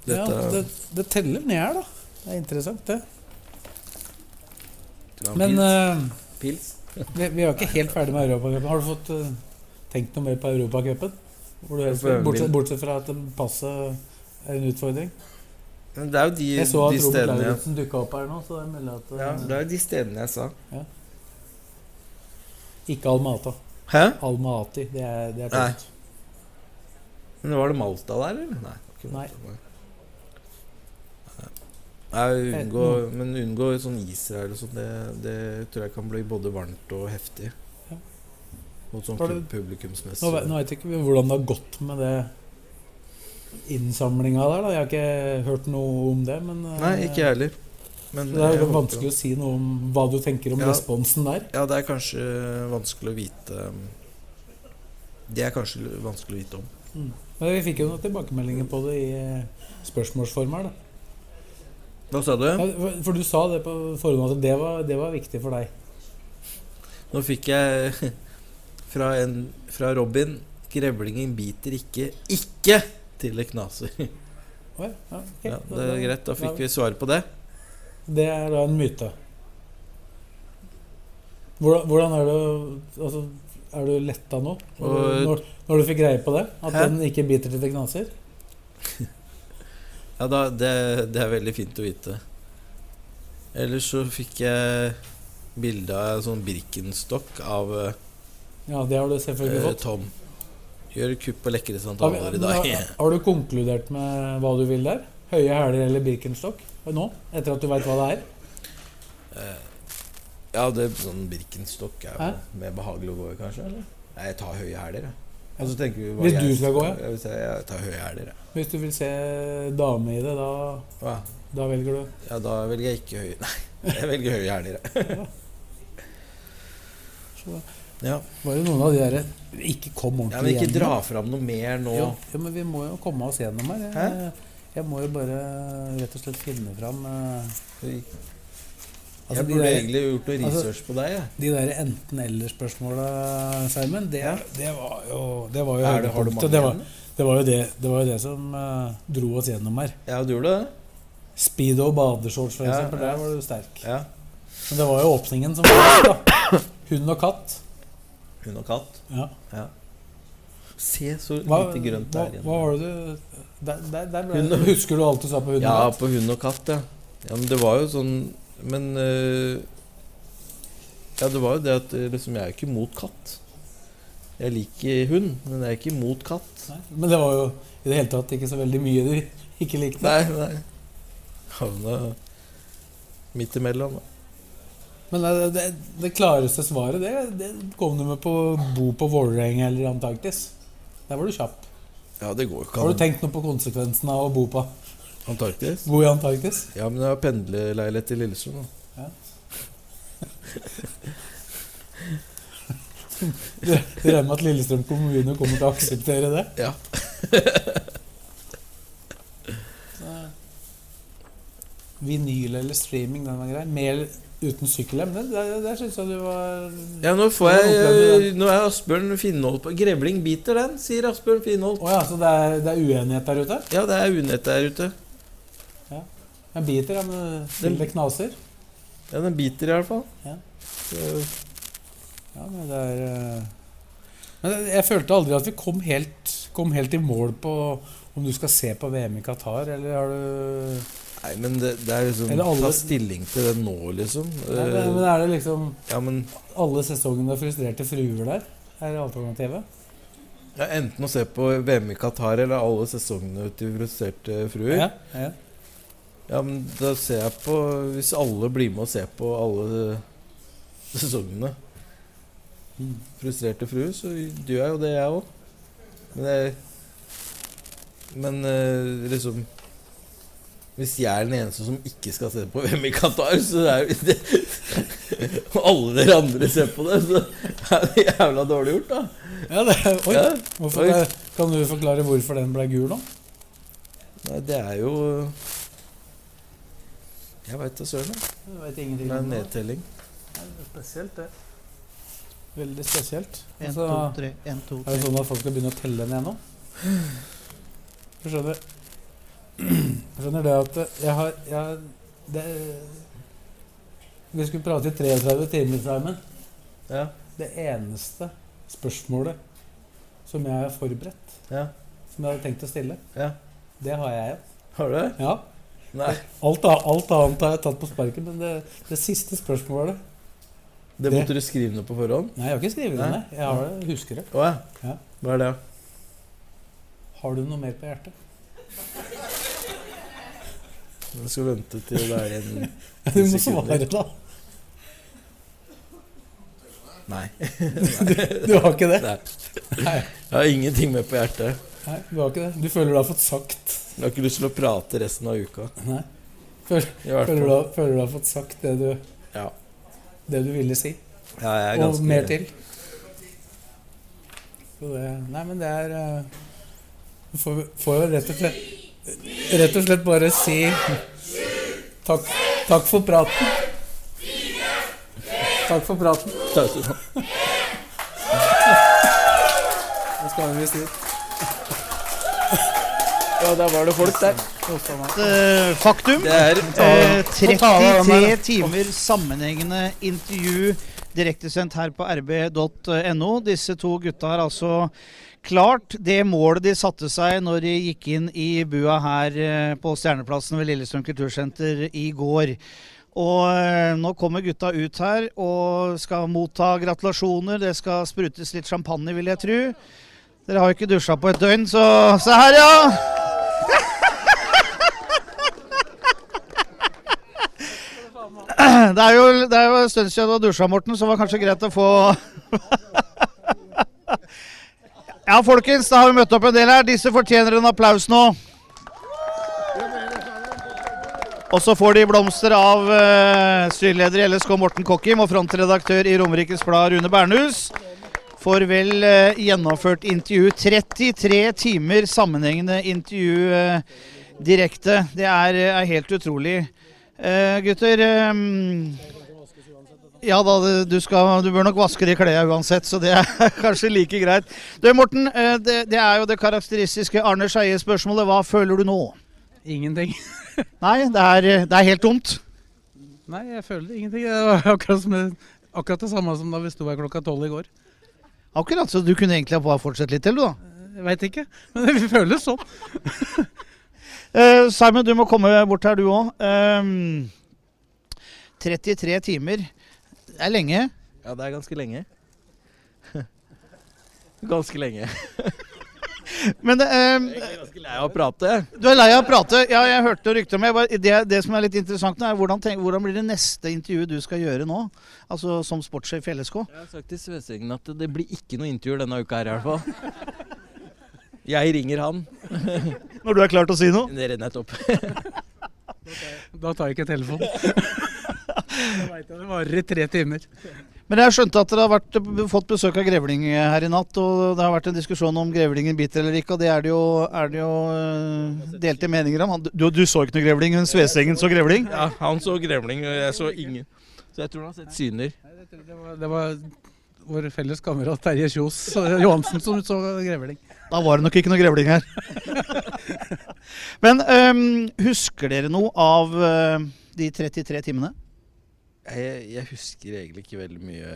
[SPEAKER 1] Ja,
[SPEAKER 2] Dette
[SPEAKER 1] det, det teller ned her, da. Det er interessant, det.
[SPEAKER 2] det var
[SPEAKER 1] Men
[SPEAKER 2] pils.
[SPEAKER 1] eh,
[SPEAKER 2] pils.
[SPEAKER 1] Vi, vi er jo ikke helt ferdig med Europacupen. Har du fått eh, tenkt noe mer på Europacupen? Hvor du helst vil- Bortsett, bortsett fra at passet er en utfordring.
[SPEAKER 2] Men det er jo de,
[SPEAKER 1] Jeg
[SPEAKER 2] de
[SPEAKER 1] så at Robert
[SPEAKER 2] stedene jeg,
[SPEAKER 1] Lauritzen dukka opp her nå, så det er mulig at
[SPEAKER 2] ja,
[SPEAKER 1] eh,
[SPEAKER 2] Det er jo de stedene jeg sa.
[SPEAKER 1] Ikke Almata.
[SPEAKER 2] Hæ?
[SPEAKER 1] Almaty, det er, det er
[SPEAKER 2] Nei.
[SPEAKER 1] tøft.
[SPEAKER 2] Men var det Malta der, eller? Nei. det var ikke Malta, nei.
[SPEAKER 1] Eh,
[SPEAKER 2] Nei, unngå, men unngå sånn Israel og sånn, det, det tror jeg kan bli både varmt og heftig.
[SPEAKER 1] Ja.
[SPEAKER 2] Og sånn
[SPEAKER 1] Var det-
[SPEAKER 2] pub- publikumsmessig.
[SPEAKER 1] Nå, ve- nå veit ikke vi hvordan det har gått med det innsamlinga der. da Jeg har ikke hørt noe om det. Men eh,
[SPEAKER 2] Nei, ikke jeg heller. Men
[SPEAKER 1] det er
[SPEAKER 2] jeg
[SPEAKER 1] jo
[SPEAKER 2] håper-
[SPEAKER 1] vanskelig å si noe om hva du tenker om
[SPEAKER 2] Ja.
[SPEAKER 1] responsen der.
[SPEAKER 2] Ja, det er kanskje vanskelig å vite um, Det er kanskje l- vanskelig å vite om.
[SPEAKER 1] Men vi fikk jo noen tilbakemeldinger på det i eh, spørsmålsform her. da
[SPEAKER 2] Hva sa du?
[SPEAKER 1] Ja, for- For du sa det på forhånd at det var, det var viktig for deg.
[SPEAKER 2] Nå fikk jeg fra, en, fra Robin 'Grevlingen biter ikke ikke til det knaser'.
[SPEAKER 1] Å ja, ja, ok.
[SPEAKER 2] Ja, det er greit, da fikk vi svar på det.
[SPEAKER 1] Det er da en myte. Hvordan, hvordan er du altså, Er du letta nå? Når,
[SPEAKER 2] Og-
[SPEAKER 1] du- når, når du fikk greie på det? At
[SPEAKER 2] Hæ?
[SPEAKER 1] den ikke biter til det knaser?
[SPEAKER 2] Ja, da, det, det er veldig fint å vite. Ellers så fikk jeg bilde av en sånn Birkenstock av eh,
[SPEAKER 1] Ja, det har du selvfølgelig fått.
[SPEAKER 2] Tom. Gjør kupp på lekre
[SPEAKER 1] Har,
[SPEAKER 2] sandaler i
[SPEAKER 1] vi-
[SPEAKER 2] dag.
[SPEAKER 1] har, har du konkludert med hva du vil der? Høye hæler eller Birkenstock? Nå? Etter at du veit hva det er?
[SPEAKER 2] Ja, det, sånn Birkenstock er jo
[SPEAKER 1] Hæ?
[SPEAKER 2] mer behagelig å gå i, kanskje? eller? Nei, jeg tar høye hæler, jeg. Og så tenker vi hva
[SPEAKER 1] Hvis
[SPEAKER 2] jeg-
[SPEAKER 1] du skal gå, ja?
[SPEAKER 2] Jeg, vil si, jeg tar høye hæler, jeg.
[SPEAKER 1] Hvis du vil se dame i det, da,
[SPEAKER 2] Hva?
[SPEAKER 1] da velger du
[SPEAKER 2] Ja, da velger jeg ikke høye Nei, jeg velger høye hæler, jeg.
[SPEAKER 1] Så da-
[SPEAKER 2] Ja.
[SPEAKER 1] Var det noen av de derre Ikke kom ordentlig
[SPEAKER 2] ja, men ikke
[SPEAKER 1] gjennom.
[SPEAKER 2] dra fram noe mer nå.
[SPEAKER 1] Jo, ja, men vi må jo komme oss gjennom her. Jeg, jeg må jo bare rett og slett finne fram eh,
[SPEAKER 2] Jeg
[SPEAKER 1] altså, de
[SPEAKER 2] burde
[SPEAKER 1] der-
[SPEAKER 2] egentlig gjort noe
[SPEAKER 1] altså-
[SPEAKER 2] research på deg, jeg.
[SPEAKER 1] de der enten-eller-spørsmåla, Simon. Det, det var jo Det var
[SPEAKER 2] Er
[SPEAKER 1] jo
[SPEAKER 2] det- har du
[SPEAKER 1] høydepunktet.
[SPEAKER 2] mange
[SPEAKER 1] det, var,
[SPEAKER 2] igjen?
[SPEAKER 1] det, var jo det, det var jo det som eh, dro oss gjennom her.
[SPEAKER 2] Ja, du gjorde det?
[SPEAKER 1] Speedo og badeshorts, for
[SPEAKER 2] Ja,
[SPEAKER 1] eksempel.
[SPEAKER 2] ja.
[SPEAKER 1] Der var du sterk.
[SPEAKER 2] Ja.
[SPEAKER 1] Men det var jo åpningen som var best, da. Hund og katt.
[SPEAKER 2] Hund og katt.
[SPEAKER 1] Ja.
[SPEAKER 2] Se så
[SPEAKER 1] Hva,
[SPEAKER 2] lite grønt det
[SPEAKER 1] hva,
[SPEAKER 2] er igjen.
[SPEAKER 1] hva var det du der, der, der ble,
[SPEAKER 2] Hund og-
[SPEAKER 1] Husker du alt du sa på hund og
[SPEAKER 2] Ja,
[SPEAKER 1] katt?
[SPEAKER 2] på hund og katt, ja. ja men det var jo sånn Men øh, Ja, det var jo det at øh, liksom, jeg er jo ikke mot katt. Jeg liker hund, men jeg er ikke mot katt.
[SPEAKER 1] Nei, Men det var jo i det hele tatt ikke så veldig mye du ikke likte.
[SPEAKER 2] Nei, nei. Havna midt imellom, da.
[SPEAKER 1] Men eh, det, det, det klareste svaret, det, det kom du med på bo på Vålerenga eller Antarktis. Der var du kjapp.
[SPEAKER 2] Ja, det går jo
[SPEAKER 1] Har du
[SPEAKER 2] ikke an.
[SPEAKER 1] tenkt noe på konsekvensen av å bo, på,
[SPEAKER 2] Antarktis?
[SPEAKER 1] bo i Antarktis?
[SPEAKER 2] Ja, men jeg har pendlerleilighet i Lillesund, da.
[SPEAKER 1] Du regner med at Lillestrøm kommune kommer til å akseptere det?
[SPEAKER 2] Ja.
[SPEAKER 1] Så- vinyl eller streaming, den var grei. Med eller uten sykkelhjelm, det, det, det syns jeg du var
[SPEAKER 3] Ja, nå får
[SPEAKER 1] Hvordan opplevde du
[SPEAKER 3] jeg Nå er Asbjørn Finnholt på Grevling biter den, sier Asbjørn Finnholt.
[SPEAKER 1] Å ja, så det er, det er uenighet der ute?
[SPEAKER 3] Ja, det er unett der ute.
[SPEAKER 1] Den biter, ja, men
[SPEAKER 3] Den-
[SPEAKER 1] det knaser?
[SPEAKER 3] Ja, den biter i hvert fall.
[SPEAKER 1] Så- Ja, men det er eh, Men det- jeg følte aldri at vi kom helt, kom helt i mål på om du skal se på VM i Qatar, eller har du
[SPEAKER 2] Nei, men det, det er liksom
[SPEAKER 1] Eller alle-
[SPEAKER 2] Ta stilling til det nå, liksom.
[SPEAKER 1] Nei, men, men er det liksom
[SPEAKER 2] Eh, ja, men
[SPEAKER 1] alle sesongene frustrerte fruer der? Er alternativet?
[SPEAKER 2] ja, Enten å se på VM i Qatar eller alle sesongene til frustrerte fruer.
[SPEAKER 1] Ja, ja.
[SPEAKER 2] Ja, men da ser jeg på Hvis alle blir med og ser på alle sesongene Frustrerte frue, så gjør jeg jo det, jeg òg. Men jeg Men eh, liksom Hvis jeg er den eneste som ikke skal se på VM i Qatar, så er jo det Og alle dere andre ser på det, så er det jævla dårlig gjort, da.
[SPEAKER 1] ja det, oi,
[SPEAKER 2] Ja.
[SPEAKER 1] hvorfor,
[SPEAKER 2] oi.
[SPEAKER 1] Kan du forklare hvorfor den ble gul nå?
[SPEAKER 2] Nei, det er jo Jeg veit da søren. jeg.
[SPEAKER 1] Jeg vet ingenting
[SPEAKER 2] Det er en nedtelling.
[SPEAKER 1] Spesielt, det. Veldig spesielt.
[SPEAKER 7] En,
[SPEAKER 1] Altså,
[SPEAKER 7] to, tre. En, to,
[SPEAKER 1] er det
[SPEAKER 7] tre.
[SPEAKER 1] sånn at folk skal begynne å telle ned nå? Du skjønner Jeg skjønner det at jeg har, jeg har det, Vi skulle prate i 33 timer, Simon.
[SPEAKER 2] Ja.
[SPEAKER 1] Det eneste spørsmålet som jeg har forberedt,
[SPEAKER 2] Ja.
[SPEAKER 1] som jeg hadde tenkt å stille,
[SPEAKER 2] Ja.
[SPEAKER 1] det har jeg igjen.
[SPEAKER 2] Har du det?
[SPEAKER 1] Ja.
[SPEAKER 2] Nei.
[SPEAKER 1] Alt, a- alt annet har jeg tatt på sparket, men det, det siste spørsmålet
[SPEAKER 2] Det måtte du skrive ned på forhånd?
[SPEAKER 1] Nei, jeg har ikke skrevet det
[SPEAKER 2] Nei.
[SPEAKER 1] ned. Jeg har det, husker det.
[SPEAKER 2] Å ja.
[SPEAKER 1] Ja.
[SPEAKER 2] Hva er det?
[SPEAKER 1] Har du noe mer på hjertet?
[SPEAKER 2] Jeg skal vente til det er igjen
[SPEAKER 1] Du
[SPEAKER 2] ti
[SPEAKER 1] må
[SPEAKER 2] sekunder.
[SPEAKER 1] svare, da.
[SPEAKER 2] Nei.
[SPEAKER 1] Du har ikke det?
[SPEAKER 2] Nei. Jeg har ingenting med på hjertet.
[SPEAKER 1] Nei, Du har ikke det. Du føler du har fått sagt
[SPEAKER 2] Jeg har ikke lyst til å prate resten av uka.
[SPEAKER 1] Nei. Føler,
[SPEAKER 2] I hvert
[SPEAKER 1] føler, du,
[SPEAKER 2] fall.
[SPEAKER 1] har- føler du har fått sagt det du,
[SPEAKER 2] Ja.
[SPEAKER 1] det du ville si?
[SPEAKER 2] Ja, jeg er
[SPEAKER 1] Og
[SPEAKER 2] ganske
[SPEAKER 1] mer til. Så det, nei, men det er eh, Du får, får jo rett og slett Rett og slett bare si takk, takk for praten. Takk for praten.
[SPEAKER 2] Takk skal du ha.
[SPEAKER 1] Det skal vi si.
[SPEAKER 2] Ja, der var det folk der.
[SPEAKER 7] Eh, Faktum.
[SPEAKER 2] Det er
[SPEAKER 7] Eh,
[SPEAKER 1] ta av deg den
[SPEAKER 7] 33
[SPEAKER 1] der,
[SPEAKER 7] timer sammenhengende intervju direktesendt her på rb.no. Disse to gutta har altså klart det målet de satte seg når de gikk inn i bua her eh, på Stjerneplassen ved Lillestrøm kultursenter i går. Og eh, nå kommer gutta ut her og skal motta gratulasjoner. Det skal sprutes litt champagne, vil jeg tro. Dere har jo ikke dusja på et døgn, så se her, ja! Det er jo, det er jo en stund siden du har dusja, Morten, så det var kanskje greit å få Ja, folkens, da har vi møtt opp en del her. Disse fortjener en applaus nå. Og så får de blomster av eh, styreleder i LSK Morten Kokkim og frontredaktør i Romerikes Blad Rune Bernhus. For vel eh, gjennomført intervju. 33 timer sammenhengende intervju eh, direkte. Det er, eh, er helt utrolig. Eh, gutter ehm, Ja da, det- du, skal, du bør nok vaske de klærne uansett, så det er kanskje like greit. Du Morten, eh, det, det er jo det karakteristiske Arne Skeie-spørsmålet. Hva føler du nå?
[SPEAKER 8] Ingenting.
[SPEAKER 7] Nei, det er, eh, det er helt tomt.
[SPEAKER 8] Nei, jeg føler ingenting. Det var akkurat, som, akkurat det samme som da vi sto her klokka tolv i går.
[SPEAKER 7] Akkurat, så du kunne egentlig ha bare fortsatt litt til, du da.
[SPEAKER 8] Jeg veit ikke, men det føles sånn.
[SPEAKER 7] Eh, Simon, du må komme bort her du òg. 33 timer. Det er lenge.
[SPEAKER 3] Ja, det er ganske lenge. Ganske lenge.
[SPEAKER 7] Men det, ehm,
[SPEAKER 3] Jeg er ganske lei av å prate.
[SPEAKER 7] Du er lei av å prate. Ja, jeg hørte rykter om det. Jeg bare- det. Det som er litt interessant, nå er hvordan, tenk, hvordan blir det neste intervjuet du skal gjøre nå? Altså som sportssjef i LSK?
[SPEAKER 3] Jeg har sagt til Svesengen at det blir ikke noe intervju denne uka her i hvert fall. Jeg ringer han.
[SPEAKER 7] Når du er klar til å si noe?
[SPEAKER 3] Det renner jeg opp.
[SPEAKER 8] Da tar jeg ikke telefonen. Da veit jeg det varer i tre timer.
[SPEAKER 7] Men jeg skjønte at dere har vært, fått besøk av grevling her i natt. Og det har vært en diskusjon om grevlingen biter eller ikke, og det er det jo, er det jo eh, delte meninger om. Han- Du, du så ikke noe grevling, men Svesengen så grevling?
[SPEAKER 2] Ja, han så grevling, og jeg så ingen. Så jeg tror han har sett syner.
[SPEAKER 1] Det var, det var vår felles kamerat Terje Kjos eh, Johansen som så grevling.
[SPEAKER 7] Da var det nok ikke noe grevling her. Men øhm, husker dere noe av øhm, de 33 timene?
[SPEAKER 2] Jeg, jeg husker egentlig ikke veldig mye.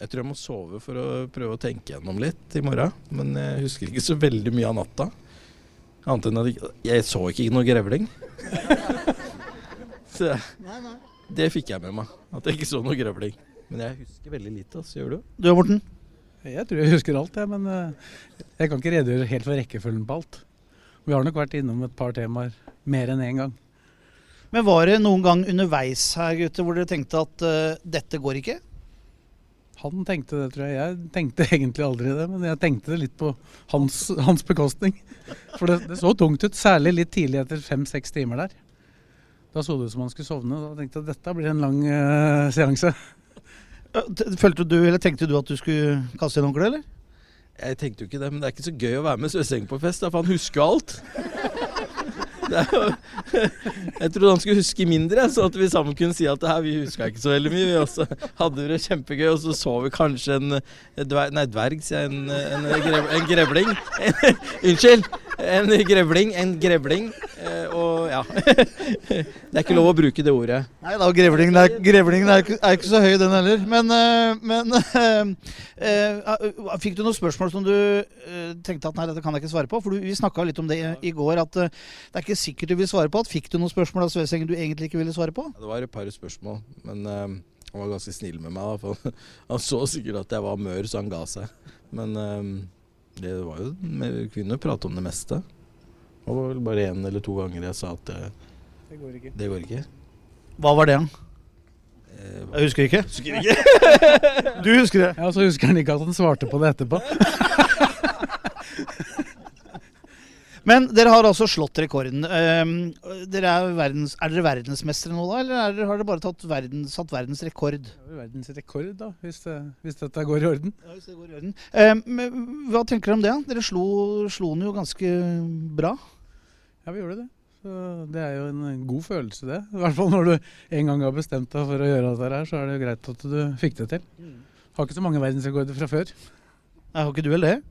[SPEAKER 2] Jeg tror jeg må sove for å prøve å tenke gjennom litt i morgen. Men jeg husker ikke så veldig mye av natta. Annet enn at jeg- jeg så ikke noe grevling. så det fikk jeg med meg. At jeg ikke så noe grevling. Men jeg husker veldig lite. ass. Gjør du?
[SPEAKER 7] Du og Morten?
[SPEAKER 1] Jeg tror jeg husker alt, jeg, men eh, jeg kan ikke redegjøre helt for rekkefølgen på alt. Vi har nok vært innom et par temaer mer enn én gang.
[SPEAKER 7] Men var det noen gang underveis her gutter, hvor dere tenkte at øh, dette går ikke?
[SPEAKER 1] Han tenkte det, tror jeg. Jeg tenkte egentlig aldri det, men jeg tenkte det litt på hans, hans bekostning. For det, det så tungt ut, særlig litt tidlig etter fem-seks timer der. Da så det ut som han skulle sovne. Da tenkte jeg at dette blir en lang eh, seanse.
[SPEAKER 7] Øh, t- Følte du, eller Tenkte du at du skulle kaste inn håndkleet, eller?
[SPEAKER 2] Jeg tenkte jo ikke det, men det er ikke så gøy å være med Søseng på fest, da, for han husker jo alt. Det er jo, jeg trodde han skulle huske mindre, så at vi sammen kunne si at her, vi huska ikke så veldig mye. Vi også hadde det kjempegøy, og så så vi kanskje en dverg, nei, dverg, sier jeg, en, en, grev, en grevling. unnskyld. En grevling, en grevling. eh, Og ja. Det er ikke lov å bruke det ordet.
[SPEAKER 7] Nei da, grevlingen er, grevlingen er, ikke- er ikke så høy den heller. Men, øh, men øh, øh, fikk du noen spørsmål som du øh, tenkte at nei, dette kan jeg ikke svare på? For du, vi snakka litt om det i- i går, at øh, det er ikke sikkert du vil svare på alt. Fikk du noen spørsmål av Svesengen du egentlig ikke ville svare på?
[SPEAKER 2] Det var et par spørsmål, men eh, han var ganske snill med meg. Da, for han så sikkert at jeg var mør, så han ga seg. Men eh, det var jo vi kunne jo prate om det meste. Det var vel bare én eller to ganger jeg sa at eh,
[SPEAKER 1] Det går ikke.
[SPEAKER 2] det går ikke. Eh,
[SPEAKER 7] Hva var det, han? Jeg husker ikke. du husker det?
[SPEAKER 1] Ja, og så husker han ikke at han svarte på det etterpå.
[SPEAKER 7] Men dere har altså slått rekorden. Ehm, dere er, verdens, er dere verdensmestere nå, da? Eller er dere, har dere bare tatt verden, satt verdensrekord?
[SPEAKER 1] Det er jo verdensrekord, da, hvis, det- hvis dette går i orden.
[SPEAKER 7] Ja, hvis det går i orden. Ehm, men hva tenker dere om det? Dere slo, slo den jo ganske bra.
[SPEAKER 1] Ja, vi gjorde det. Så det er jo en god følelse, det. I hvert fall når du en gang har bestemt deg for å gjøre dette her, så er det jo greit at du fikk det til. Har ikke så mange verdensrekorder fra før.
[SPEAKER 7] Jeg har ikke du heller det?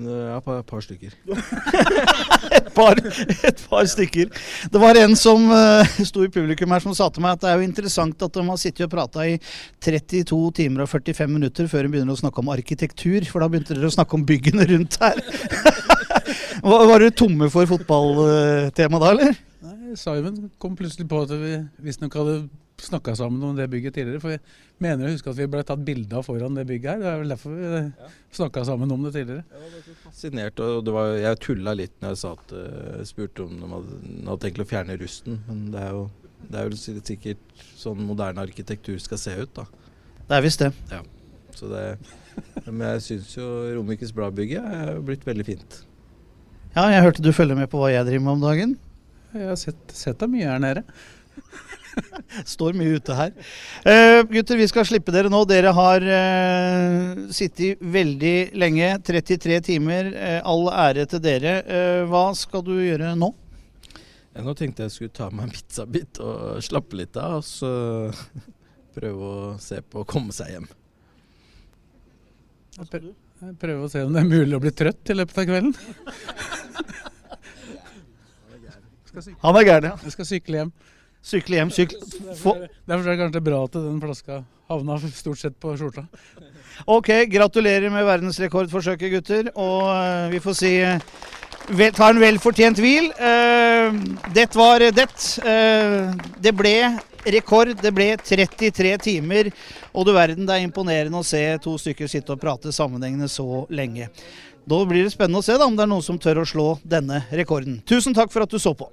[SPEAKER 2] Ja, et par, par stykker.
[SPEAKER 7] et, par, et par stykker. Det var en som eh, sto i publikum her som sa til meg at det er jo interessant at de har sittet og prata i 32 timer og 45 minutter før de begynner å snakke om arkitektur, for da begynte dere å snakke om byggene rundt her. var, var dere tomme for fotballtema da, eller?
[SPEAKER 1] Nei, Simon kom plutselig på at vi visstnok hadde snakka sammen om det bygget tidligere. For vi mener å huske at vi ble tatt bilde av foran det bygget her. Det er vel derfor vi snakka sammen om det tidligere.
[SPEAKER 2] Fascinert, og det var, jeg tulla litt når jeg sa at, eh, spurte om de hadde, de hadde tenkt å fjerne rusten. Men det er jo det er vel si- sikkert sånn moderne arkitektur skal se ut, da.
[SPEAKER 7] Det er visst det.
[SPEAKER 2] Ja. Så det, men jeg syns jo Romerikes Blad-bygget er blitt veldig fint.
[SPEAKER 7] Ja, jeg hørte du følger med på hva jeg driver med om dagen.
[SPEAKER 1] Jeg har sett, sett deg mye her nede.
[SPEAKER 7] Står mye ute her. Eh, gutter, vi skal slippe dere nå. Dere har eh, sittet veldig lenge. 33 timer. Eh, all ære til dere. Eh, hva skal du gjøre nå?
[SPEAKER 2] Ja, nå tenkte jeg skulle ta meg en pizzabit og slappe litt av, og så prøve å se på å komme seg hjem.
[SPEAKER 1] Jeg prø- jeg prøver å se om det er mulig å bli trøtt i løpet av kvelden.
[SPEAKER 7] Han er gæren, ja.
[SPEAKER 1] Jeg skal sykle hjem.
[SPEAKER 7] Sykle hjem, sykle få.
[SPEAKER 1] Derfor er det kanskje bra at den flaska havna stort sett på skjorta.
[SPEAKER 7] Ok, gratulerer med verdensrekordforsøket, gutter. Og eh, vi får si eh, vel, ta en velfortjent hvil. Eh, det var det. Eh, det ble rekord. Det ble 33 timer. Og du verden, det er imponerende å se to stykker sitte og prate sammenhengende så lenge. Da blir det spennende å se da, om det er noen som tør å slå denne rekorden. Tusen takk for at du så på.